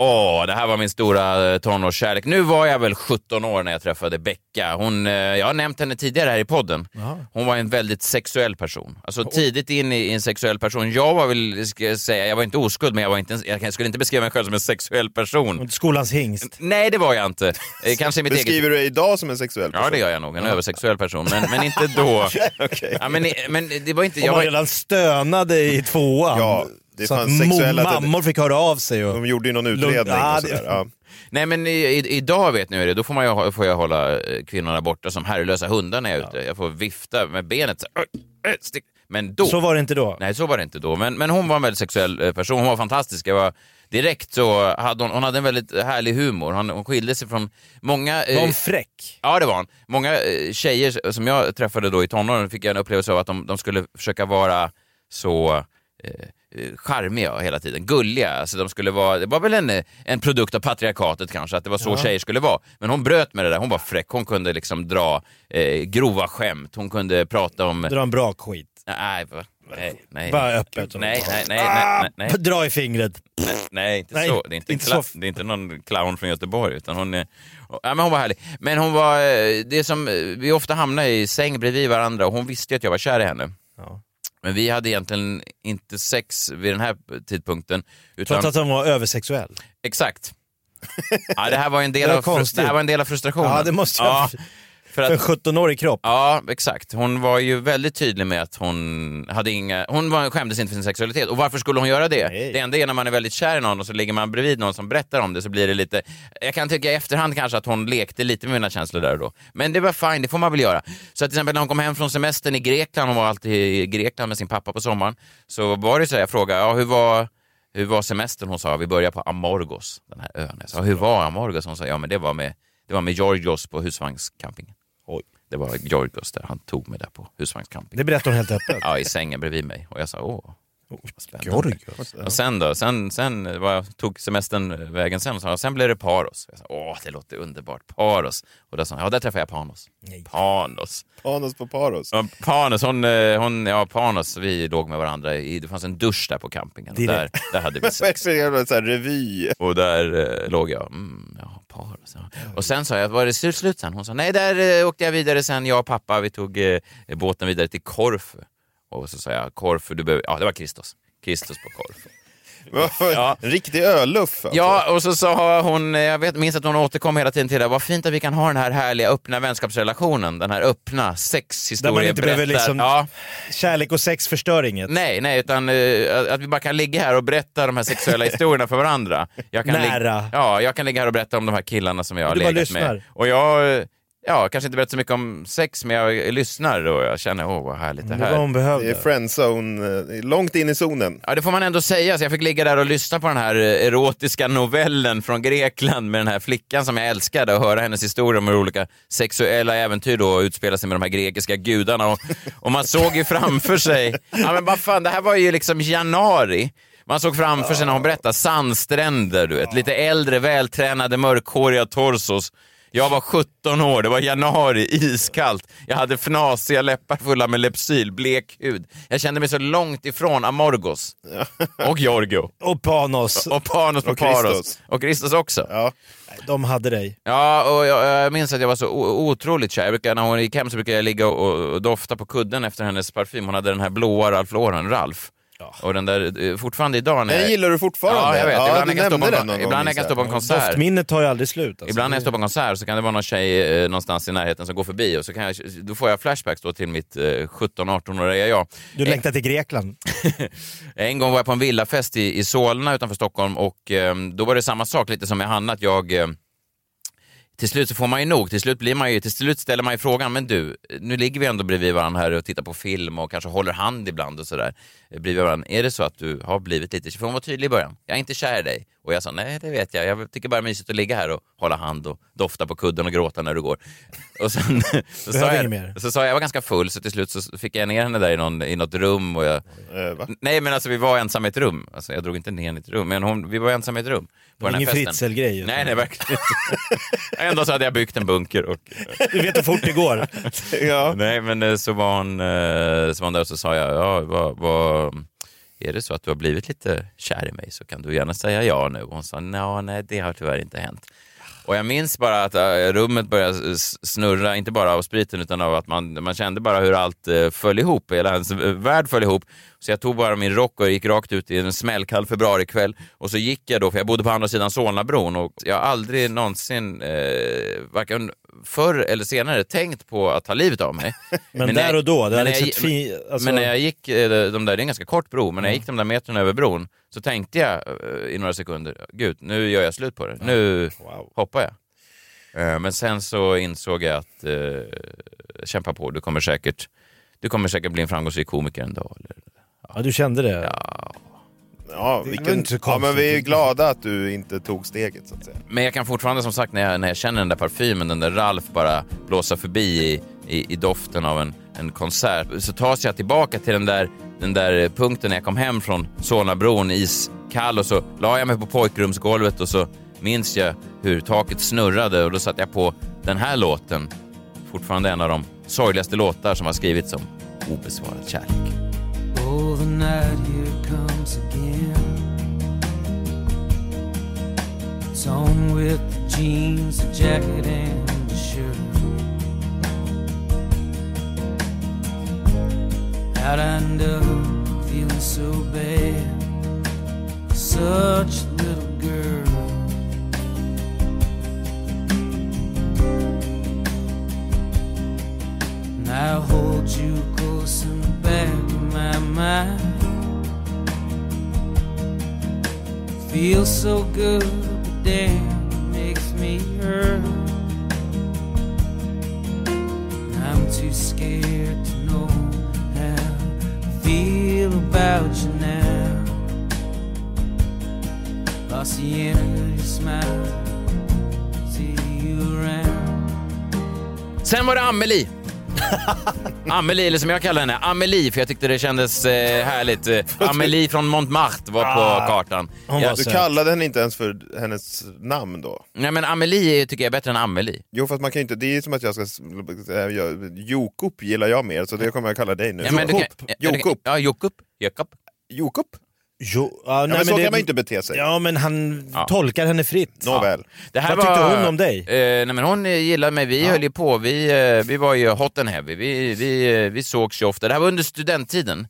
Åh, det här var min stora eh, tonårskärlek. Nu var jag väl 17 år när jag träffade Becka. Hon, eh, jag har nämnt henne tidigare här i podden. Hon var en väldigt sexuell person. Alltså tidigt in i, i en sexuell person. Jag var väl, ska jag säga, jag var inte oskuld men jag, var inte, en- jag skulle inte beskriva mig själv som en sexuell person.
Skolans hingst.
Nej, det var jag inte. Eh, Kanske i mitt eget...
Beskriver du dig idag som en sexuell person?
Ja, det gör jag nog. En översexuell person. Men, men inte då. [LAUGHS] ja, men, men det var inte...
Om
Jag
man
var,
redan stönade i tvåan.
Ja, det
så att
fanns sexuella-
mo- mammor fick höra av sig. Och... De
gjorde ju någon
utredning och sådär, ja. Nej men i, i, idag vet ni hur det är, då får, man ju, får jag hålla eh, kvinnorna borta som herrelösa hundar när jag är ute. Jag får vifta med benet så, här, "Oj, eh, stick." Men då...
Så var det inte då.
Nej, så var det inte då. Men, men hon var en väldigt sexuell eh, person. Hon var fantastisk. Jag var, direkt så hade hon, hon hade en väldigt härlig humor. Hon, hon skilde sig från många... eh,
Var hon fräck?
Ja, det var hon. Många eh, tjejer som jag träffade då i tonåren fick jag en upplevelse av att de, de skulle försöka vara så eh, eh, charmiga hela tiden, gulliga. Alltså de skulle vara, det var väl en, eh, en produkt av patriarkatet kanske, att det var så
Ja.
tjejer skulle vara. Men hon bröt med det där, hon var fräck, hon kunde liksom dra eh, grova skämt, hon kunde prata om...
Dra en bra skit.
Nej, va? nej, nej.
Bara öppet. Ah,
Nej, nej, nej, nej, nej. nej.
Dra i fingret.
Nej, nej, inte
Nej,
så. Det är inte,
inte
kla-
så.
Det är inte någon clown från Göteborg. Utan hon, är, ja, men hon var härlig. Men hon var, eh, det som, eh, vi ofta hamnar i säng bredvid varandra och hon visste ju att jag var kär i henne. Men vi hade egentligen inte sex vid den här tidpunkten. Utan,
Trots att hon var översexuell.
Exakt. Ja, det, här var en del
Det var
av, frus-
konstigt.
det här var en del av frustrationen.
Ja, det måste jag-
för att,
För en 17-årig kropp.
Ja, exakt. Hon var ju väldigt tydlig med att hon hade inga... Hon var, skämdes inte för sin sexualitet. Och varför skulle hon göra det? Det enda är när man är väldigt kär i någon och så ligger man bredvid någon som berättar om det så blir det lite... Jag kan tycka i efterhand kanske att hon lekte lite med mina känslor där och då. Men det var fine, det får man väl göra. Så att till exempel när hon kom hem från semestern i Grekland, hon var alltid i Grekland med sin pappa på sommaren, så var det så här, jag frågade, ja hur var... Hur var semestern? Hon sa, vi börjar på Amorgos, den här ön. Jag sa, hur var Amorgos? Hon sa, ja men det var med, det var med Georgios på husvagnscampingen. Det var Georgios där, han tog mig där på husvagnscamping.
Det berättar hon helt öppet.
Ja, i sängen bredvid mig. Och jag sa, åh. vad spännande."
Georgios, ja.
Och sen då, sen, sen var, jag- tog semestern vägen sen och sa, sen blev det Paros. Jag sa, åh, det låter underbart. Paros. Och då sa han, ja, där träffade jag Panos. Panos.
Panos på Paros.
Ja, Panos, hon, eh, hon, ja, Panos, vi låg med varandra. I, det fanns en dusch där på campingen. Och där,
Direkt.
där
[LAUGHS]
hade vi
Men vad är det för jävla så här revy?
Och där eh, låg jag. Mm, ja, Paros. Ja. Och sen sa jag, var det slut slut sen? Hon sa, nej där eh, åkte jag vidare sen, jag och pappa, vi tog eh, båten vidare till Korfu. Och så sa jag, Korfu, du behöver, ja det var Kristus. Kristus på Korfu. [LAUGHS]
Ja. En riktig öluff alltså.
Ja, och så sa hon, eh, jag vet, minns att hon återkom hela tiden till det, vad fint att vi kan ha den här härliga öppna vänskapsrelationen, den här öppna
Där man
sexhistorien.
inte behöver
berättar-
liksom...
ja,
Kärlek och sex förstör inget.
Nej, nej, utan eh, att- att vi bara kan ligga här och berätta de här
[LAUGHS]
sexuella historierna för varandra. Jag kan lig-
Nära.
Ja, jag kan ligga här och berätta om de här killarna som jag har
Du bara
legat
lyssnar.
med. Och jag, eh, ja, kanske inte berättar så mycket om sex, men jag eh, lyssnar och jag känner, åh vad härligt det här.
Det är friendzone, eh, långt in i zonen.
Ja, det får man ändå säga. Så jag fick ligga där och lyssna på den här eh, erotiska novellen från Grekland med den här flickan som jag älskade och höra hennes historia om hur olika sexuella äventyr då utspelar sig med de här grekiska gudarna. Och, och man såg ju framför sig, ja men vad fan, det här var ju liksom januari. Man såg framför sig när hon berättade sandstränder, du vet. Lite äldre, vältränade, mörkhåriga torsos Jag var 17 år, det var januari, iskallt. Jag hade fnasiga läppar fulla med Lypsyl, blek hud. Jag kände mig så långt ifrån
[LAUGHS]
Amorgos. Och Giorgio.
Och Panos.
Och Panos på
Och
Paros.
Christos.
Och Christos också.
Ja.
De hade dig.
Ja, och jag, jag minns att jag var så o- otroligt kär. Jag brukar, när hon gick hem så brukade jag ligga och, och dofta på kudden efter hennes parfym. Hon hade den här blåa Ralph Lauren, Ralf. Och den där, eh, fortfarande idag när
Den gillar du fortfarande?
Ja, jag vet.
Ja,
ibland
du
när jag kan stå på
nämnde
en-
den någon gång,
ibland när jag kan stå på en
minns jag.
konsert.
Minnet tar ju aldrig slut. Alltså.
Ibland när jag står på en konsert så kan det vara någon tjej eh, någonstans i närheten som går förbi och så kan jag, då får jag flashbacks då till mitt eh, 17-18-åriga jag.
Du längtar till Grekland.
En gång var jag på en villafest i, i Solna utanför Stockholm och eh, då var det samma sak lite som med Hanna, att jag eh, till slut så får man ju nog, till slut, blir man ju, till slut ställer man ju frågan, men du, nu ligger vi ändå bredvid varandra här och tittar på film och kanske håller hand ibland och sådär. eh, Bredvid varandra. Är det så att du har blivit lite, för hon var tydlig i början, jag är inte kär i dig. Och jag sa, nej det vet jag, jag tycker bara det är mysigt att ligga här och hålla hand och dofta på kudden och gråta när du går. [LAUGHS] Och sen så, sa
Behöver
jag,
inget mer.
så sa jag, jag var ganska full så till slut så fick jag ner henne där i, någon, i något rum och jag, nej men alltså vi var ensamma i ett rum, alltså, jag drog inte ner henne i ett rum, men hon, vi var ensamma i ett rum. På
Det var
den här
ingen
festen.
Fritzl-grej.
Nej, nej verkligen inte. [LAUGHS] Ändå så hade jag byggt en bunker och
[LAUGHS] Du vet hur fort det går.
[LAUGHS] Nej, men eh, så var hon, eh, så var hon där och så sa jag, ja, vad, vad, är det så att du har blivit lite kär i mig så kan du gärna säga ja nu. Och hon sa, "Nja, nej det har tyvärr inte hänt. Och jag minns bara att eh, rummet började s- snurra, inte bara av spriten utan av att man, man kände bara hur allt eh, föll ihop, hela ens eh, värld föll ihop. Så jag tog bara min rock och gick rakt ut i en smällkall februarikväll och så gick jag då, för jag bodde på andra sidan Solnabron och jag har aldrig någonsin, eh, varken förr eller senare, tänkt på att ta livet av mig.
[LAUGHS] Men
när
där
jag-
och då, det
men
hade
när
liksom
jag-
tvi- alltså- Mm.
Men när jag gick, eh, de där, det är en ganska kort bro, men när jag gick de där metrarna över bron så tänkte jag eh, i några sekunder, gud nu gör jag slut på det, nu hoppar jag. Eh, Men sen så insåg jag att eh, kämpa på, du kommer säkert du kommer säkert bli en framgångsrik komiker en dag. Eller?
Ja, du kände det.
Ja,
Det var
vilken,
inte så
ja, men
konstigt.
vi är glada att du inte tog steget så att säga.
Men jag kan fortfarande som sagt när jag, när jag känner den där parfymen, den där Ralf bara blåsa förbi i, i, i doften av en, en konsert så tas jag tillbaka till den där, den där punkten när jag kom hem från Solnabron iskall och så la jag mig på pojkrumsgolvet och så minns jag hur taket snurrade och då satte jag på den här låten, fortfarande en av de sorgligaste låtar som har skrivits om obesvarad kärlek.
Oh, the night here comes again. It's on with the jeans, the jacket, and the shirt. Out I know, feeling so bad. Such a little girl. And I hold you close in the back of my mind. Feels so good, but damn, it makes me hurt. And I'm too scared to know how I feel about you now. Lost the energy, of your smile, see you around.
Sen var det Amelie.
[LAUGHS]
Amelie, eller som jag kallar henne, Amelie, för jag tyckte det kändes eh, härligt.
[LAUGHS]
Eh, Amelie från Montmartre var på
Ah.
kartan.
Ja,
Ja.
du kallade henne inte ens för hennes namn då?
Nej men Amelie är- tycker jag är bättre än Amelie.
Jo fast man kan ju inte, det är ju som att jag ska, s- äh, jag- Jokup gillar jag mer så det kommer jag kalla dig nu.
Ja, men du kan- ja, du kan-
Jokup.
Ja, Jokup. Jokup.
Jokup?
Jo,
Ja,
nej,
men så
det-
kan man ju inte bete sig.
Ja, men han tolkar henne fritt.
Nåväl.
Det här
Vad tyckte
var-
hon om dig?
Eh, nej men hon eh, gillade mig, vi höll ju på, vi, eh, vi var ju hot and heavy, vi, vi, eh, vi sågs ju ofta. Det här var under studenttiden.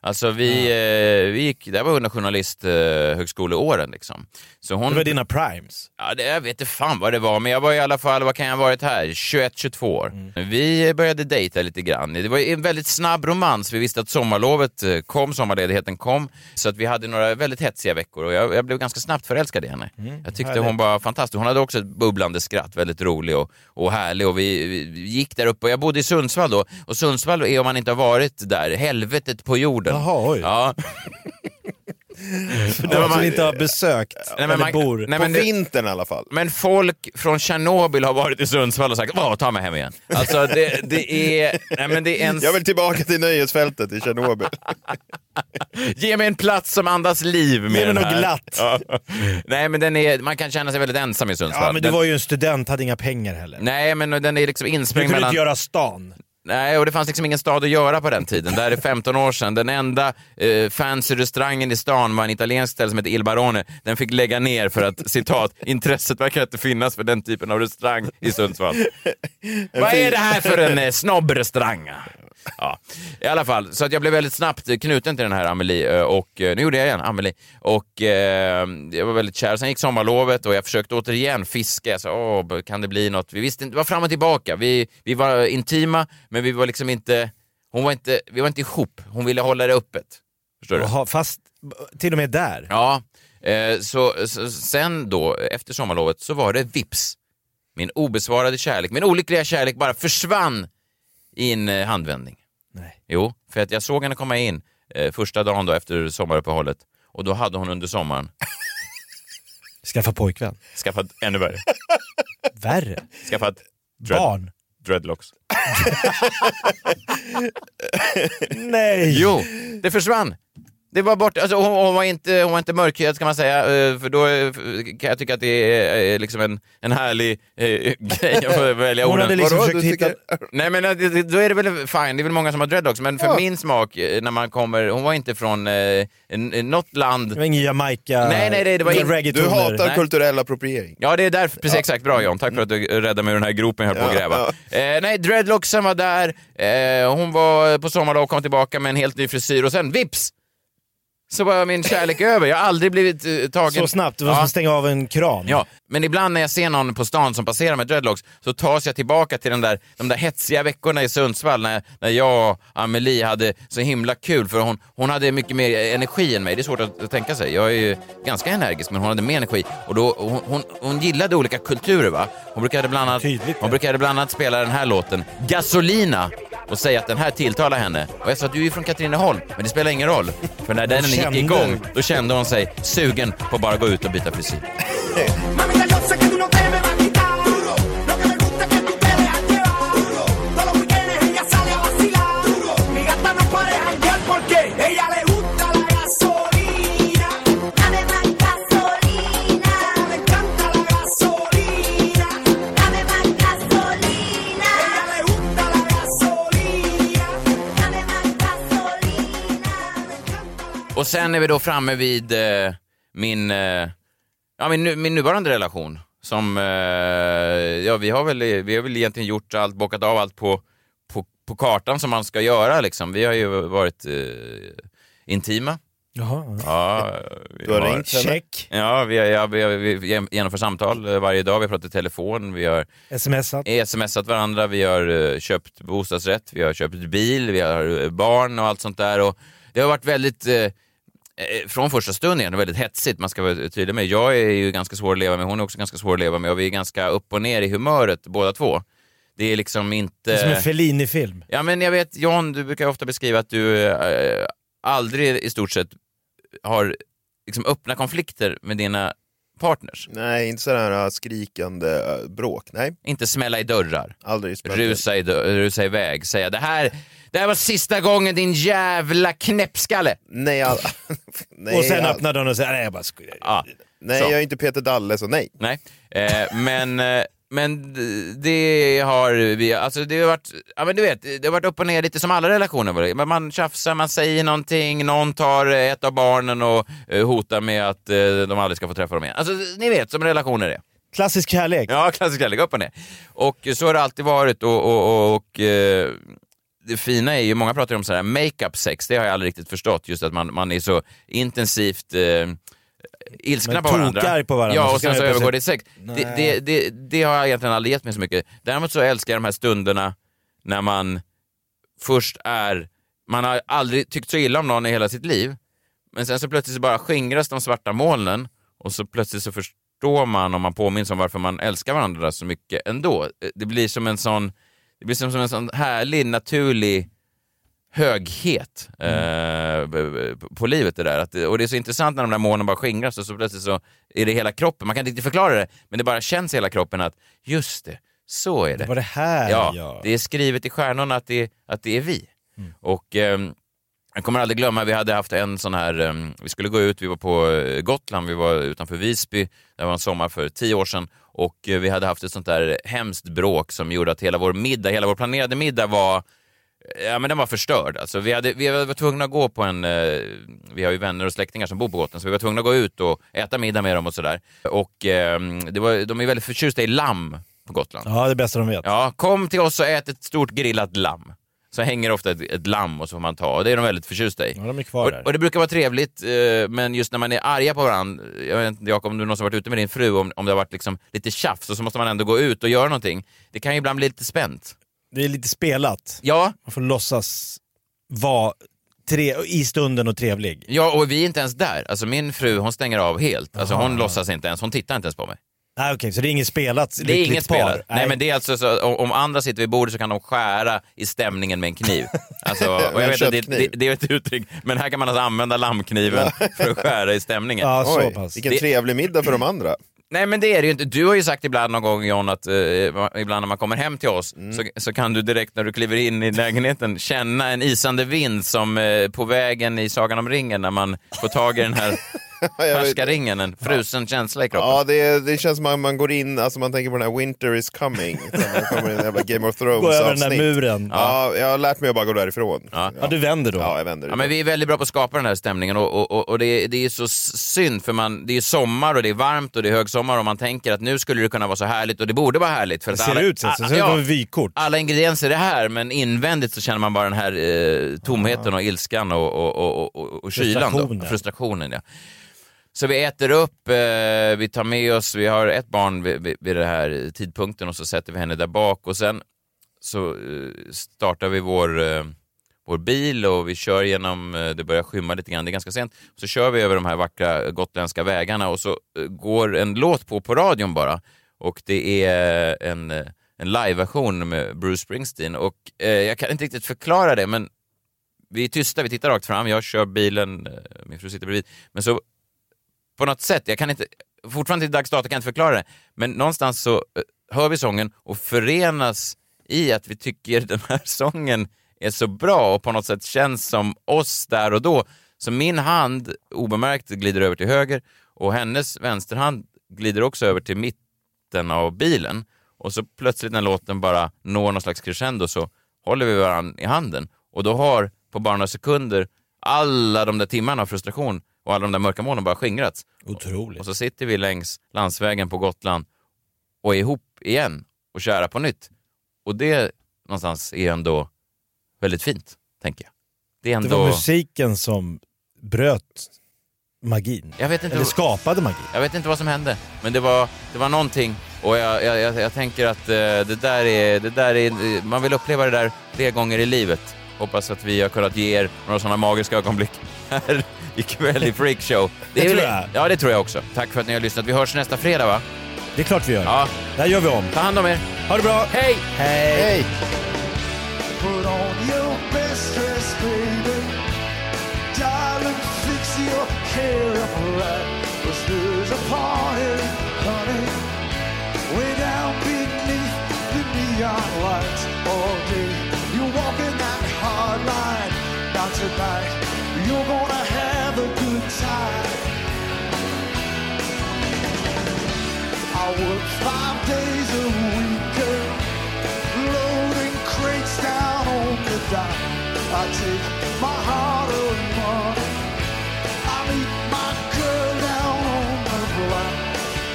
Alltså vi, eh, vi gick, det här var under journalisthögskoleåren liksom. Så hon,
Det var dina primes.
Ja, det, jag vet inte fan vad det var, men jag var i alla fall, vad kan jag ha varit här, 21, 22 år. Vi började dejta lite grann. Det var ju en väldigt snabb romans. Vi visste att sommarlovet eh, kom, sommarledigheten kom. Så att vi hade några väldigt hetsiga veckor och jag, jag blev ganska snabbt förälskad i henne.
Mm,
Jag tyckte
härligt.
hon var fantastisk. Hon hade också ett bubblande skratt, väldigt rolig och, och härlig. Och vi, vi gick där uppe, och jag bodde i Sundsvall då. Och Sundsvall är, om man inte har varit där, helvetet på jorden. Jaha, oj. Ja.
För de som inte har besökt
men
eller
man-
bor.
nej, men det-
i alla fall.
Men folk från Tjernobyl har varit i Sundsvall och sagt Åh, ta mig hem
[LAUGHS]
igen. Alltså det, det är... Nej, men det är en... [LAUGHS]
Jag vill tillbaka till nöjesfältet i Tjernobyl.
Ge mig en plats som andas liv med
Ge mig
den
något
här.
glatt.
Ja. Nej, men den är, man kan känna sig väldigt ensam i Sundsvall.
Ja, men
Alltså,
du
Den-
var ju en student, hade inga pengar heller.
Nej, men den är liksom
Du
insprängd
kunde
mellan...
inte göra stan.
Nej, och det fanns liksom ingen stad att göra på den tiden. Det här är 15 år sedan. Den enda eh, fancy restaurangen i stan var en italiensk ställe som hette Il Barone. Den fick lägga ner för att, citat, intresset verkar inte finnas för den typen av restaurang i Sundsvall. Vad är det här för en eh, snobbrestaurang?
[LAUGHS]
[LAUGHS] Ja, i alla fall. Så att jag blev väldigt snabbt knuten till den här Amelie eh, och eh, nu gjorde jag igen Amelie och eh, jag var väldigt kär. Sen gick sommarlovet och jag försökte återigen fiska. Jag sa, Åh, kan det bli något? Vi visste inte, det var fram och tillbaka. Vi, vi var intima, men vi var liksom inte, hon var inte, vi var inte ihop. Hon ville hålla det öppet. Förstår du?
Jaha, fast till och med där?
Ja, eh, så, så sen då, efter sommarlovet, så var det vips. Min obesvarade kärlek, min olyckliga kärlek bara försvann i en eh, handvändning. Nej. Jo, för att jag såg henne komma in eh, första dagen då efter sommaruppehållet och då hade hon under sommaren
Skaffa pojkvän.
skaffat ännu värre.
[LAUGHS] Värre?
Skaffat
Barn.
dreadlocks.
[LAUGHS] Nej!
Jo, det försvann. Det var bort. Alltså, hon, hon, var inte, hon var inte mörkhyad ska man säga, eh, för då eh, kan jag tycka att det är eh, liksom en, en härlig eh, [LAUGHS] grej att välja
Hon
orden.
hade liksom
Vadå,
försökt
du
hitta-
tycker- Nej men eh, det- då är det väl fine, det är väl många som har dreadlocks, men för
Ja.
min smak, eh, när man kommer, hon var inte från eh, en- en- något land...
Det var ingen Jamaica...
Nej, nej, nej, det var
ingen
ingen-
reggaetoner.
Du hatar
Nej.
kultur-
Kulturell appropriering.
Ja, det är därför. Precis exakt. Bra John. Tack för att du räddade mig ur den här gropen jag höll på att gräva. Eh, nej, dreadlocksen var där. Eh, hon var på sommarlov och kom tillbaka med en helt ny frisyr och sen vips! Så var min kärlek [LAUGHS] över. Jag har aldrig blivit eh, tagen...
Så snabbt, det var som att stänga av en kran.
Ja, men ibland när jag ser någon på stan som passerar med dreadlocks så tas jag tillbaka till den där, de där hetsiga veckorna i Sundsvall när, när jag och Amelie hade så himla kul för hon, hon hade mycket mer energi än mig. Det är svårt att, att tänka sig. Jag är ju ganska energisk men hon hade mer energi och då, och hon, hon, hon gillade olika kulturer va. Hon brukade, bland annat, hon brukade bland annat spela den här låten, Gasolina och säga att den här tilltalar henne. Och jag sa att du är ju från Katrineholm, men det spelar ingen roll. För när den gick
kände.
igång, då kände hon sig sugen på att bara gå ut och byta frisyr.
Mamita, yo sé que tú no te me vas a quitar. Lo que me gusta es que tú te dejas llevar. Todos los weekendes ella sale a vacilar. Mi gata no puede janguear porque ella le gusta la gasolina. Dame más gasolina. Me encanta la gasolina. Dame más gasolina. Ella le gusta la gasolina. Dame más gasolina.
Och sen är vi då framme vid eh, min, eh, ja, min, nu- min nuvarande relation. Som, eh, ja, vi, har väl, vi har väl egentligen gjort allt, bockat av allt på, på, på kartan som man ska göra. Liksom. Vi har ju varit eh, intima.
Jaha.
Ja, vi
Du har ringt henne. Check.
Ja, vi, har- ja, vi, har- vi genomför samtal eh, varje dag, vi pratar i telefon, vi har
Smsat.
smsat varandra, vi har eh, köpt bostadsrätt, vi har köpt bil, vi har eh, barn och allt sånt där. Och det har varit väldigt, eh, eh, från första stunden igen, väldigt hetsigt, man ska vara tydlig med. Jag är ju ganska svår att leva med, hon är också ganska svår att leva med och vi är ganska upp och ner i humöret båda två. Det är liksom inte...
Det är som en Fellini-film.
Ja, men jag vet, John, du brukar ofta beskriva att du eh, aldrig i stort sett har liksom, öppna konflikter med dina partners.
Nej, inte sådana här skrikande eh, bråk. Nej.
Inte smälla i dörrar.
Aldrig smälla i dörrar.
Rusa, i dörr, rusa iväg, säga det här, det här var sista gången din jävla knäppskalle.
Nej, all... [LAUGHS]
och sen öppnar dörren och säger nej, jag bara skojar.
Ja.
Nej, jag är inte Peter Dalle, så nej.
Nej, eh, men, eh, men d- det har vi, alltså det har varit, ja men du vet, det har varit upp och ner lite som alla relationer. var det. Men Man tjafsar, man säger någonting, någon tar eh, ett av barnen och eh, hotar med att eh, de aldrig ska få träffa dem igen. Alltså ni vet, som relationer är.
Klassisk kärlek.
Ja, klassisk kärlek, upp och ner. Och så har det alltid varit och, och, och, och eh, det fina är ju, många pratar ju om så här make-up sex, det har jag aldrig riktigt förstått, just att man, man är så intensivt eh, ilskna
Man
på varandra.
tokar på varandra,
Ja,
så
och
ska
sen
man
så
helt
övergår det i sex.
plötsligt-
Det, det,
Nej.
det, det har jag egentligen aldrig gett mig så mycket. Däremot så älskar jag de här stunderna när man först är, man har aldrig tyckt så illa om någon i hela sitt liv, men sen så plötsligt så bara skingras de svarta molnen och så plötsligt så förstår man om man påminns om varför man älskar varandra så mycket ändå. Eh, Det blir som en sån, det blir som, som en sån härlig, naturlig höghet eh, b- b- på livet det där. Att, det- och det är så intressant när de där molnen bara skingras och så plötsligt så är det hela kroppen. Man kan inte riktigt förklara det, men det bara känns i hela kroppen att just det, så är det.
Det var det här,
ja.
ja.
Det är skrivet i stjärnorna att det, att det är vi. Och ehm, Jag kommer aldrig glömma, vi hade haft en sån här, eh, vi skulle gå ut, vi var på eh, Gotland, vi var utanför Visby, det var en sommar för tio år sedan och eh, vi hade haft ett sånt där hemskt bråk som gjorde att hela vår middag, hela vår planerade middag var Ja, men den var förstörd. Alltså, vi, hade, vi var tvungna att gå på en... Eh, vi har ju vänner och släktingar som bor på Gotland, så vi var tvungna att gå ut och äta middag med dem och sådär. Och eh, det var, de är väldigt förtjusta i lamm på Gotland.
Ja, det är bästa de vet.
Ja, kom till oss och ät ett stort grillat lamm. Så hänger ofta ett, ett lamm och så får man ta och det är de väldigt förtjusta i.
Ja, de är kvar
och,
där.
och det brukar vara trevligt eh, men just när man är arga på varandra, jag vet inte Jakob om du någonsin varit ute med din fru, om, om det har varit liksom lite tjafs och så måste man ändå gå ut och göra någonting. Det kan ju ibland bli lite spänt.
Det är lite spelat.
Ja.
Man får låtsas vara tre, i stunden och trevlig.
Ja, och vi är inte ens där. Alltså min fru hon stänger av helt. Alltså
Jaha.
hon låtsas inte ens, hon tittar inte ens på mig.
Nej okej, så det är inget spelat
Det är
lyckligt
inget
par.
spel. Nej. men det är alltså så, om- om andra sitter vid bordet så kan de skära i stämningen med en kniv. Alltså, och jag
En
vet att det, det,
köttkniv.
det är ett uttryck, men här kan man alltså använda lammkniven för att skära i stämningen.
Ja, så Oj, pass. vilken
trevlig middag för de [CLEARS THROAT] andra. Nej men det är det ju inte. Du har ju sagt ibland någon gång John att eh, ibland när man kommer hem till oss så, så kan du direkt när du kliver in i lägenheten känna en isande vind som eh, på vägen i Sagan om ringen när man får tag i den här färska ringen, en frusen känsla i kroppen.
Ja, det, det känns som att man går in, alltså man tänker på den här Winter
[LAUGHS]
is coming. när Man kommer in i en jävla Game of Thrones
Gå över den där
avsnitt.
muren.
Ja, jag har lärt mig att bara gå därifrån. Ja,
du vänder då?
Ja, jag vänder.
Ja, men vi är väldigt bra på att skapa den här stämningen och, och, och, och det, är, det är så synd för man, det är sommar och det är varmt och det är högsommar och man tänker att nu skulle det kunna vara så härligt och det borde vara härligt. För
Det
att
ser
alla,
ut så,
a-
så ser det ut
ja,
som ett vykort.
alla ingredienser är här men invändigt så känner man bara den här eh, tomheten och ilskan och, och, och, och, och kylan. Då.
Frustrationen.
Frustrationen. Ja. Så vi äter upp, eh, vi tar med oss, vi har ett barn vid, vid, vid den här tidpunkten och så sätter vi henne där bak och sen så eh, startar vi vår, eh, vår bil och vi kör genom, eh, det börjar skymma lite grann, det är ganska sent, så kör vi över de här vackra gotländska vägarna och så eh, går en låt på på radion bara och det är en, eh, en liveversion med Bruce Springsteen och eh, jag kan inte riktigt förklara det men vi är tysta, vi tittar rakt fram, jag kör bilen, eh, min fru sitter bredvid. Men så på något sätt, jag kan inte, fortfarande till dags dato kan jag inte förklara det, men någonstans så eh, hör vi sången och förenas i att vi tycker [LAUGHS] den här sången är så bra och på något sätt känns som oss där och då. Så min hand obemärkt glider över till höger och hennes vänsterhand glider också över till mitten av bilen. Och så plötsligt när låten bara når någon slags crescendo så håller vi varandra i handen. Och då har på bara några sekunder alla de där timmarna av frustration och alla de där mörka molnen bara skingrats.
Otroligt.
Och så sitter vi längs landsvägen på Gotland och är ihop igen och kära på nytt. Och det någonstans är ändå väldigt fint, tänker jag. Det är ändå...
Det var musiken som bröt magin.
Jag vet inte
Eller
vad-
skapade magin.
Jag vet inte vad som hände, men det var, det var någonting. Och jag, jag, jag, jag tänker att eh, det där är, det där är, eh, man vill uppleva det där fler gånger i livet. Hoppas att vi har kunnat ge er några sådana magiska ögonblick [LAUGHS] här ikväll i Freak Show.
Det
är väl-
tror jag.
Ja, det tror jag också. Tack för att ni har lyssnat. Vi hörs nästa fredag, va?
Det är klart vi gör.
Ja.
Där gör vi om.
Ta hand om er.
Ha det bra.
Hej!
Hej! Hej.
Put on your best dress, baby. Darling, fix your hair up right. 'cause there's a party, honey. Way down beneath the neon lights all day. You're walking that hard line, not tonight. You're gonna have a good time. I work five days a week, girl loading crates down on the dock. I take my heart of money. I meet my girl down on the block.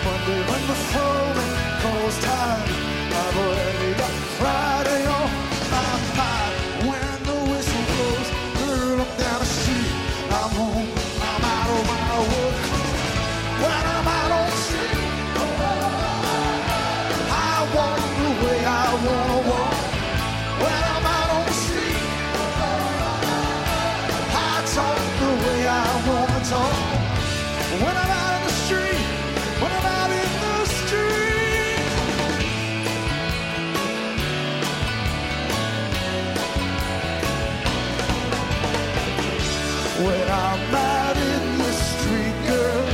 Monday when the phone calls time, I've already got Friday on my mind. When the whistle blows, girl, I'm down the street. I'm home. I'm out on my work. When I'm out on the street, oh, I walk the way I wanna walk. When I'm out on the street, I talk the way I wanna talk. When I'm out in the street, when I'm out in the street. When I'm out in the street, girl,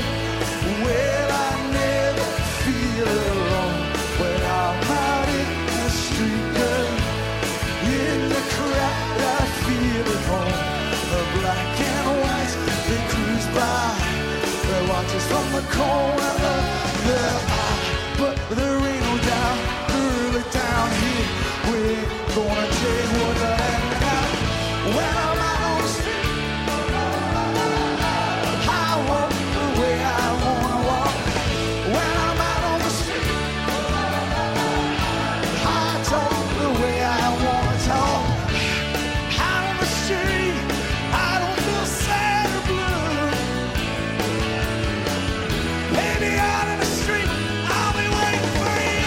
well I never feel alone. When I'm out in the street, girl, in the crowd I feel at home. The black the cold weather. There are, but there ain't no doubt. Early down here, we're gonna take what the heck we got. When I'm out on the street, I walk the way I wanna walk. When I'm out on the street, I talk the way I wanna talk. Out on the street, I don't feel sad or blue. Maybe out in the street, I'll be waiting for you.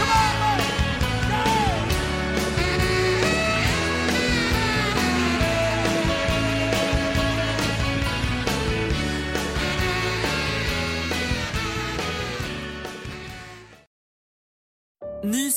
Come on, baby, go!
Ny